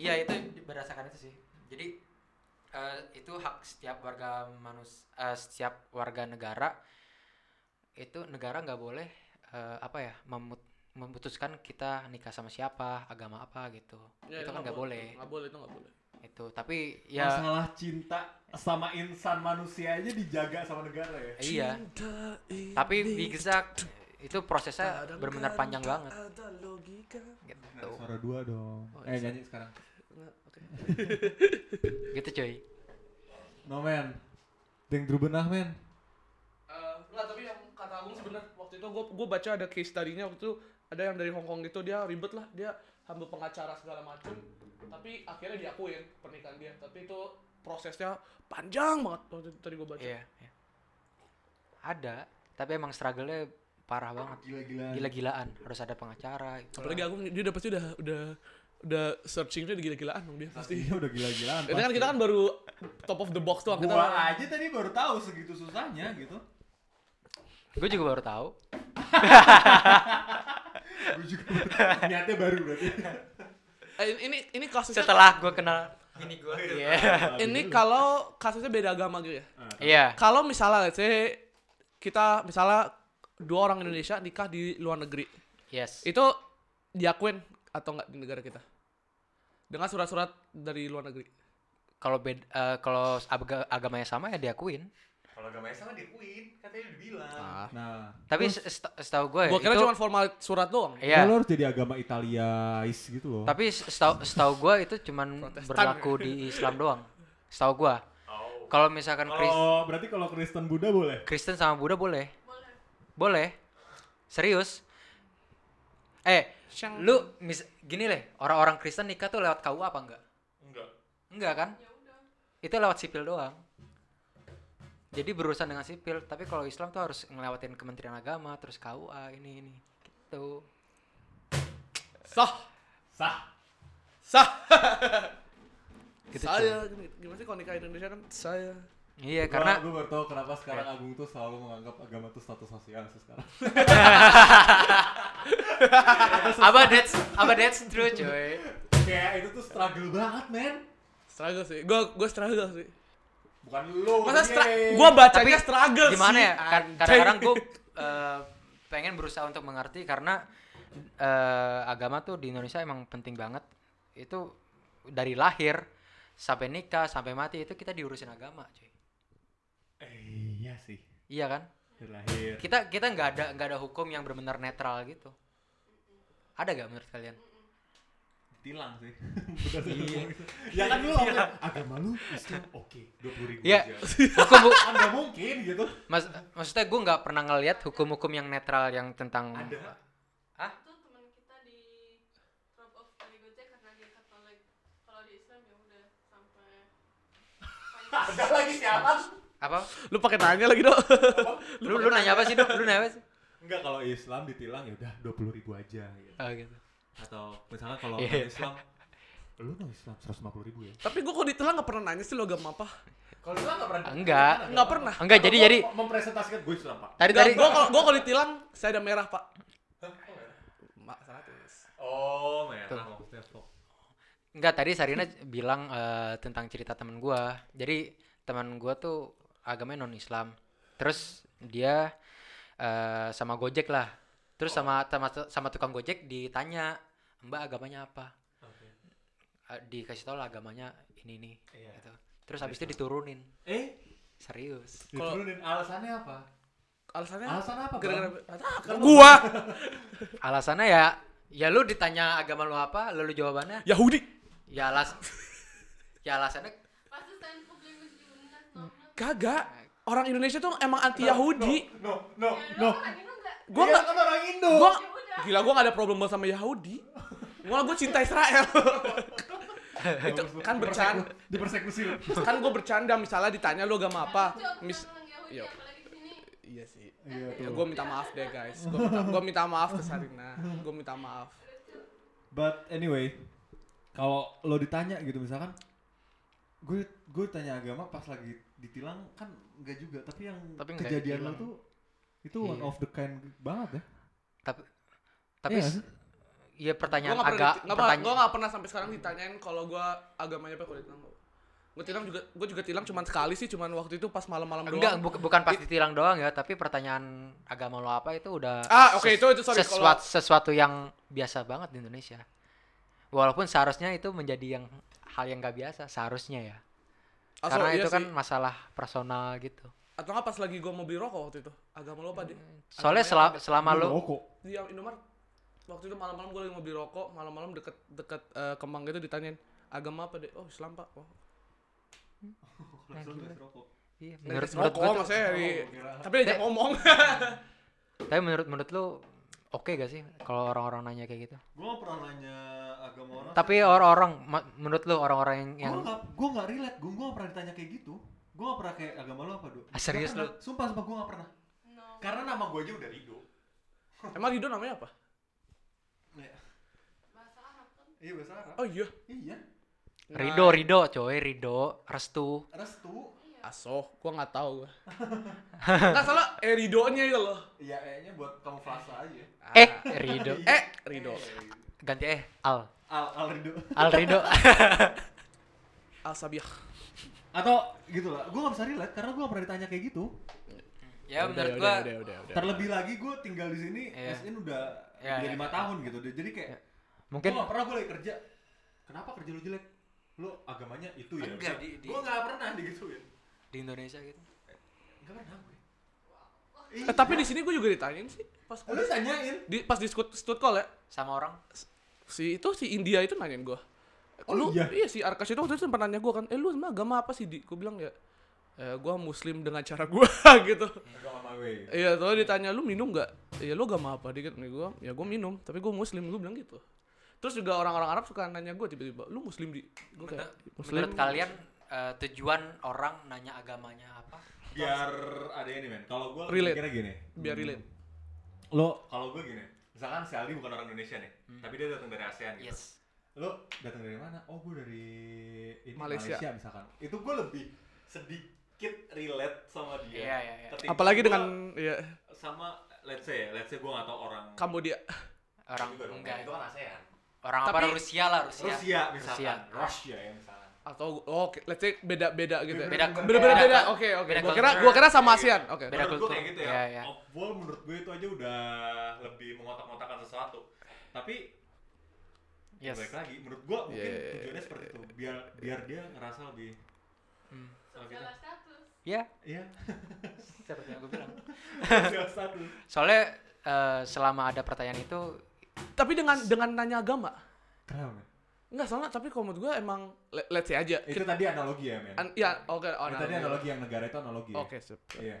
F: iya itu berdasarkan itu sih jadi eh, itu hak setiap warga manus eh, setiap warga negara itu negara nggak boleh eh, apa ya memut- memutuskan kita nikah sama siapa agama apa gitu
E: Ya,
F: itu kan nggak boleh
E: Nggak boleh itu nggak boleh.
F: itu tapi ya
D: Masalah cinta sama insan manusia aja dijaga sama negara ya.
F: iya tapi Big Zack itu prosesnya benar-benar panjang banget gitu
G: Suara dua dong.
F: Oh,
G: eh
F: iya.
G: nyanyi sekarang.
F: gitu cuy
G: No man. Deng drubenah men.
E: Eh, nggak, tapi yang kata Agung sebenarnya waktu itu gue gue baca ada case study-nya waktu itu ada yang dari Hong Kong gitu dia ribet lah dia hamba pengacara segala macem tapi ah, akhirnya diakuin pernikahan dia tapi itu prosesnya panjang banget waktu itu tadi gue baca
F: Iya. iya. Ada, tapi emang struggle-nya parah banget.
D: Gila-gilaan.
F: Gila-gilaan, harus ada pengacara. itulah.
E: apalagi Agung dia udah pasti udah udah udah searchingnya udah gila-gilaan dong dia pasti
G: Iya udah gila-gilaan.
E: itu kan kita kan baru top of the box tuh
F: Oh,
E: kita kan-
D: Gua aja tadi baru tahu segitu susahnya gitu.
F: Gue juga baru tahu.
D: Gue juga niatnya baru berarti.
E: eh, ini ini kasusnya
F: Setelah gue kenal ini gue. Iya.
E: ini kalau kasusnya beda agama gitu ya.
D: Ah,
F: Iya.
E: Kalau misalnya let's say kita misalnya dua orang Indonesia nikah di luar negeri,
F: Yes.
E: itu diakuin atau enggak di negara kita? Dengan surat-surat dari luar negeri.
F: Kalau bed eh, kalau aga- agamanya sama ya diakuin.
D: Kalau gak main sama diakuin, katanya udah bilang.
F: Ah,
G: Nah,
F: Tapi se- se- setahu gue
E: Gua kira
F: itu
E: cuma formal surat doang.
F: Iya.
G: lo harus jadi agama Italiais gitu loh.
F: Tapi se- setahu setahu gue itu cuman berlaku di Islam doang. Setahu gue. Kalau misalkan Kris-
G: Kalau Oh. berarti kalau Kristen Buddha boleh.
F: Kristen sama Buddha boleh. Boleh. Serius? Eh, lu mis gini leh, orang-orang Kristen nikah tuh lewat KUA apa enggak?
D: Enggak.
F: Enggak kan? Itu lewat sipil doang. Jadi berurusan dengan sipil, tapi kalau Islam tuh harus ngelewatin Kementerian Agama, terus KUA ini ini. Gitu.
E: Sah,
D: Sah.
E: sah.
F: Gitu,
E: saya gini- gimana sih kalau nikah Indonesia kan saya.
F: Iya,
G: Karena
F: karena Iya.
G: gue baru tahu kenapa sekarang Agung tuh selalu menganggap agama tuh status sosial sih sekarang.
F: apa that's apa that's true, coy.
G: Kayak itu tuh struggle banget, men.
E: Struggle sih. Gua gua struggle sih.
D: Bukan lu.
E: Masa stra-
D: Ye.
E: gua bacanya struggle
F: gimana
E: sih,
F: ya kad-
E: anjing.
F: kadang-kadang gue pengen berusaha untuk mengerti karena eh, agama tuh di Indonesia emang penting banget itu dari lahir sampai nikah sampai mati itu kita diurusin agama cuy
D: Eh, iya sih.
F: iya kan
D: Dari lahir.
F: kita kita nggak ada nggak ada hukum yang benar-benar netral gitu ada gak menurut kalian
D: tilang sih Udah sih, ngomong itu. ya kan lu apa agama lu Islam oke dua puluh ribu
F: Iya.
D: aja
F: hukum hu-
D: kan nggak mungkin gitu
F: mas- maksudnya gue nggak pernah ngelihat hukum-hukum yang netral yang tentang
D: ada
I: Itu teman kita di drop off dari Gojek karena dia Katolik. Kalau di Islam ya udah sampai
D: ada lagi sialan
F: apa
E: Lu pakai nanya lagi, Dok.
F: lu lu nanya apa sih Dok? lu nanya apa sih
D: enggak kalau Islam ditilang ya udah dua puluh ribu aja gitu.
F: oh, gitu
D: Atau misalnya kalau
F: Iya.
D: non Islam, lu non Islam 150 ribu ya?
E: Tapi gue kok ditelan nggak pernah nanya sih lo agama apa.
D: Kalau Islam nggak pernah.
F: Enggak.
E: Nggak pernah.
F: Enggak, jadi jadi
D: mempresentasikan gue Islam pak.
F: tadi
E: Gue
F: tadi
E: kalau gue kalau ditilang saya ada merah pak. Mak seratus.
D: Oh merah maksudnya kok.
F: Enggak, tadi Sarina bilang eh, tentang cerita teman gua. Jadi teman gua tuh agamanya non-Islam. Terus dia eh, sama Gojek lah. Terus sama sama sama tukang Gojek ditanya, "Mbak agamanya apa?" Eh, dikasih tau lah agamanya ini nih
E: Iya.
F: gitu. Terus habis itu diturunin.
D: Eh,
F: Serius.
D: diturunin alasannya apa?
E: Alasannya?
D: Alasan apa, Bang?
E: Gara-gara Nggak tahu, gua
F: Alasannya ya ya lu ditanya agama lu apa, lalu jawabannya
E: Yahudi.
F: ya alas ya alasannya
G: Pasti stand publik mesti diundang, normal.
E: Kagak. Eh, Orang Indonesia tuh emang anti Yahudi.
D: No, no,
G: Ya, lu
D: no.
G: kan ini enggak.
E: Gua
D: Iya,
E: nggak
D: kan orang Indo.
E: gua
G: Ya udah.
E: gila gua gak ada problem banget sama Yahudi malah gua cinta Israel itu kan bercanda
D: Dipersekusi lu.
E: kan gua bercanda misalnya ditanya lu agama apa
G: Lucu aku
E: mis
G: seneng Yahudi,
E: Yo.
G: apalagi di sini.
E: iya sih ya, gua minta maaf deh guys gua minta, gua minta maaf ke Sarina gua minta maaf
A: But anyway, kalau lo ditanya gitu misalkan, gue gue tanya agama pas lagi ditilang kan enggak juga, tapi yang
F: Tapi nggak
A: kejadian lo
F: ditilang.
A: tuh itu one
F: Iya.
A: of the kind banget ya.
F: tapi tapi
A: Iya.
F: s- ya
E: gua
F: pertanyaan
E: gak pernah diti-
F: agak
E: nggak pernah- gua
F: pertanyaan
E: nggak pernah sampai sekarang ditanyain kalau gua agamanya apa kalau ditilang gua tilang juga gua juga tilang cuman sekali sih cuman waktu itu pas malam-malam doang
F: enggak bu- bukan pas ditilang doang ya tapi pertanyaan agama lo apa itu udah
E: Ah, oke,
F: ses-
E: itu- itu sorry,
F: sesuatu sesuatu yang biasa banget di Indonesia walaupun seharusnya itu menjadi yang hal yang gak biasa seharusnya ya
E: Asal-
F: karena
E: iya
F: itu kan
E: sih.
F: masalah personal gitu
E: atau nggak pas lagi gua mau beli rokok waktu itu agama lo apa
G: Hmm.
E: deh
F: soalnya sela- selama lo
A: Rokok.
E: di Indomaret waktu itu malam-malam gue lagi mau beli rokok malam-malam deket deket eh, kemang gitu ditanyain agama apa deh oh Islam pak oh
G: Nah,
E: Nah,
F: iya,
E: menurut
F: menurut menurut
E: rokok
F: gua tuh-
E: maksudnya di,
D: Oh,
E: tapi diajak
F: Dek.
E: ngomong
F: tapi menurut menurut lo oke gak sih kalau orang-orang nanya kayak gitu
A: Gue gak pernah nanya agama orang.
F: tapi orang-orang ma- menurut lo orang-orang yang, yang
A: gue gak gue gak relate, gue gak pernah ditanya kayak gitu. Gue gak pernah kayak agama lo apa do?
F: Ah, serius
A: Nggak
F: lo?
A: pernah. Sumpah sumpah gue gak pernah.
G: No.
D: Karena nama gue aja udah Rido.
E: emang Rido namanya apa
G: Bahasa Arab kan.
D: Iya bahasa Arab.
E: oh iya
D: Iya.
F: Rido, Rido, coy, Rido, restu.
D: Restu.
E: asoh gue nggak tahu gue nggak salah eh Ridonya itu loh
D: Iya, kayaknya buat kamuflase aja.
F: Eh, Rido.
E: eh Rido
F: Ganti eh Al.
D: Al Al Rido.
F: Al Rido.
E: Alsabiah
A: Atau gitu lah, gue gak bisa relate karena gue gak pernah ditanya kayak gitu.
E: udah
F: ya menurut
E: udah,
F: gua
E: udah udah udah
A: Terlebih lagi gue tinggal di sini,
F: Iya.
A: as in udah
F: Iya,
A: udah
F: iya.
A: lima tahun gitu. Jadi kayak
F: mungkin
A: Gua gak pernah gue lagi kerja. Kenapa kerja lu jelek? Lu agamanya itu ya?
F: Enggak, di- di-
A: Gue gak pernah digituin.
F: di Indonesia gitu.
A: Gak pernah gue. Iya.
E: eh, tapi di sini gue juga ditanyain sih pas
A: Lu
E: gua
A: tanyain.
E: di pas di stud stud call ya
F: Sama orang
E: si itu si India itu nanyain gue
A: Oh,
E: lu
A: iya?
E: si Arkas itu waktu itu sempat nanya gue kan eh lu sama agama apa sih di gue bilang ya eh, gue muslim dengan cara gue gitu
D: Agama mawe.
E: iya soalnya ditanya lu minum nggak iya lu agama apa dikit nih gue ya gue minum tapi gue muslim gue bilang gitu terus juga orang-orang Arab suka nanya gue tiba-tiba lu muslim di gue kayak muslim
F: menurut kalian eh, tujuan orang nanya agamanya apa?
D: Biar ada ini men. Kalau gue
E: Relate.
D: kira gini.
E: biar relate
A: Lo
D: Kalau gue gini. Misalkan si Aldi bukan orang Indonesia nih, tapi dia datang dari ASEAN gitu.
F: Hmm. Yes.
D: Lo datang dari mana? Oh, gue dari ini,
E: Malaysia.
D: Malaysia. misalkan. Itu gue lebih sedikit relate sama dia.
F: Iya, iya, iya.
D: Ketika
E: apalagi
D: gua
E: dengan ya
D: sama let's say, ya, let's say gue gak tau orang
E: Kambodia
F: Orang
D: juga dong,
F: enggak.
D: Itu kan ASEAN.
F: Orang
E: Tapi-
F: apa Rusia lah, Rusia.
D: Rusia
F: Rusia.
D: misalkan, Rusia ya misalkan.
E: atau oh, oke let's say beda-beda gitu ya.
F: Beda-
E: beda-beda
F: beda-
E: beda oke oke
F: beda
E: gue kira
F: culture.
E: gue kira sama ASEAN oke
F: Beda
D: Iya, menurut gue kayak
F: kultur.
D: gitu ya.
F: Iya, iya.
D: Of wall menurut gue itu aja udah lebih mengotak-ngotakan sesuatu. Tapi ya
F: Yes.
D: balik lagi, menurut gue mungkin
E: Iya, iya,
D: tujuannya seperti itu. Biar biar dia ngerasa lebih
F: Hmm.
D: lebih
G: Salah status.
F: Ya,
D: iya,
F: seperti yang aku bilang.
D: sosial status.
F: Soalnya eh, selama ada pertanyaan itu
E: tapi dengan dengan nanya agama
A: kenapa? men?
E: Enggak soalnya tapi kalau menurut gue emang le- let's say aja.
D: Itu tadi analogi ya, men.
E: An- ya oke oh,
D: Itu
E: nah,
D: tadi
E: oke.
D: analogi yang negara itu analogi. ya.
E: Oke, sip.
D: Iya.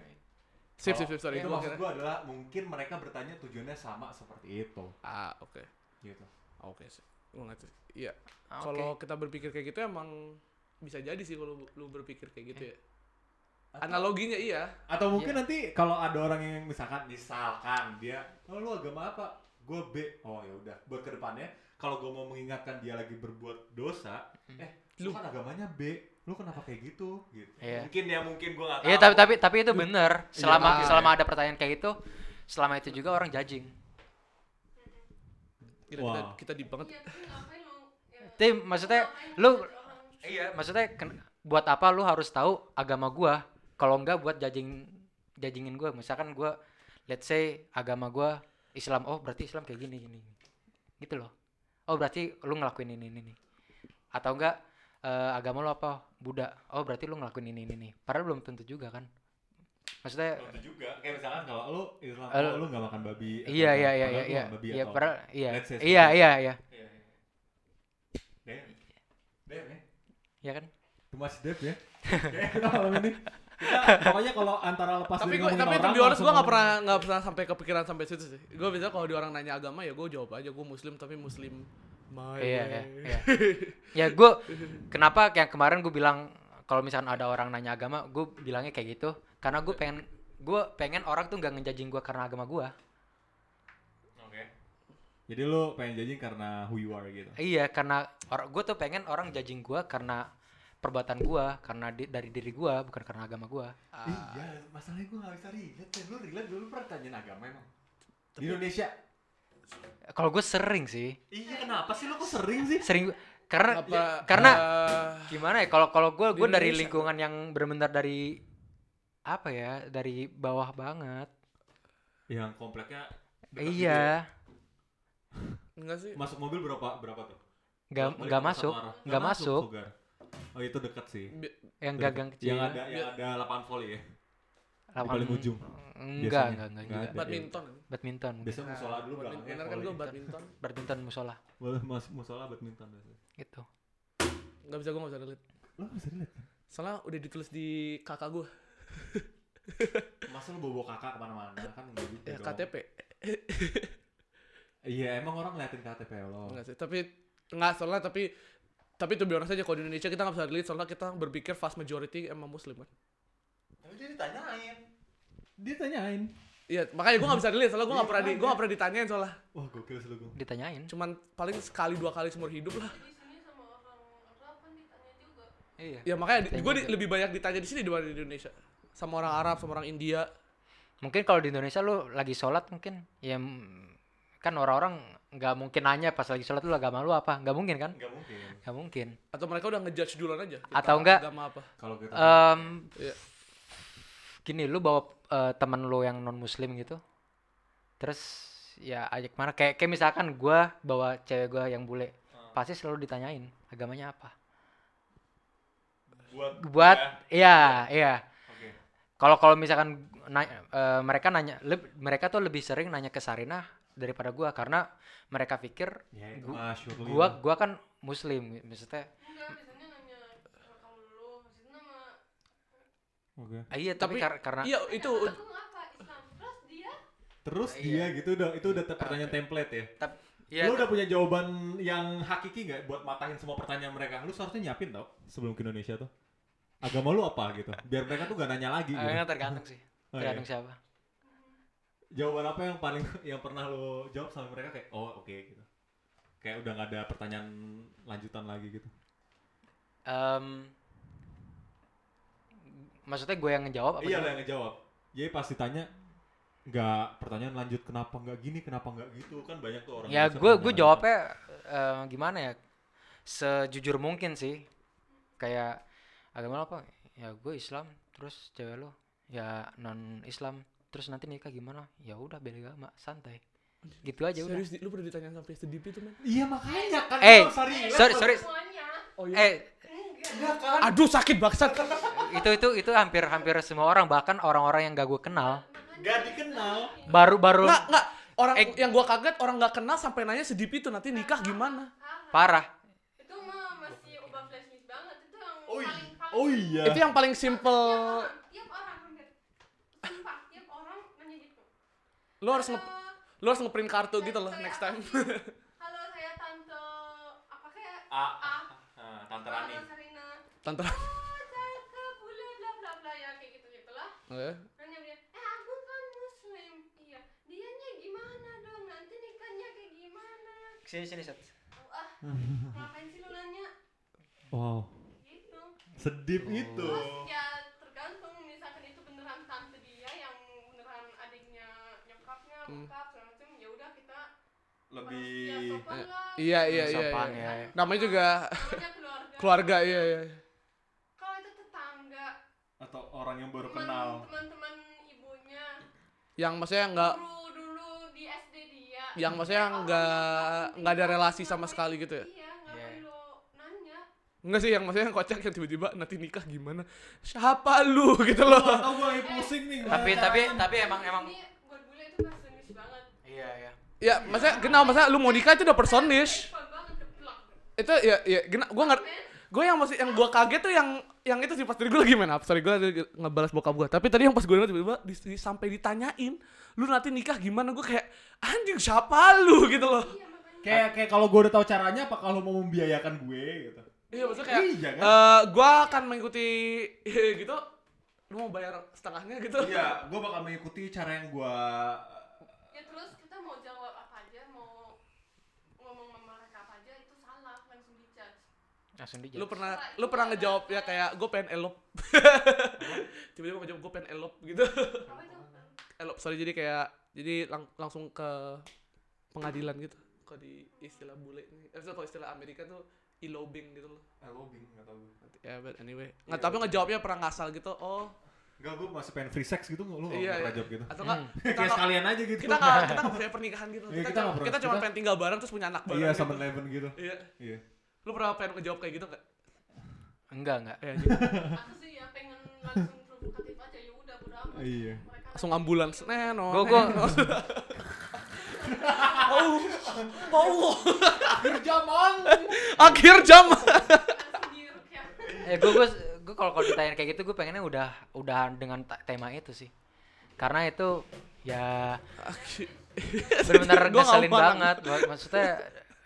E: Sip,
D: Kalau-
E: sip, sip, sorry.
D: Itu
E: Gua
D: maksud
E: kira-
D: gue adalah mungkin mereka bertanya tujuannya sama seperti itu.
E: Ah, oke.
D: Gitu.
E: Oke, sip. Gua ngerti. Iya.
F: ah, oke.
E: Kalau kita berpikir kayak gitu emang bisa jadi sih kalau lu- lu berpikir kayak
F: Eh.
E: gitu ya. Analoginya iya.
D: Atau mungkin nanti kalau ada orang yang misalkan misalkan dia, oh, lu agama apa? Gue B. Oh ya udah. Buat kedepannya kalau gue mau mengingatkan dia lagi berbuat dosa,
E: Mm-hmm.
D: eh lu kan agamanya B, lu kenapa kayak gitu? Gitu.
F: Iya.
J: Mungkin ya mungkin gue nggak tahu.
F: Iya tapi tapi tapi itu bener.
D: Iya,
F: Selama
D: mungkin.
F: selama ada pertanyaan kayak itu, selama itu juga orang judging.
E: Gila,
D: Wow.
E: kita, kita deep banget.
A: Iya, tapi ngapain lu? Ya,
F: Tapi maksudnya
A: ngapain
F: lu
A: ngejudge orang?
F: iya maksudnya ken- buat apa lu harus tahu agama gua? Kalau enggak buat judging judgingin gua. Misalkan gua let's say agama gua Islam. Oh berarti Islam kayak gini gini. Gitu loh. Oh berarti lu ngelakuin ini ini ini. Atau enggak eh, agama lu apa? Buddha. Oh berarti lu ngelakuin ini ini ini. Padahal belum tentu juga kan. Maksudnya
D: Tentu juga, kayak misalkan kalau lu
F: Eh,
D: Islam, kalau
F: lu-
D: lu nggak makan babi.
F: Iya
D: atau apa,
F: iya iya iya
D: padahal lu
F: iya.
D: makan babi
F: Iya
D: atau apa.
F: padahal iya.
D: Let's
F: Iya
D: say seperti
F: iya iya.
D: Iya, iya. Damn. Damn ya.
F: Iya kan?
D: Too much depth ya. Kayak kita malam ini. Kita, pokoknya kalau antara lepas
E: Tapi
D: dari
E: gue,
D: ngomongin
E: tapi to
D: orang,
E: be honest
D: langsung
E: gue nggak
D: ngomongin-
E: pernah nggak pernah sampai kepikiran sampai situ sih. Gue biasanya kalau di orang nanya agama ya gue jawab aja gue muslim tapi muslim my
F: Iya iya
E: way.
F: iya. Ya gue kenapa kayak kemarin gue bilang kalau misalkan ada orang nanya agama, gue bilangnya kayak gitu karena gue pengen gue pengen orang tuh nggak ngejajing gue karena agama gue.
D: Jadi lu pengen janji karena who you are gitu.
F: Iya karena orang gue tuh pengen orang judging gue karena perbuatan gue karena di- dari diri gue bukan karena agama gue.
D: Iya, masalahnya gue gak bisa relate deh. Lu relate dulu pernah tanyain agama emang? Di Indonesia?
F: Kalau gue sering sih,
D: Iya, kenapa sih lu kok sering sih?
F: sering karena
E: Apa,
F: karena
E: eh,
F: gimana ya kalau kalau gue
E: Di
F: gue dari
E: Indonesia.
F: lingkungan yang benar-benar dari apa ya dari bawah banget
D: Yang Iya, kompleknya dekat
E: gitu ya?
F: iya
E: enggak sih
D: gitu. Masuk mobil berapa berapa tuh?
F: nggak
D: Balik
F: nggak
D: ke
F: masuk
D: satu arah.
F: nggak masuk
D: Sugar. Oh, itu dekat sih.
E: Bi- Iya.
F: yang
D: Dekat.
F: gagang kecil
D: Yang ada yang ada lapangan volley ya.
F: Lapangan-
D: paling ujung,
F: enggak
D: biasanya.
F: enggak enggak
D: Nggak
F: juga
D: ada.
E: badminton.
F: badminton mungkin.
D: Biasanya musola dulu
E: Badminton
D: belakangnya.
E: bener kan gue
D: volley.
E: badminton.
F: badminton musola
D: Boleh mas- musola badminton biasanya.
F: gitu
E: Enggak bisa gue nggak bisa relate.
D: Lu gak bisa relate.
E: Soalnya udah ditulis di kakak gue
D: Masa lu bawa kakak kemana-mana kan nggak gitu
E: ya
D: dong.
E: KTP.
D: Iya, emang orang ngeliatin KTP lo.
E: Enggak sih, tapi enggak soalnya tapi tapi itu biasa aja kalau di Indonesia kita nggak bisa relate soalnya kita berpikir vast majority emang muslim kan.
J: Tapi dia ditanyain.
D: Dia tanyain.
E: Iya, makanya gue nggak bisa relate soalnya gue nggak pernah di, gue nggak pernah ditanyain soalnya.
D: Wah, gokil sih lu. Gung.
F: ditanyain
E: Cuman paling sekali dua kali seumur hidup lah.
A: Di sini sama orang Arab kan ditanya juga.
F: iya
E: Ya makanya
F: Ditanya
E: gue
F: juga.
E: lebih banyak ditanya di sini dibanding di Indonesia. Sama orang Arab, sama orang India.
F: mungkin kalau di Indonesia lu lagi sholat mungkin ya mm, kan orang-orang nggak mungkin nanya pas lagi sholat lu agama lu apa nggak mungkin kan
D: Nggak mungkin.
F: nggak mungkin
E: Atau mereka udah ngejudge duluan aja. kita
F: Atau enggak-
E: Agama apa.
D: Kalau kita
F: Em,
E: Iya.
F: gini lu bawa eh, temen lu yang non muslim gitu terus ya ajak mana kayak kayak misalkan gua bawa cewek gua yang bule
D: Ah.
F: pasti selalu ditanyain agamanya apa
J: Buat
F: buat iya
D: Ya?
F: iya
J: Oke.
F: kalau kalau misalkan na- eh, mereka nanya leb- mereka tuh lebih sering nanya ke Sarinah daripada gua karena mereka pikir
D: ya itu
F: gu-
D: mah surely
F: gua
D: lah.
F: gua kan muslim maksudnya
A: Enggak, biasanya nanya rekam dulu. Habis itu nama
D: Oke.
F: ah, iya
E: Tapi-
F: tapi, kar- karena
E: Iya, itu
A: agama lu apa? Islam. Terus dia
D: Terus
F: Iya. Ah,
D: dia gitu udah itu udah te- pertanyaan template ya.
F: tap-
D: lu
F: iya
D: udah punya jawaban yang hakiki nggak buat matahin semua pertanyaan mereka? Lu seharusnya nyiapin tau sebelum ke Indonesia tuh. Agama lu apa gitu? Biar mereka tuh gak nanya lagi gitu.
F: eh, tergantung sih
D: Oh,
F: tergantung
D: iya.
F: siapa
D: Jawaban apa yang paling yang pernah lu jawab sama mereka kayak oh oke gitu. Kayak udah gak ada pertanyaan lanjutan lagi gitu.
F: Em, maksudnya gue yang ngejawab apa?
D: iya lo
F: gimana?
D: yang ngejawab. Jadi Iya, pas ditanya nggak pertanyaan lanjut kenapa nggak gini kenapa nggak gitu kan banyak tuh orang.
F: Ya
D: Indonesia
F: gue gue
D: pertanyaan lanjutan.
F: jawabnya eh, gimana ya? Sejujur mungkin sih. Kayak agama lo apa? Ya gue Islam. Terus cewek lo ya non Islam. Terus nanti nikah gimana? Ya udah beda agama, santai. Gitu aja udah.
E: Serius, Di, lu pernah ditanya sampai sedip itu, men?
D: Iya makanya kan.
F: Eh,
D: itu sorry.
F: sorry sorry.
A: semuanya.
E: Oh, iya?
F: Eh,
D: kan?
E: Aduh, sakit bangsat.
F: itu itu itu hampir hampir semua orang bahkan orang-orang yang gak gue kenal
D: Gak dikenal.
F: baru baru
E: Enggak, enggak. Orang
F: Eh.
E: yang gua kaget orang nggak kenal sampai nanya sedip itu nanti nikah gimana?
F: parah.
A: Itu mah masih ubah flash meat banget. Itu yang
D: Oh, iya.
A: paling Iya, paling
D: oh iya.
E: Itu yang paling
A: Tiap
E: simple.
A: orang, tiap orang hampir. Sumpah, tiap orang nanya gitu.
E: Lu harus nge
A: Halo,
E: lu harus ngeprint kartu gitu loh
A: saya
E: next time.
A: Afi. Halo, saya tante apa kayak
J: A.
A: A.
D: Nah,
J: Ah, Tante Rani.
A: Halo, Sarina.
E: Tante.
A: Oh, cakep, boleh bla bla bla ya kayak gitu-gitulah.
E: Oke.
A: Kan dia bilang, "Eh, aku kan muslim." Iya. Dianya gimana dong? Nanti nikahnya kayak gimana?
F: Sini sini set.
A: Ngapain sih lu nanya?
K: Wow.
A: Gitu.
K: Sedip
F: Oh.
D: Gitu.
K: itu.
A: Terus ya tergantung misalkan itu beneran tante dia yang beneran adiknya nyokapnya, bokap segala macam, ya udah kita
D: Lebih
A: ya sopan lah.
E: Iya iya iya.
F: Sopan
E: iya.
F: ya.
E: Namanya juga
A: Namanya keluarga.
E: keluarga iya iya.
A: Kalau itu tetangga,
D: atau orang yang baru
A: teman-
D: kenal.
A: teman-teman ibunya,
E: Yang maksudnya nggak
A: guru dulu di SD dia. oh,
E: yang maksudnya nggak nggak ada relasi sama sekali gitu ya.
A: Iya, ngapain lo nanya?
E: Enggak sih yang maksudnya yang kocak yang tiba-tiba nanti nikah gimana? Siapa lu gitu loh.
D: Atau gue lagi pusing nih.
F: Tapi tapi tapi emang emang
A: Ini buat bule itu bahasa Inggris banget.
F: iya ya.
E: Ya, maksudnya kenal masa lu mau nikah itu udah personish.
A: Sopan banget keplak.
E: Itu ya ya gena, gua nggak gue yang masih yang gua kaget tuh yang yang itu sih pas tadi gue lagi main apa sorry gue ngebalas bokap gue tapi tadi yang pas gue tiba-tiba di, di- sampai ditanyain lu nanti nikah gimana gue kayak anjing siapa lu gitu loh
D: Kayak kayak kalau gue udah tahu caranya apa kalau mau membiayakan gue gitu.
E: iya maksudnya kayak
D: Iya, kan?
E: eh, gua akan mengikuti gitu lu mau bayar setengahnya gitu
D: Iya, gue bakal mengikuti cara yang gue
A: Ya terus kita mau jawab apa aja, mau ngomong sama mereka apa aja itu salah, langsung dijudge.
F: Langsung dijawab.
E: lu pernah lu pernah ngejawab ya kayak gue pengen elop tiba-tiba ngejawab gue pengen elop gitu
A: Apa itu?
E: elop sorry jadi kayak jadi lang- langsung ke pengadilan gitu kalau di istilah bule ini eh, kalau istilah
D: Oh,
E: Amerika tuh elobing gitu loh
D: Eh, lobbying nggak tahu Iya, gue.
E: ya but anyway nggak tapi ngejawabnya pernah ngasal gitu oh
D: Enggak, gue masih pengen free sex gitu, lu nggak
E: iya,
D: pernah
E: iya.
D: jawab gitu.
E: atau nggak kita
D: Kayak
E: nggak-
D: sekalian aja gitu.
E: kita nggak kita nggak percaya pernikahan gitu
D: Iya,
E: kita,
D: kita
E: cuma-
D: nggak
E: kita,
D: pernah-
E: cuma
D: kita-
E: pengen tinggal bareng terus punya anak bareng
D: Iya,
E: gitu.
D: sama Eleven gitu.
E: iya
D: Iya.
E: lu pernah pengen ngejawab kayak gitu nggak
F: Enggak enggak.
E: Eh, anjing.
A: Aku sih ya pengen langsung provokatif aja, ya udah bodo amat.
D: Iya.
A: Mereka
E: langsung ambulans Nah, neno
F: Gua gua
E: neno. oh oh akhir jam
A: langsung diruk ya.
F: eh gue gue gue kalau kalau ditanyain kayak gitu gue pengennya udah udahan dengan ta- tema itu sih karena itu ya
E: Gua
F: benar-benar
E: nggak
F: ngeselin
E: paham.
F: banget Mak- maksudnya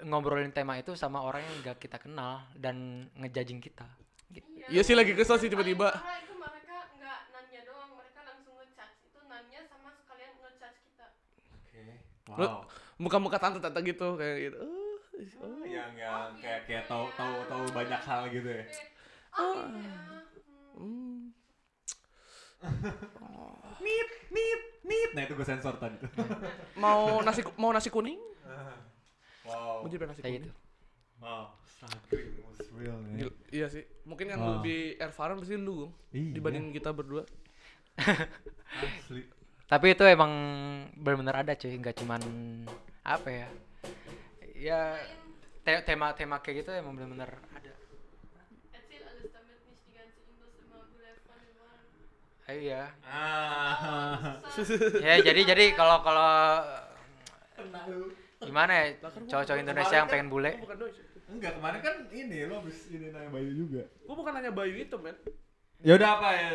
F: ngobrolin tema itu sama orang yang gak kita kenal dan ngejudging kita
A: Iya.
E: iya sih lagi kesel sih tiba-tiba
A: Karena itu mereka nggak nanya doang, mereka langsung ngejudge. Itu nanya sama sekalian ngejudge kita.
D: Oke.
E: Lu
D: Wow.
E: muka-muka tante-tante gitu kayak gitu. Uh,
D: Oh, yang yang kayak kayak tahu tahu tahu banyak hal gitu ya.
A: Oh, gitu ya. Hmm.
E: hmm.
D: Nit, nit, nit. Nah, itu gue sensor tadi. tuh.
E: Mau nasi ku- mau nasi kuning?
D: wow.
E: Mau jadi nasi
F: kayak
E: kuning.
F: gitu
D: Wow. Something was real, man.
E: Gila, Iya sih. Mungkin yang
D: Wow.
E: lebih erfaran pasti lu Gung,
D: Iya.
E: dibanding kita berdua.
D: Asli.
F: tapi itu emang benar-benar ada cuy nggak cuman apa ya ya te- tema tema kayak gitu emang benar-benar ada
A: Erzähl alles, damit nicht die ganze Imbus immer Bullet von den Waren.
F: Eh, iya
D: Ah.
F: ya jadi jadi kalau kalau gimana ya cowok-cowok Indonesia
D: kan
F: yang pengen bule
E: kan Bukan doi.
D: Enggak, kemarin kan ini lo habis ini nanya Bayu juga.
E: Gua bukan nanya Bayu itu, men.
D: Ya udah apa ya,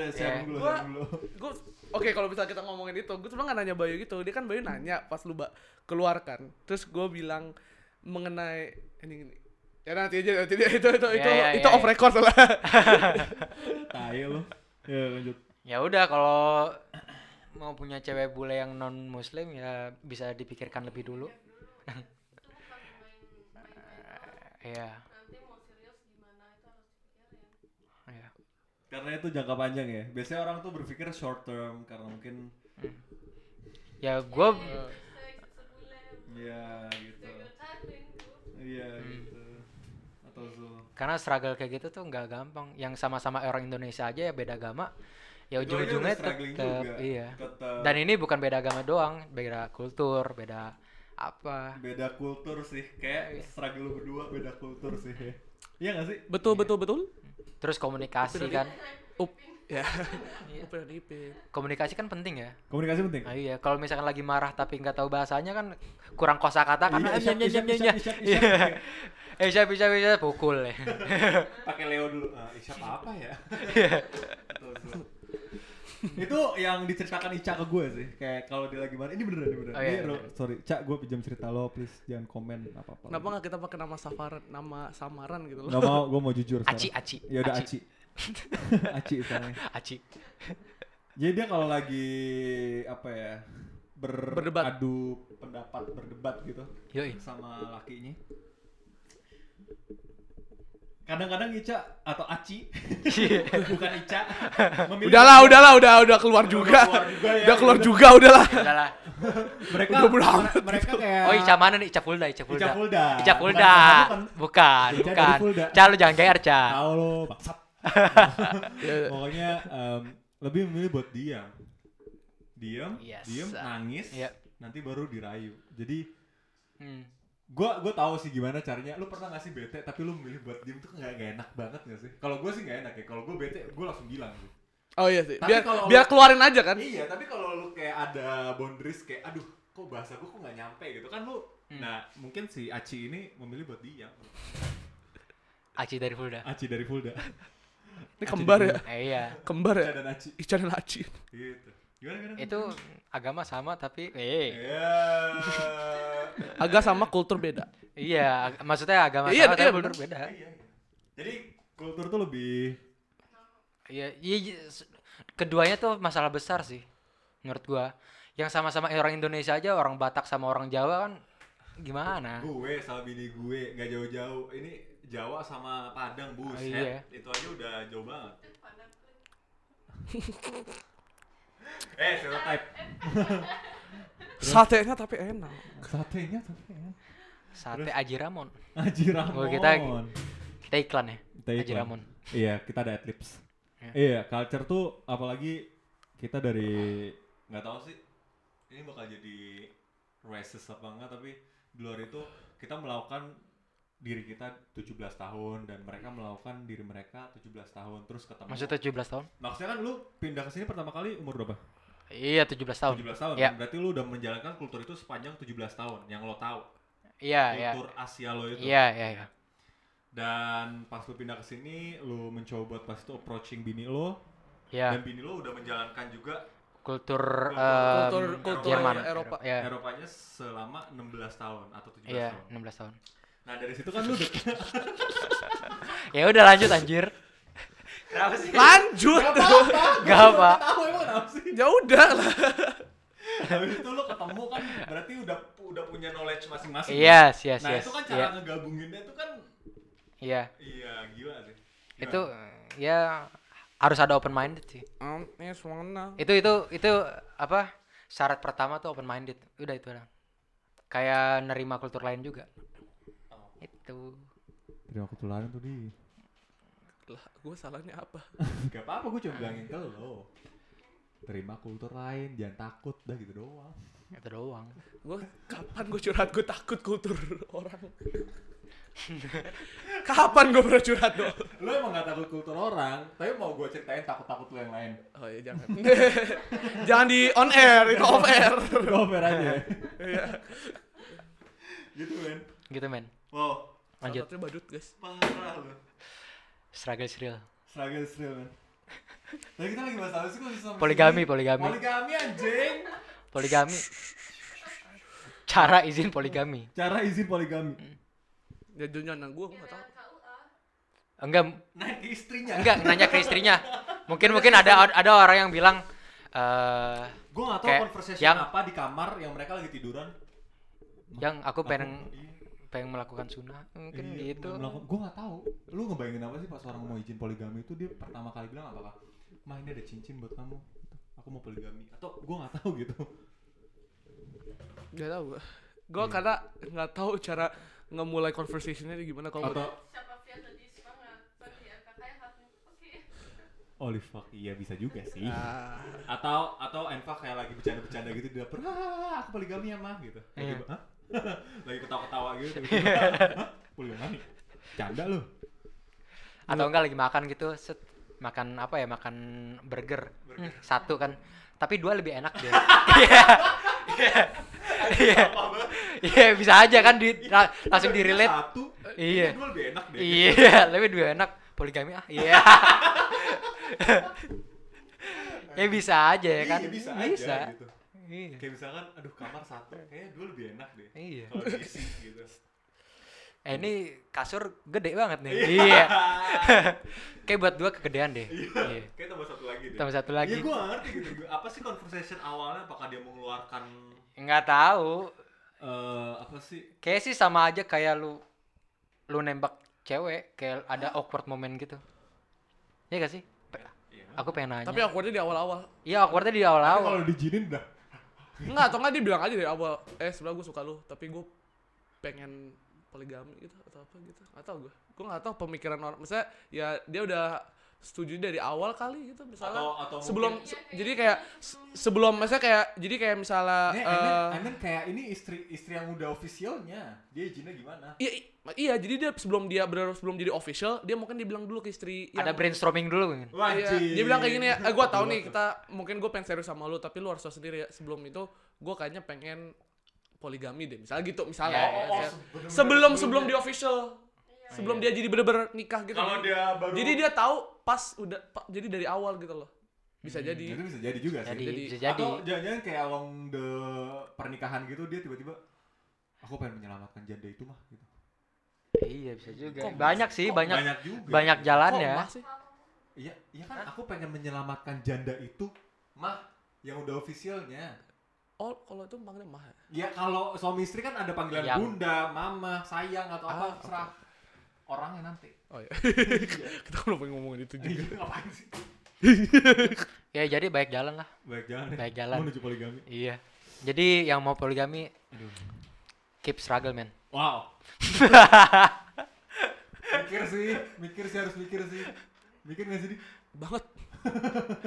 F: Iya.
D: siapa dulu,
E: Eh, Gua-
D: siapa dulu.
E: Gua Oke, kalau bisa kita ngomongin itu, gue sebenarnya nggak nanya Bayu gitu. Dia kan Bayu nanya pas lu ba- keluarkan. Terus gue bilang mengenai ini ini. Ya nanti aja nanti aja. itu itu
F: Ya,
E: itu
F: ya,
E: itu
F: ya,
E: off
F: ya.
E: record lah.
D: Tai lo. Ya lanjut.
F: ya udah kalau mau punya cewek bule yang non muslim ya bisa dipikirkan lebih dulu iya
A: Nanti mau serius gimana itu harus dipikirin.
F: iya
D: Karena itu jangka panjang ya. Biasanya orang tuh berpikir short term karena mungkin
F: Hmm. ya gue
A: Iya, Seks, sebulan,
D: ya
A: iya.
D: gitu.
A: stereotyping tuh.
D: Iya
F: Hmm.
D: gitu. Atau so.
F: karena struggle kayak gitu tuh nggak gampang yang sama-sama orang Indonesia aja ya beda agama ya
D: Itu aja udah
F: ujung-ujungnya
D: struggling
F: tetap
D: juga.
F: iya
D: Tetep.
F: dan ini bukan beda agama doang beda kultur beda apa Oh, iya.
D: beda kultur sih. Kayak struggle lu berdua beda kultur sih. ya. Iya gak sih?
E: betul betul betul.
F: terus komunikasi kan
E: Up ya.
F: Iya.
E: Up dan ipin.
F: komunikasi kan penting ya
D: Komunikasi penting.
F: Ah, iya, kalau misalkan lagi marah tapi nggak tahu bahasanya kan kurang kosakata kan. Ah, karena
D: Iya, isyap, isyap, isyap, isyap, isyap.
F: Eh, bisa bisa bisa pukul. ya.
D: Pakai Leo dulu. Ah, isyap apa ya?
F: Iya.
D: Atau so. itu yang diceritakan Ica ke gue sih kayak kalau dia lagi marah ini beneran ini beneran
F: Oh, iya,
D: Ini
F: bener.
D: ro- sorry Cak gue pinjam cerita lo please jangan komen apa apa
E: Kenapa nggak kita pakai nama safaran, nama samaran gitu loh?
D: Gak mau, gue mau jujur sekarang.
F: Aci, aci,
D: Ya udah
F: aci.
D: aci. aci sekarang.
F: Aci.
D: Jadi dia kalau lagi apa ya? Ber
E: Berdebat.
D: Adu pendapat, berdebat gitu
F: Yoi.
D: sama lakinya. Kadang-kadang Ica atau Aci,
F: Iya.
D: bukan Ica. memilih-
E: Udahlah, udahlah, udah udah keluar juga.
D: keluar juga ya,
E: Udah keluar
D: udah.
E: juga, udahlah.
F: Ya Udahlah.
D: Mereka,
E: udah berapa
D: mere- mereka kayak
F: Oh Ica mana nih? Ica Fulda, Ica Fulda.
D: Ica Fulda.
F: Ica
D: Bukan
F: Fulda.
D: Ica bukan.
F: Bukan,
D: Ica dari
F: bukan.
D: Fulda.
F: Ica lu jangan GR, Ica.
D: tahu lo bangsat.
E: Ya,
D: Pokoknya em, lebih memilih buat diam. Diam,
F: Yes.
D: diam, nangis.
F: Yep.
D: Nanti baru dirayu. Jadi
F: Hmm.
D: gua gua tahu sih gimana caranya. Lu pernah gak sih bete tapi lu milih buat diam tuh nggak nggak enak banget gak sih? Kalau gua sih nggak enak ya. Kalau gua bete gua langsung bilang sih.
E: Oh iya sih.
D: Tapi
E: Biar
D: kalau-
E: biar keluarin aja kan.
D: Iya, tapi kalau lu kayak ada boundaries kayak aduh, kok bahasa gua kok nggak nyampe gitu kan lu.
F: Hmm.
D: Nah, mungkin si Aci ini memilih buat diam.
F: Aci dari Fulda.
D: Aci dari Fulda.
E: Ini kembar ya.
F: Eh, iya.
E: Kembar ya.
D: Ica dan Aci.
E: Ica dan Aci.
D: Gitu. Gimana gimana? Iya.
F: Itu agama sama tapi eh
D: Ya.
E: Agak sama kultur beda.
F: iya ag- maksudnya agama
E: Iya, iya,
F: sama tapi
E: bener.
F: bener beda.
D: Jadi kultur tuh lebih
F: Iya, iya, iya, s- keduanya tuh masalah besar sih menurut gua. Yang sama-sama eh, orang Indonesia aja, orang Batak sama orang Jawa kan gimana?
D: gue sama bini gue nggak jauh-jauh. Ini Jawa sama Padang buset.
F: iya.
D: Itu aja udah jauh banget. eh, stereotype.
E: Satenya tapi enak.
D: Satenya tapi ya.
F: Sate Aji Ramon.
D: Aji Ramon.
F: Gua kita- Kita iklan ya.
D: Kita
F: Aji
D: iklan.
F: Ramon.
D: Iya, kita ada adlibs.
F: Iya.
D: Iya, culture tuh apalagi kita dari nggak tahu sih ini bakal jadi racist apa enggak tapi di luar itu kita melakukan diri kita 17 tahun dan mereka melakukan diri mereka 17 tahun terus ketemu
F: Maksudnya 17 tahun?
D: maksudnya kan lu pindah ke sini pertama kali umur berapa?
F: Iya, 17 tahun.
D: 17 tahun.
F: Iya.
D: kan? Berarti lu udah menjalankan kultur itu sepanjang 17 tahun yang lo tahu.
F: Iya, iya.
D: Kultur Asia lo itu.
F: Iya, iya, iya.
D: Dan pas lu pindah ke sini lu mencoba buat pas itu approaching bini lo
F: Iya,
D: dan bini lo udah menjalankan juga
F: kultur
E: Kultur
F: em,
E: kultur
F: Jerman.
E: Eropa. ya.
F: Iya.
D: Eropanya selama 16 tahun atau 17
F: Iya,
D: tahun.
F: 16 tahun.
D: Nah, dari situ kan lu udah
F: Ya udah lanjut anjir.
D: kenapa sih?
E: Lanjut.
F: Gak apa.
D: Tahu emang kenapa sih?
E: ya udah lah.
D: Habis itu lu ketemu kan berarti udah udah punya knowledge masing-masing.
F: Iya, yes, yes,
D: Nah,
F: yes.
D: itu kan cara
F: Iya.
D: ngegabunginnya itu kan
F: Iya.
D: iya gila sih. Gimana?
F: Itu ya harus ada open minded sih.
E: Um, yes, wanna.
F: itu itu itu apa syarat pertama tuh open minded udah itu lah kayak nerima kultur lain juga itu
D: Terima ketularan tuh di.
E: Lah, gue salahnya apa?
D: Gak apa-apa gue cuma bilangin ke lo. Terima kultur lain, jangan takut, dah gitu doang.
F: itu doang
E: Gue kapan gue curhat? Gue takut kultur orang. kapan gue pernah curhat dong?
D: Lo emang gak takut kultur orang, tapi mau gue ceritain takut-takut lo yang lain.
E: Oh iya jangan. jangan di on air, itu off air. Iya.
D: Gue fair aja. gitu men.
F: gitu men
D: Wow,
E: Salah
F: lanjut
E: satunya badut guys.
D: parah lo.
F: struggle is real
D: Struggle is real men. Tapi kita lagi bahas apa sih kok susah masuk
F: Poligami,
D: ini?
F: poligami.
D: Poligami anjing.
F: poligami cara izin poligami
D: Cara izin poligami.
E: Ya jangan gue gue gak tau.
F: enggak
D: Naik ke istrinya.
F: enggak nanya ke istrinya mungkin mungkin ada ada orang yang bilang eh
D: Gue gak tau
F: Kayak
D: conversation
F: yang-
D: apa di kamar yang mereka lagi tiduran.
F: yang aku pengen
D: Iya.
F: pengen melakukan sunnah mungkin gitu
D: Gue gak tahu. Lu ngebayangin apa sih pas orang mau izin poligami itu dia pertama kali bilang apa kak? Mah ini ada cincin buat kamu. Gitu. Aku mau poligami. Atau gue gak tahu gitu.
E: Gak tau gue. Gue
D: Iya.
E: karena gak tau cara ngemulai conversationnya itu gimana kalau
D: Atau
L: Siapa Fiat tadi semangat bagi RKK yang hatinya oke.
D: Olive fuck iya bisa juga sih. Atau atau Enfa kayak lagi bercanda-bercanda gitu di dapur. "Ah, aku poligami ya mah gitu.
F: Iya.
D: Tiba-tiba, "Hah?" lagi ketawa-ketawa gitu. tiba-tiba, "Hah? Poligami. Canda lu.
F: atau enggak lagi makan gitu set makan apa ya makan burger, satu kan tapi dua lebih enak deh iya Iya. iya iya bisa aja kan di la- langsung di relate
D: Satu.
F: Iya.
D: Dua lebih enak deh.
F: iya tapi dua enak poligami ah iya ya bisa aja ya kan
D: Iya, bisa,
F: bisa
D: aja gitu.
F: iya
D: Kayak misalkan aduh kamar satu kayaknya dua lebih enak deh.
F: Iya.
D: Kalau diisi gitu.
F: eh ini kasur gede banget nih iya kayak buat dua kegedean deh iya
D: Kayak tambah satu lagi deh.
F: tambah satu
D: Iya
F: lagi
D: gue gak ngerti gitu. Gua- Apa sih conversation awalnya? Apakah dia mengeluarkan
F: nggak tahu
D: eh apa sih?
F: Kayak sih sama aja kayak lu lu nembak cewek kayak ada awkward moment gitu. Iya gak sih? Pe-
D: Iya.
F: Aku pengen nanya.
E: Tapi awkwardnya di awal-awal.
F: Iya awkwardnya di awal-awal.
M: Kalau dijinin dah.
E: Enggak, atau enggak dia bilang aja dari awal, eh sebenernya gue suka lu, tapi gue pengen poligami gitu atau apa gitu. Gak tau gue. Gue gak tau pemikiran orang. Misalnya ya dia udah setuju dari awal kali gitu misalnya
D: Atau- atau
E: sebelum se- jadi kayak se- sebelum misalnya kayak jadi kayak misalnya
D: Eh,
E: eh,
D: Emen- Emen kayak ini istri istri yang udah ofisialnya. Dia izinnya gimana?
E: iya i- iya jadi dia sebelum dia benar sebelum jadi official dia mungkin dibilang dulu ke istri
F: Ada
E: yang-
F: brainstorming dulu mungkin.
E: Iya, dia bilang kayak gini ya, eh, gue tau nih kita mungkin gue pengen serius sama lu tapi lu harus tau sendiri ya sebelum itu gue kayaknya pengen poligami deh misalnya gitu misalnya Misalnya.
D: Ya, ya, se- bener-bener ya.
E: sebelum
D: Iya, sebelumnya.
E: sebelum di official sebelum dia jadi bener-bener nikah gitu
D: Kalau dia baru
E: jadi dia tahu pas udah pa- jadi dari awal gitu loh bisa jadi
D: Hmm, itu bisa jadi juga
F: Jadi,
D: sih.
E: Jadi-
F: bisa jadi.
D: Atau jangan-jangan kayak along the pernikahan gitu dia tiba-tiba aku pengen menyelamatkan janda itu mah gitu.
F: Iya bisa juga.
E: Kok
F: banyak sih, banyak banyak,
D: Banyak juga.
E: kok
F: jalan ya.
E: masih
D: Iya, iya kan aku pengen menyelamatkan janda itu mah yang udah ofisialnya.
E: oh kalau itu panggilnya mah ya?
D: Ya kalau suami istri kan ada panggilan
F: Yang-
D: bunda, mama, sayang atau apa
E: Ah, oke.
D: serah orangnya nanti.
E: oh iya kita kan pengen ngomongin itu juga
D: Iya, ngapain sih?
F: Ya jadi baik jalan lah.
D: Baik jalan. ya.
F: Baik jalan.
D: Menuju poligami.
F: Iya. Jadi yang mau poligami keep struggle man.
D: Wow. mikir sih, mikir sih harus mikir sih. Mikir gak sih? Di?
E: banget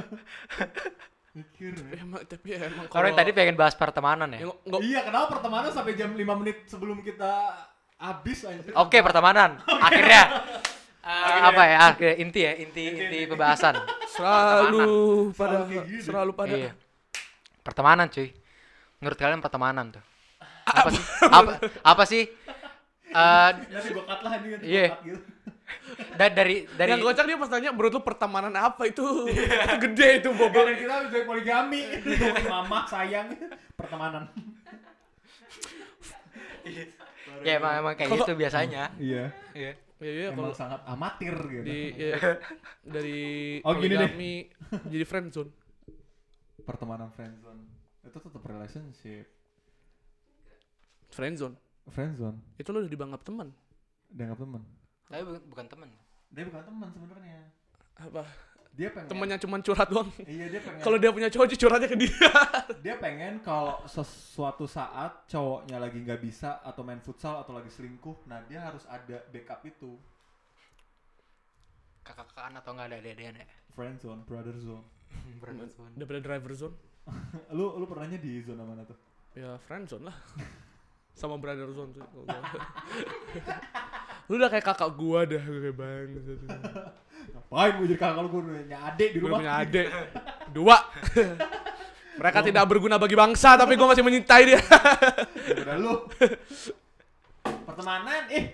D: Mikir. Ya.
E: emang tapi emang kalau
F: Orang yang tadi pengen bahas pertemanan ya.
E: yang nggak-
D: Iya, kenapa pertemanan sampai jam 5 menit sebelum kita habis anjir.
F: Oke pertemanan. Akhirnya eh, apa ya? Akhirnya inti ya, inti inti pembahasan.
E: selalu pada
D: kayak gini.
E: selalu pada
F: Iya. Pertemanan cuy. Menurut kalian pertemanan tuh
D: Ah,
F: apa sih? Apa, apa sih? Eh,
D: Nanti gua cut Ya, lah ini nanti
F: Iya.
D: gua cut gitu.
F: da- dari dari
E: Yang kocak dia pas tanya, menurut lu pertemanan apa itu? Itu
D: Iya.
E: gede itu Iya.
D: Dan
E: bobol.
D: kita harus dari poligami. Ngomongin mama, sayang, pertemanan.
F: ya emang, emang kayak gitu biasanya.
D: Iya.
F: Iya.
E: Iya iya
D: Emang
E: kalau
D: sangat amatir gitu.
E: di ya, dari
D: Oh, gini deh.
E: poligami jadi friendzone.
D: Pertemanan friendzone. Itu tetap relationship.
E: Friendzone.
D: Friendzone.
E: Itu lu udah dibanggap teman.
D: Dianggap teman.
F: Tapi bu- bukan teman.
D: Dia bukan teman sebenarnya.
E: Apa?
D: Dia pengen.
E: Temennya cuman curhat doang.
D: Iya dia pengen.
E: Kalau dia punya cowok, dia curhatnya ke dia.
D: dia pengen kalau sesuatu saat cowoknya lagi nggak bisa atau main futsal atau lagi selingkuh, nah dia harus ada backup itu.
F: Kakak-kakan atau enggak ada adean ya?
D: Friend zone, brother zone.
E: Daripada driver zone.
D: lu lu pernahnya di zona mana tuh?
E: Ya friendzone lah. Sama brother zone tuh. kalau gua. lu udah kayak kakak gua dah gua kayak bang
D: Ngapain gue jadi kakak lu ya. gue punya adik di
E: gue
D: rumah.
E: punya adik dua mereka tidak berguna bagi bangsa tapi gua masih menyintai dia
D: Udah lu. Pertemanan, eh.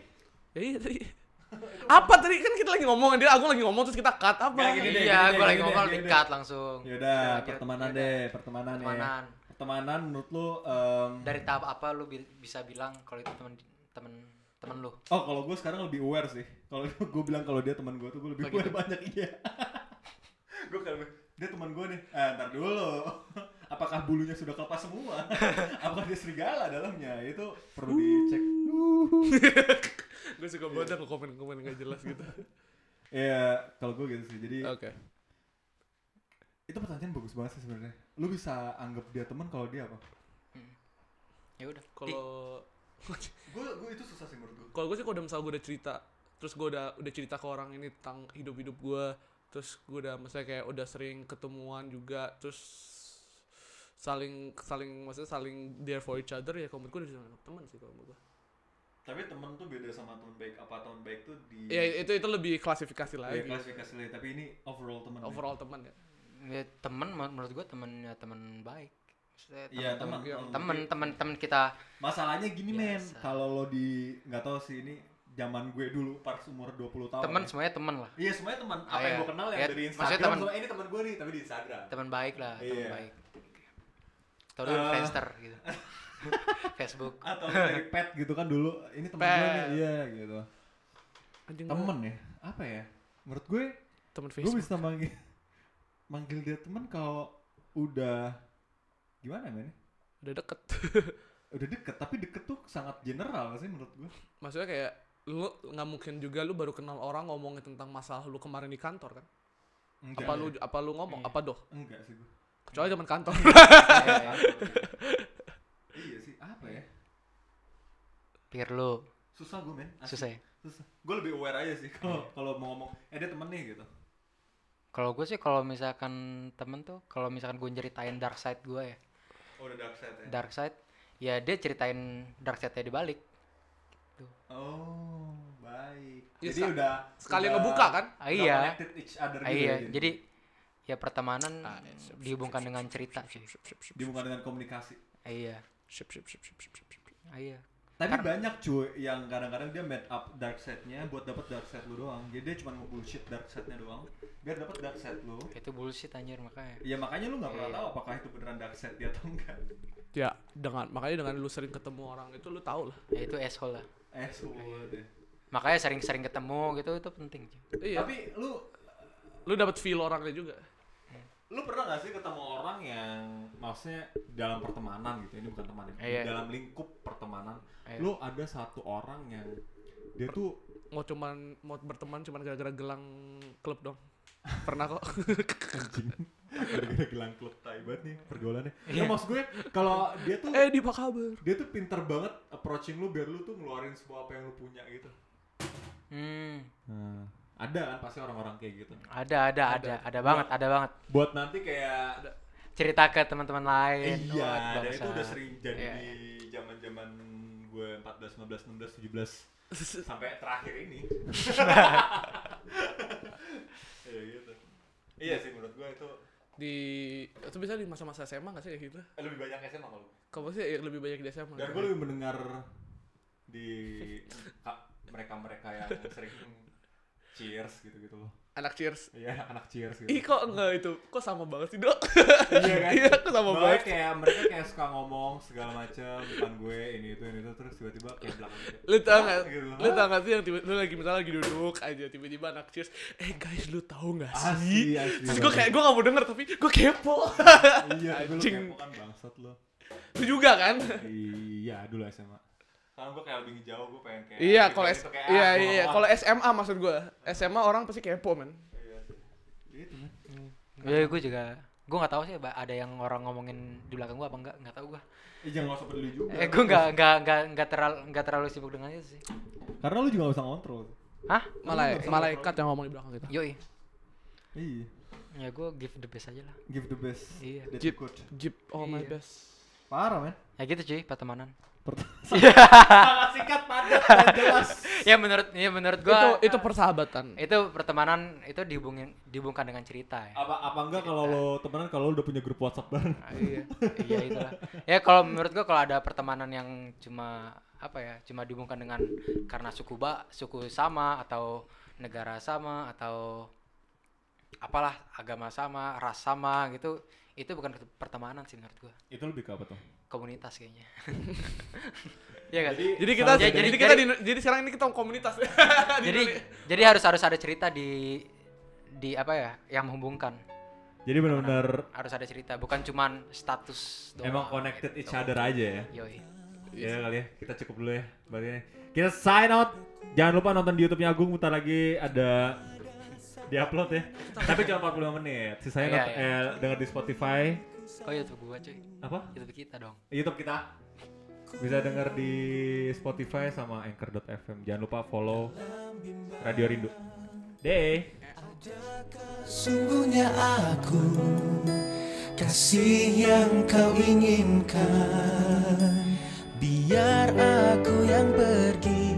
E: Ya iya tadi. Apa tadi kan kita lagi ngomong dia aku lagi ngomong terus kita cut apa?
D: Nggak, gini deh, gini
F: Iya,
D: deh,
F: gue lagi
D: gini deh,
F: ngomong
D: gini deh.
F: dikat langsung. Iya,
D: Yaudah,
F: lanjut,
D: pertemanan
F: yaudah.
D: deh, pertemanan,
F: Pertemanan.
D: ya. Pertemanan menurut lu em,
F: Dari tahap apa lu bi- bisa bilang kalau itu temen temen temen lu?
D: Oh, kalau gue sekarang lebih aware sih. Kalau gue bilang kalau dia teman gue tuh gue lebih
F: Oh, gitu.
D: aware banyak iya. gue kalau dia teman gue nih. Eh, ntar dulu. Apakah bulunya sudah kelepas semua? Apakah dia serigala dalamnya? Itu perlu dicek.
E: Gue suka banget aku komen-komen gak jelas gitu.
F: Uh.
D: Iya, kalau gue gitu sih. Jadi
E: Oke.
D: itu pertanyaan bagus banget sih sebenarnya. Lu bisa anggap dia teman kalau dia apa?
F: Hmm. Ya udah.
E: Kalau
D: Gue gue itu susah sih menurut gue.
E: kalau gue sih kalau udah misalnya gue udah cerita terus gue udah udah cerita ke orang ini tentang hidup-hidup gue terus gue udah misalnya kayak udah sering ketemuan juga terus saling saling maksudnya saling there for each other ya kalau menurut gue udah bisa nganggap teman sih kalau menurut gue.
D: Tapi teman tuh beda sama teman baik apa teman baik tuh di
E: Ya itu itu lebih klasifikasi
D: Iya,
E: lagi.
D: klasifikasi lain. Tapi ini overall teman. ya.
E: Overall teman ya.
F: Ya, temen men- menurut gue temennya temen baik. Maksudnya
D: Iya, teman.
F: temen temen temen temen kita.
D: Masalahnya gini men,
F: Biasa.
D: kalau lo di nggak tahu sih ini zaman gue dulu pas umur 20 tahun.
F: Temen
D: ya.
F: semuanya temen lah.
D: Iya, semuanya teman. Apa
F: Iya.
D: yang gue kenal yang
F: Iya,
D: dari
F: maksudnya
D: Instagram.
F: teman-
D: semua, "Eh, ini teman gue nih, tapi di Instagram.
F: Temen baik lah, temen
D: Iya.
F: baik. Tahu dulu
D: Eh.
F: Friendster gitu. Facebook.
D: Atau dari pet gitu kan dulu, ini teman gue nih,
E: Pet.
D: iya gitu.
E: Anjing gua-
D: Temen ya, apa ya? Menurut gue,
E: teman
D: gue
E: Facebook.
D: bisa manggil manggil dia teman kalau udah gimana men?
E: Udah deket.
D: Udah deket, tapi deket tuh sangat general sih menurut gue.
E: maksudnya kayak lu nggak mungkin juga lu baru kenal orang ngomongin tentang masalah lu kemarin di kantor kan?
D: Enggak.
E: apa lu apa lu ngomong? Apa doh?
D: Enggak sih gua.
E: Kecuali zaman kantor.
D: Iya sih, apa ya?
F: Pikir lu
D: Susah gue men. asli.
F: susah ya.
D: Susah. Gue lebih aware aja sih kalau
E: Iya.
D: kalau mau ngomong, eh dia temen nih gitu.
F: Kalau gue sih kalau misalkan temen tuh, kalau misalkan gue ceritain dark side gue ya,
D: Oh, udah dark side ya.
F: dark side, ya dia ceritain dark side-nya dibalik.
D: Oh, baik.
E: Ya,
D: Jadi
E: sa-
D: udah
E: Sekali
D: udah-
E: ngebuka kan?
F: Ah, iya.
D: udah Connected each other
F: Ah,
D: gitu
F: iya,
D: ya,
F: jadi ya pertemanan
E: Ah, iya, siap, siap,
F: dihubungkan
E: siap,
F: dengan
E: siap,
F: cerita sih.
D: dihubungkan dengan komunikasi.
F: Ah, Iya,
E: Sip, sip, sip, sip, sip, sip, sip.
F: ah, iya.
D: Tapi
F: Karena-
D: banyak cuy yang kadang-kadang dia made up dark side-nya buat dapat dark side lu doang. Jadi dia cuma nge-bullshit dark side-nya doang biar dapat dark side lu.
F: Itu bullshit anjir makanya.
D: Ya makanya lu nggak pernah
F: Iya.
D: tahu apakah itu beneran dark side dia atau enggak.
E: Ya, dengan makanya dengan lu sering ketemu orang itu lu tau lah.
F: Ya itu asshole lah.
D: Eh, sudah deh.
F: Iya. Makanya sering-sering ketemu gitu itu penting. cuy.
E: Iya.
D: Tapi lu
E: lu dapat feel orangnya juga.
D: lu pernah gak sih ketemu orang yang maksudnya dalam pertemanan gitu ini bukan teman ya
F: Iya.
D: dalam lingkup pertemanan
F: Iya.
D: lu ada satu orang yang dia tuh
E: Mau cuman mau berteman cuman gara-gara gelang klub dong. Pernah kok.
D: anjing gara-gara gelang klub tai banget nih pergaulannya
F: Iya.
D: ya maksud gue kalau dia tuh
E: eh, di apa kabar?
D: dia tuh pinter banget approaching lu biar lu tuh ngeluarin semua apa yang lu punya gitu
F: Hmm,
D: ada kan pasti orang-orang kayak gitu
F: ada ada ada ada, banget, ada banget.
D: buat nanti kayak
F: Cerita ke teman-teman lain.
D: iya
F: Wah,
D: dan itu
F: bangsat.
D: udah sering jadi
F: Iya,
D: di zaman-zaman gue 14 15 16 17 sampai terakhir ini Iya gitu. Iya sih menurut gue itu
E: Di itu bisa di masa-masa SMA gak sih ya gitu?
D: eh, lebih banyak SMA kalau gue.
E: Kamu sih yang lebih banyak di SMA.
D: Dan gue lebih mendengar di ka- mereka-mereka yang sering cheers gitu-gitu loh.
E: Anak cheers.
D: Iya, anak cheers gitu.
E: Ih kok enggak itu? Kok sama banget sih, Dok?
D: Iya kan?
E: Iya, aku sama
D: Bahwa
E: banget.
D: kayak mereka kayak suka ngomong segala macam depan gue ini itu ini itu terus tiba-tiba kayak belakang gue.
E: lu tau gak,
D: Gitu.
E: lu tau gak sih yang tiba, lu lagi misalnya lagi duduk aja tiba-tiba anak cheers eh guys lu tau gak
D: Asli,
E: sih
D: asli
E: terus gue
D: banget.
E: kayak gue gak mau denger tapi gue kepo
D: Iya, tapi lu
E: Anjing.
D: kepo kan bangsat lo.
E: itu juga kan
D: Iya, dulu SMA. Sekarang gue kayak lebih ngejauh, gue pengen kayak
E: iya
D: gitu,
E: kalau
D: gitu,
E: S-
D: kayak,
E: iya
D: ah, gua
E: iya
D: ngomong.
E: kalau SMA maksud gue SMA orang pasti kepo men
D: Iya sih. Gitu kan.
F: Ya gue juga gue nggak tahu sih ba- ada yang orang ngomongin di belakang gue apa enggak nggak tahu gue
D: Eh, jangan nggak usah peduli juga.
F: eh gue nggak nggak nggak nggak terlalu nggak terlalu sibuk dengan itu sih
D: Karena lu juga nggak usah ngontrol.
F: hah
E: malaikat malaikat ya? yang ngomong di belakang kita
F: yoi
D: Iya.
F: ya gue give the best aja lah
D: Give the best.
F: Iya.
D: That
E: Jip.
D: you could.
E: jeep oh my
F: Iya.
E: best
D: Parah men.
F: ya gitu cuy pertemanan
D: Sangat singkat padat dan jelas.
F: ya menurut ya menurut
E: itu
F: gue itu,
E: itu persahabatan
F: pertemanan itu dihubungin dihubungkan dengan cerita ya
D: Apa apa enggak kalau lo temenan kalau lo udah punya grup WhatsApp bareng?
F: Ah, iya iya itulah ya kalau menurut gue kalau ada pertemanan yang cuma apa ya cuma dihubungkan dengan karena suku ba suku sama atau negara sama atau apalah agama sama ras sama gitu itu bukan pertemanan sih menurut gue
D: Itu lebih ke apa tuh?
F: komunitas kayaknya Iya kan?
E: jadi kita
F: Jadi-
E: jadi,
F: jadi-
E: kita
F: jadi-
E: di- jadi sekarang ini kita komunitas
F: jadi jadi harus harus ada cerita di di apa ya yang menghubungkan Nah,
D: Jadi benar-benar
F: harus ada cerita bukan cuman status doang
D: emang connected each
F: gitu.
D: other aja ya.
F: Yoi.
D: Ya kali ya, kita cukup dulu ya. Berarti kita sign out. Jangan lupa nonton di YouTube-nya Agung, bentar lagi ada diupload ya. Tapi cuma 45 menit. Sisanya
F: Iya,
D: nonton,
F: iya.
D: eh, denger di Spotify.
F: oh YouTube gua cuy
D: Apa?
F: YouTube kita dong
D: YouTube kita. Bisa denger di Spotify sama anchor.fm. Jangan lupa follow Radio Rindu. Deh.
K: Sungguhnya aku kasih yang kau inginkan Biar aku yang pergi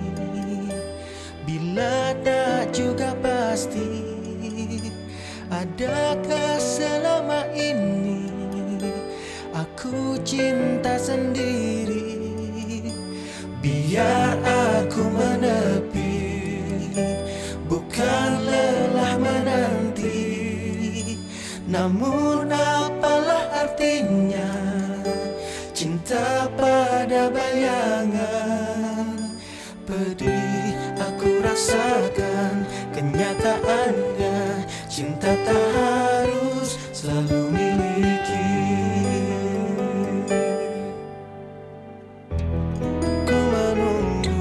K: Bila tak juga pasti Adakah selama ini Aku cinta sendiri Biar aku menepi Bukan lelah menanti Namun apalah artinya Cinta pada bayangan Pedih aku rasakan Kenyataannya Cinta tak harus selalu miliki Ku menunggu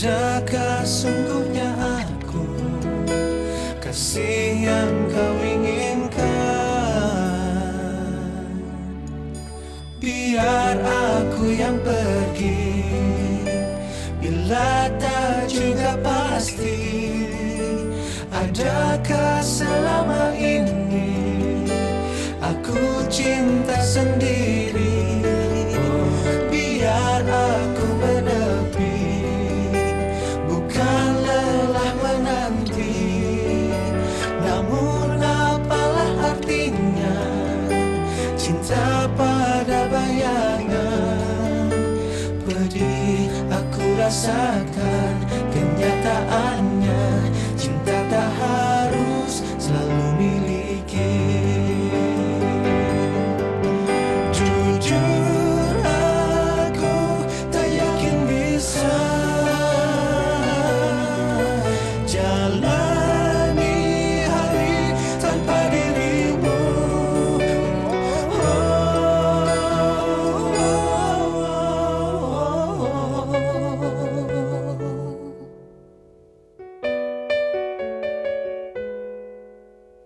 K: Sudahkah sungguhnya aku Kasih yang kau inginkan Biar aku yang pergi Bila tak juga pasti Adakah selama ini Aku cinta sendiri Biar aku menepi Bukan lelah menanti Namun apalah artinya Cinta pada bayangan Pedih aku rasakan kenyataannya Cinta tak harus selalu miliki Jujur aku tak yakin bisa Jalani hari tanpa dirimu Oh, oh, oh, oh.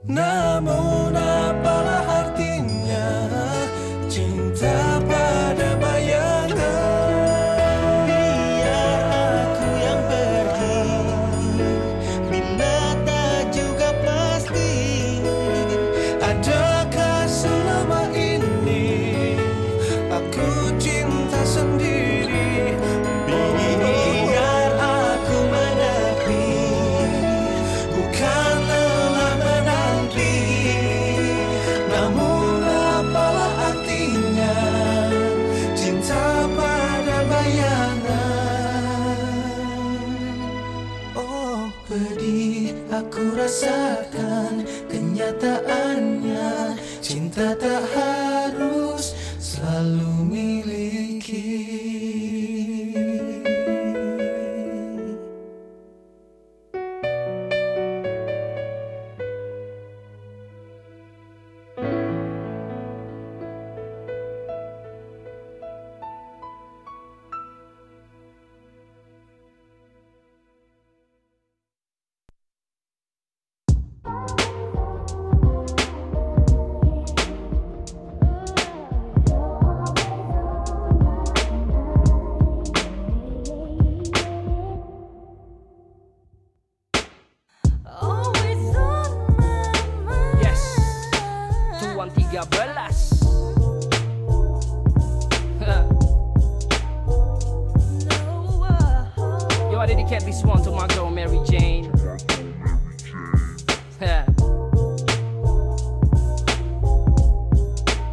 K: Namun apalah artinya cinta pada bayangan Biar Iya, aku yang pergi Bila tak juga pasti Adakah selama ini Aku cinta sendiri Biar aku menepi Bukan lelah menanti Namun apalah artinya Cinta pada bayangan Oh pedih aku rasakan Kenyataannya Cinta tak harus selalu miliki
N: Yes. Tuan 13 Ha. Yo, I dedicate this one to my girl Mary Jane. Ha.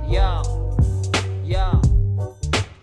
N: Yo, yo.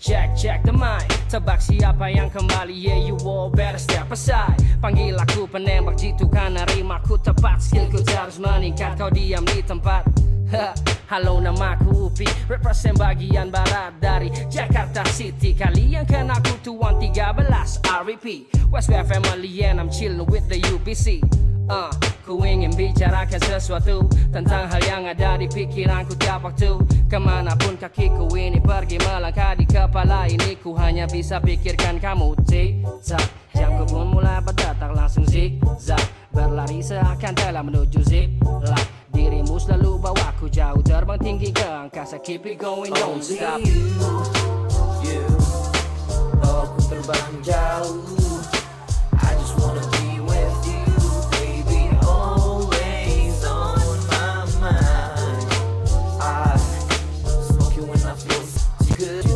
N: Check, check the mic Tebak siapa yang kembali Yeah, you all better step aside Panggil aku penembak jitu Karena rimaku tepat Skillku terus meningkat Kau diam di tempat Ha, Halo namaku Upi Represent bagian barat dari Jakarta City Kalian kenal aku Tuan 13 RIP West Bay Family and I'm chillin' with the UPC Uh, ku ingin bicarakan sesuatu Tentang hal yang ada di pikiranku tiap waktu Kemanapun kakiku ini pergi melangkah Di kepala ini ku hanya bisa pikirkan kamu Zigzag Jamku pun mulai berdetak langsung zigzag Berlari seakan telah menuju zigzag Dirimu selalu bawaku jauh terbang tinggi ke angkasa Keep it going, don't stop
K: Aku terbang jauh I just wanna be with you Baby always on my mind I smoke you when I feel too good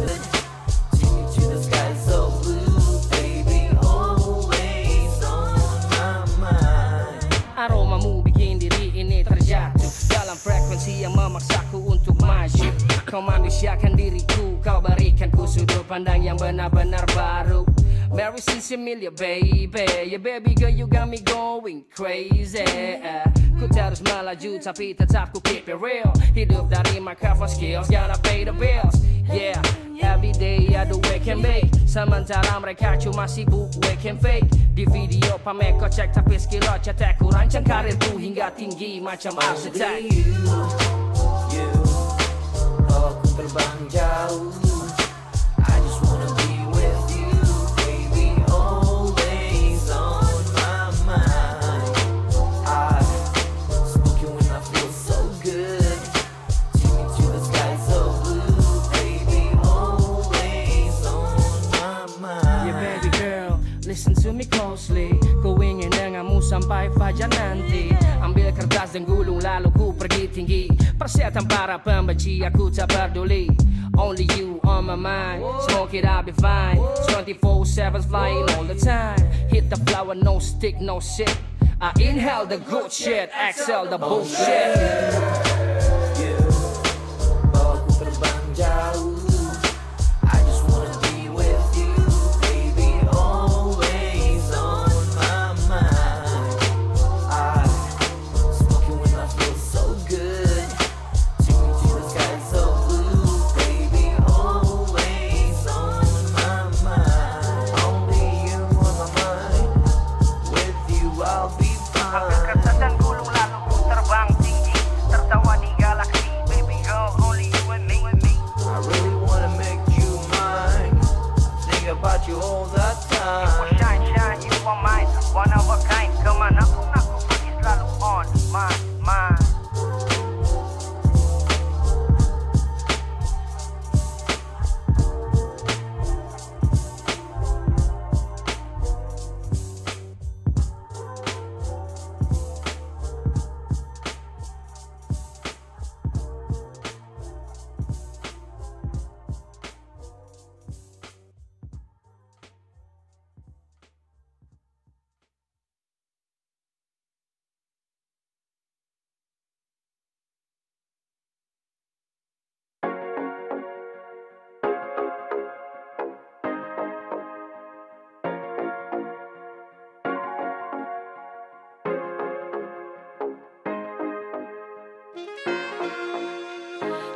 K: Take me to the sky so blue Baby always on my mind
N: Aromamu bikin diri ini terjatuh Dalam frekuensi yang memaksaku untuk maju Kau manusiakan diriku Kau berikan ku sudut pandang yang benar-benar baru Mary Cecilia baby Yeah baby girl you got me going crazy Eh, Ku terus melaju tapi tetap ku keep it real Hidup dari microphone skills Gotta pay the bills Yeah Every day I do wake and bake Sementara mereka cuma sibuk wake and fake Di video pamer kocek tapi skill lo cetek Ku rancang karirku hingga tinggi macam arsitek
K: Aku terbang jauh I just wanna be with you Baby always Ah,
N: Listen to me closely Ku ingin denganmu sampai fajar nanti Ambil kertas dan gulung lalu ku pergi tinggi Persetan para pembenci aku tak peduli Only you on my mind Smoke it I'll be fine 24-7 flying all the time Hit the flower no stick no shit I inhale the good shit Exhale the bullshit
A: Bawaku terbang jauh I just wanna be with you Baby always on my mind I smoke you when I feel so good Chewing to the sky so blue Baby always on my mind Only you on my mind With you I'll be fine
N: dan gulung lalu ku terbang tinggi Tertawa di galaksi Baby girl only you and me
A: I really wanna make you mine. Think about you all the time.
N: Shine shine you are mine One of a kind Kemana pun aku pergi selalu on my mind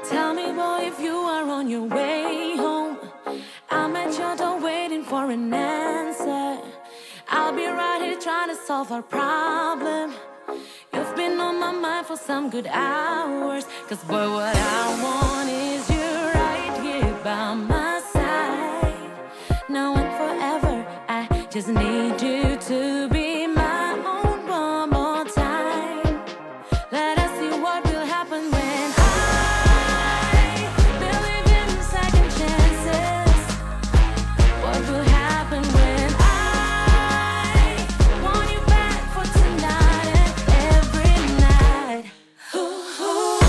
O: Tell me, boy, if you are on your way home. I'm at your door waiting for an answer. I'll be right here trying to solve our problem. You've been on my mind for some good hours. Cause, boy, what I want is you right here by my side. Now and forever, I just need you to be my own one more time. Let us see what will happen when I believe in second chances. What will happen when I want you back for tonight and every night? Ooh, ooh.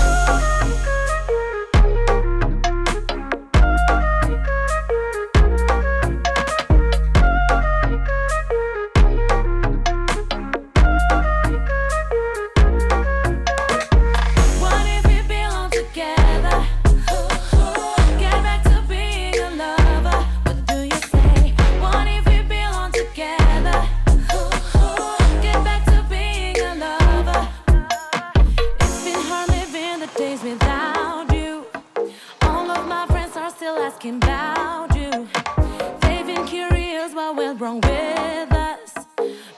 O: What if we belong together? Get back to being a lover. What do you say? What if we belong together? Get back to being a lover. It's been hard living the days without you. All of my friends are still asking about you. They've been curious what went wrong with us.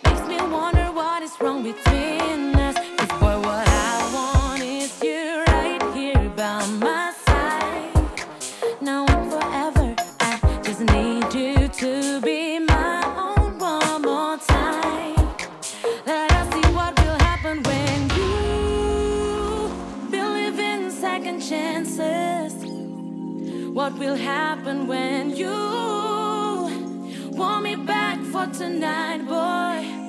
O: Makes me wonder what is wrong between us. 'Cause boy, what I want is you right here by my side. Now and forever, I just need you to be my own one more time. Let us see what will happen when you believe in second chances. What will happen when you want me back for tonight, boy? Oh,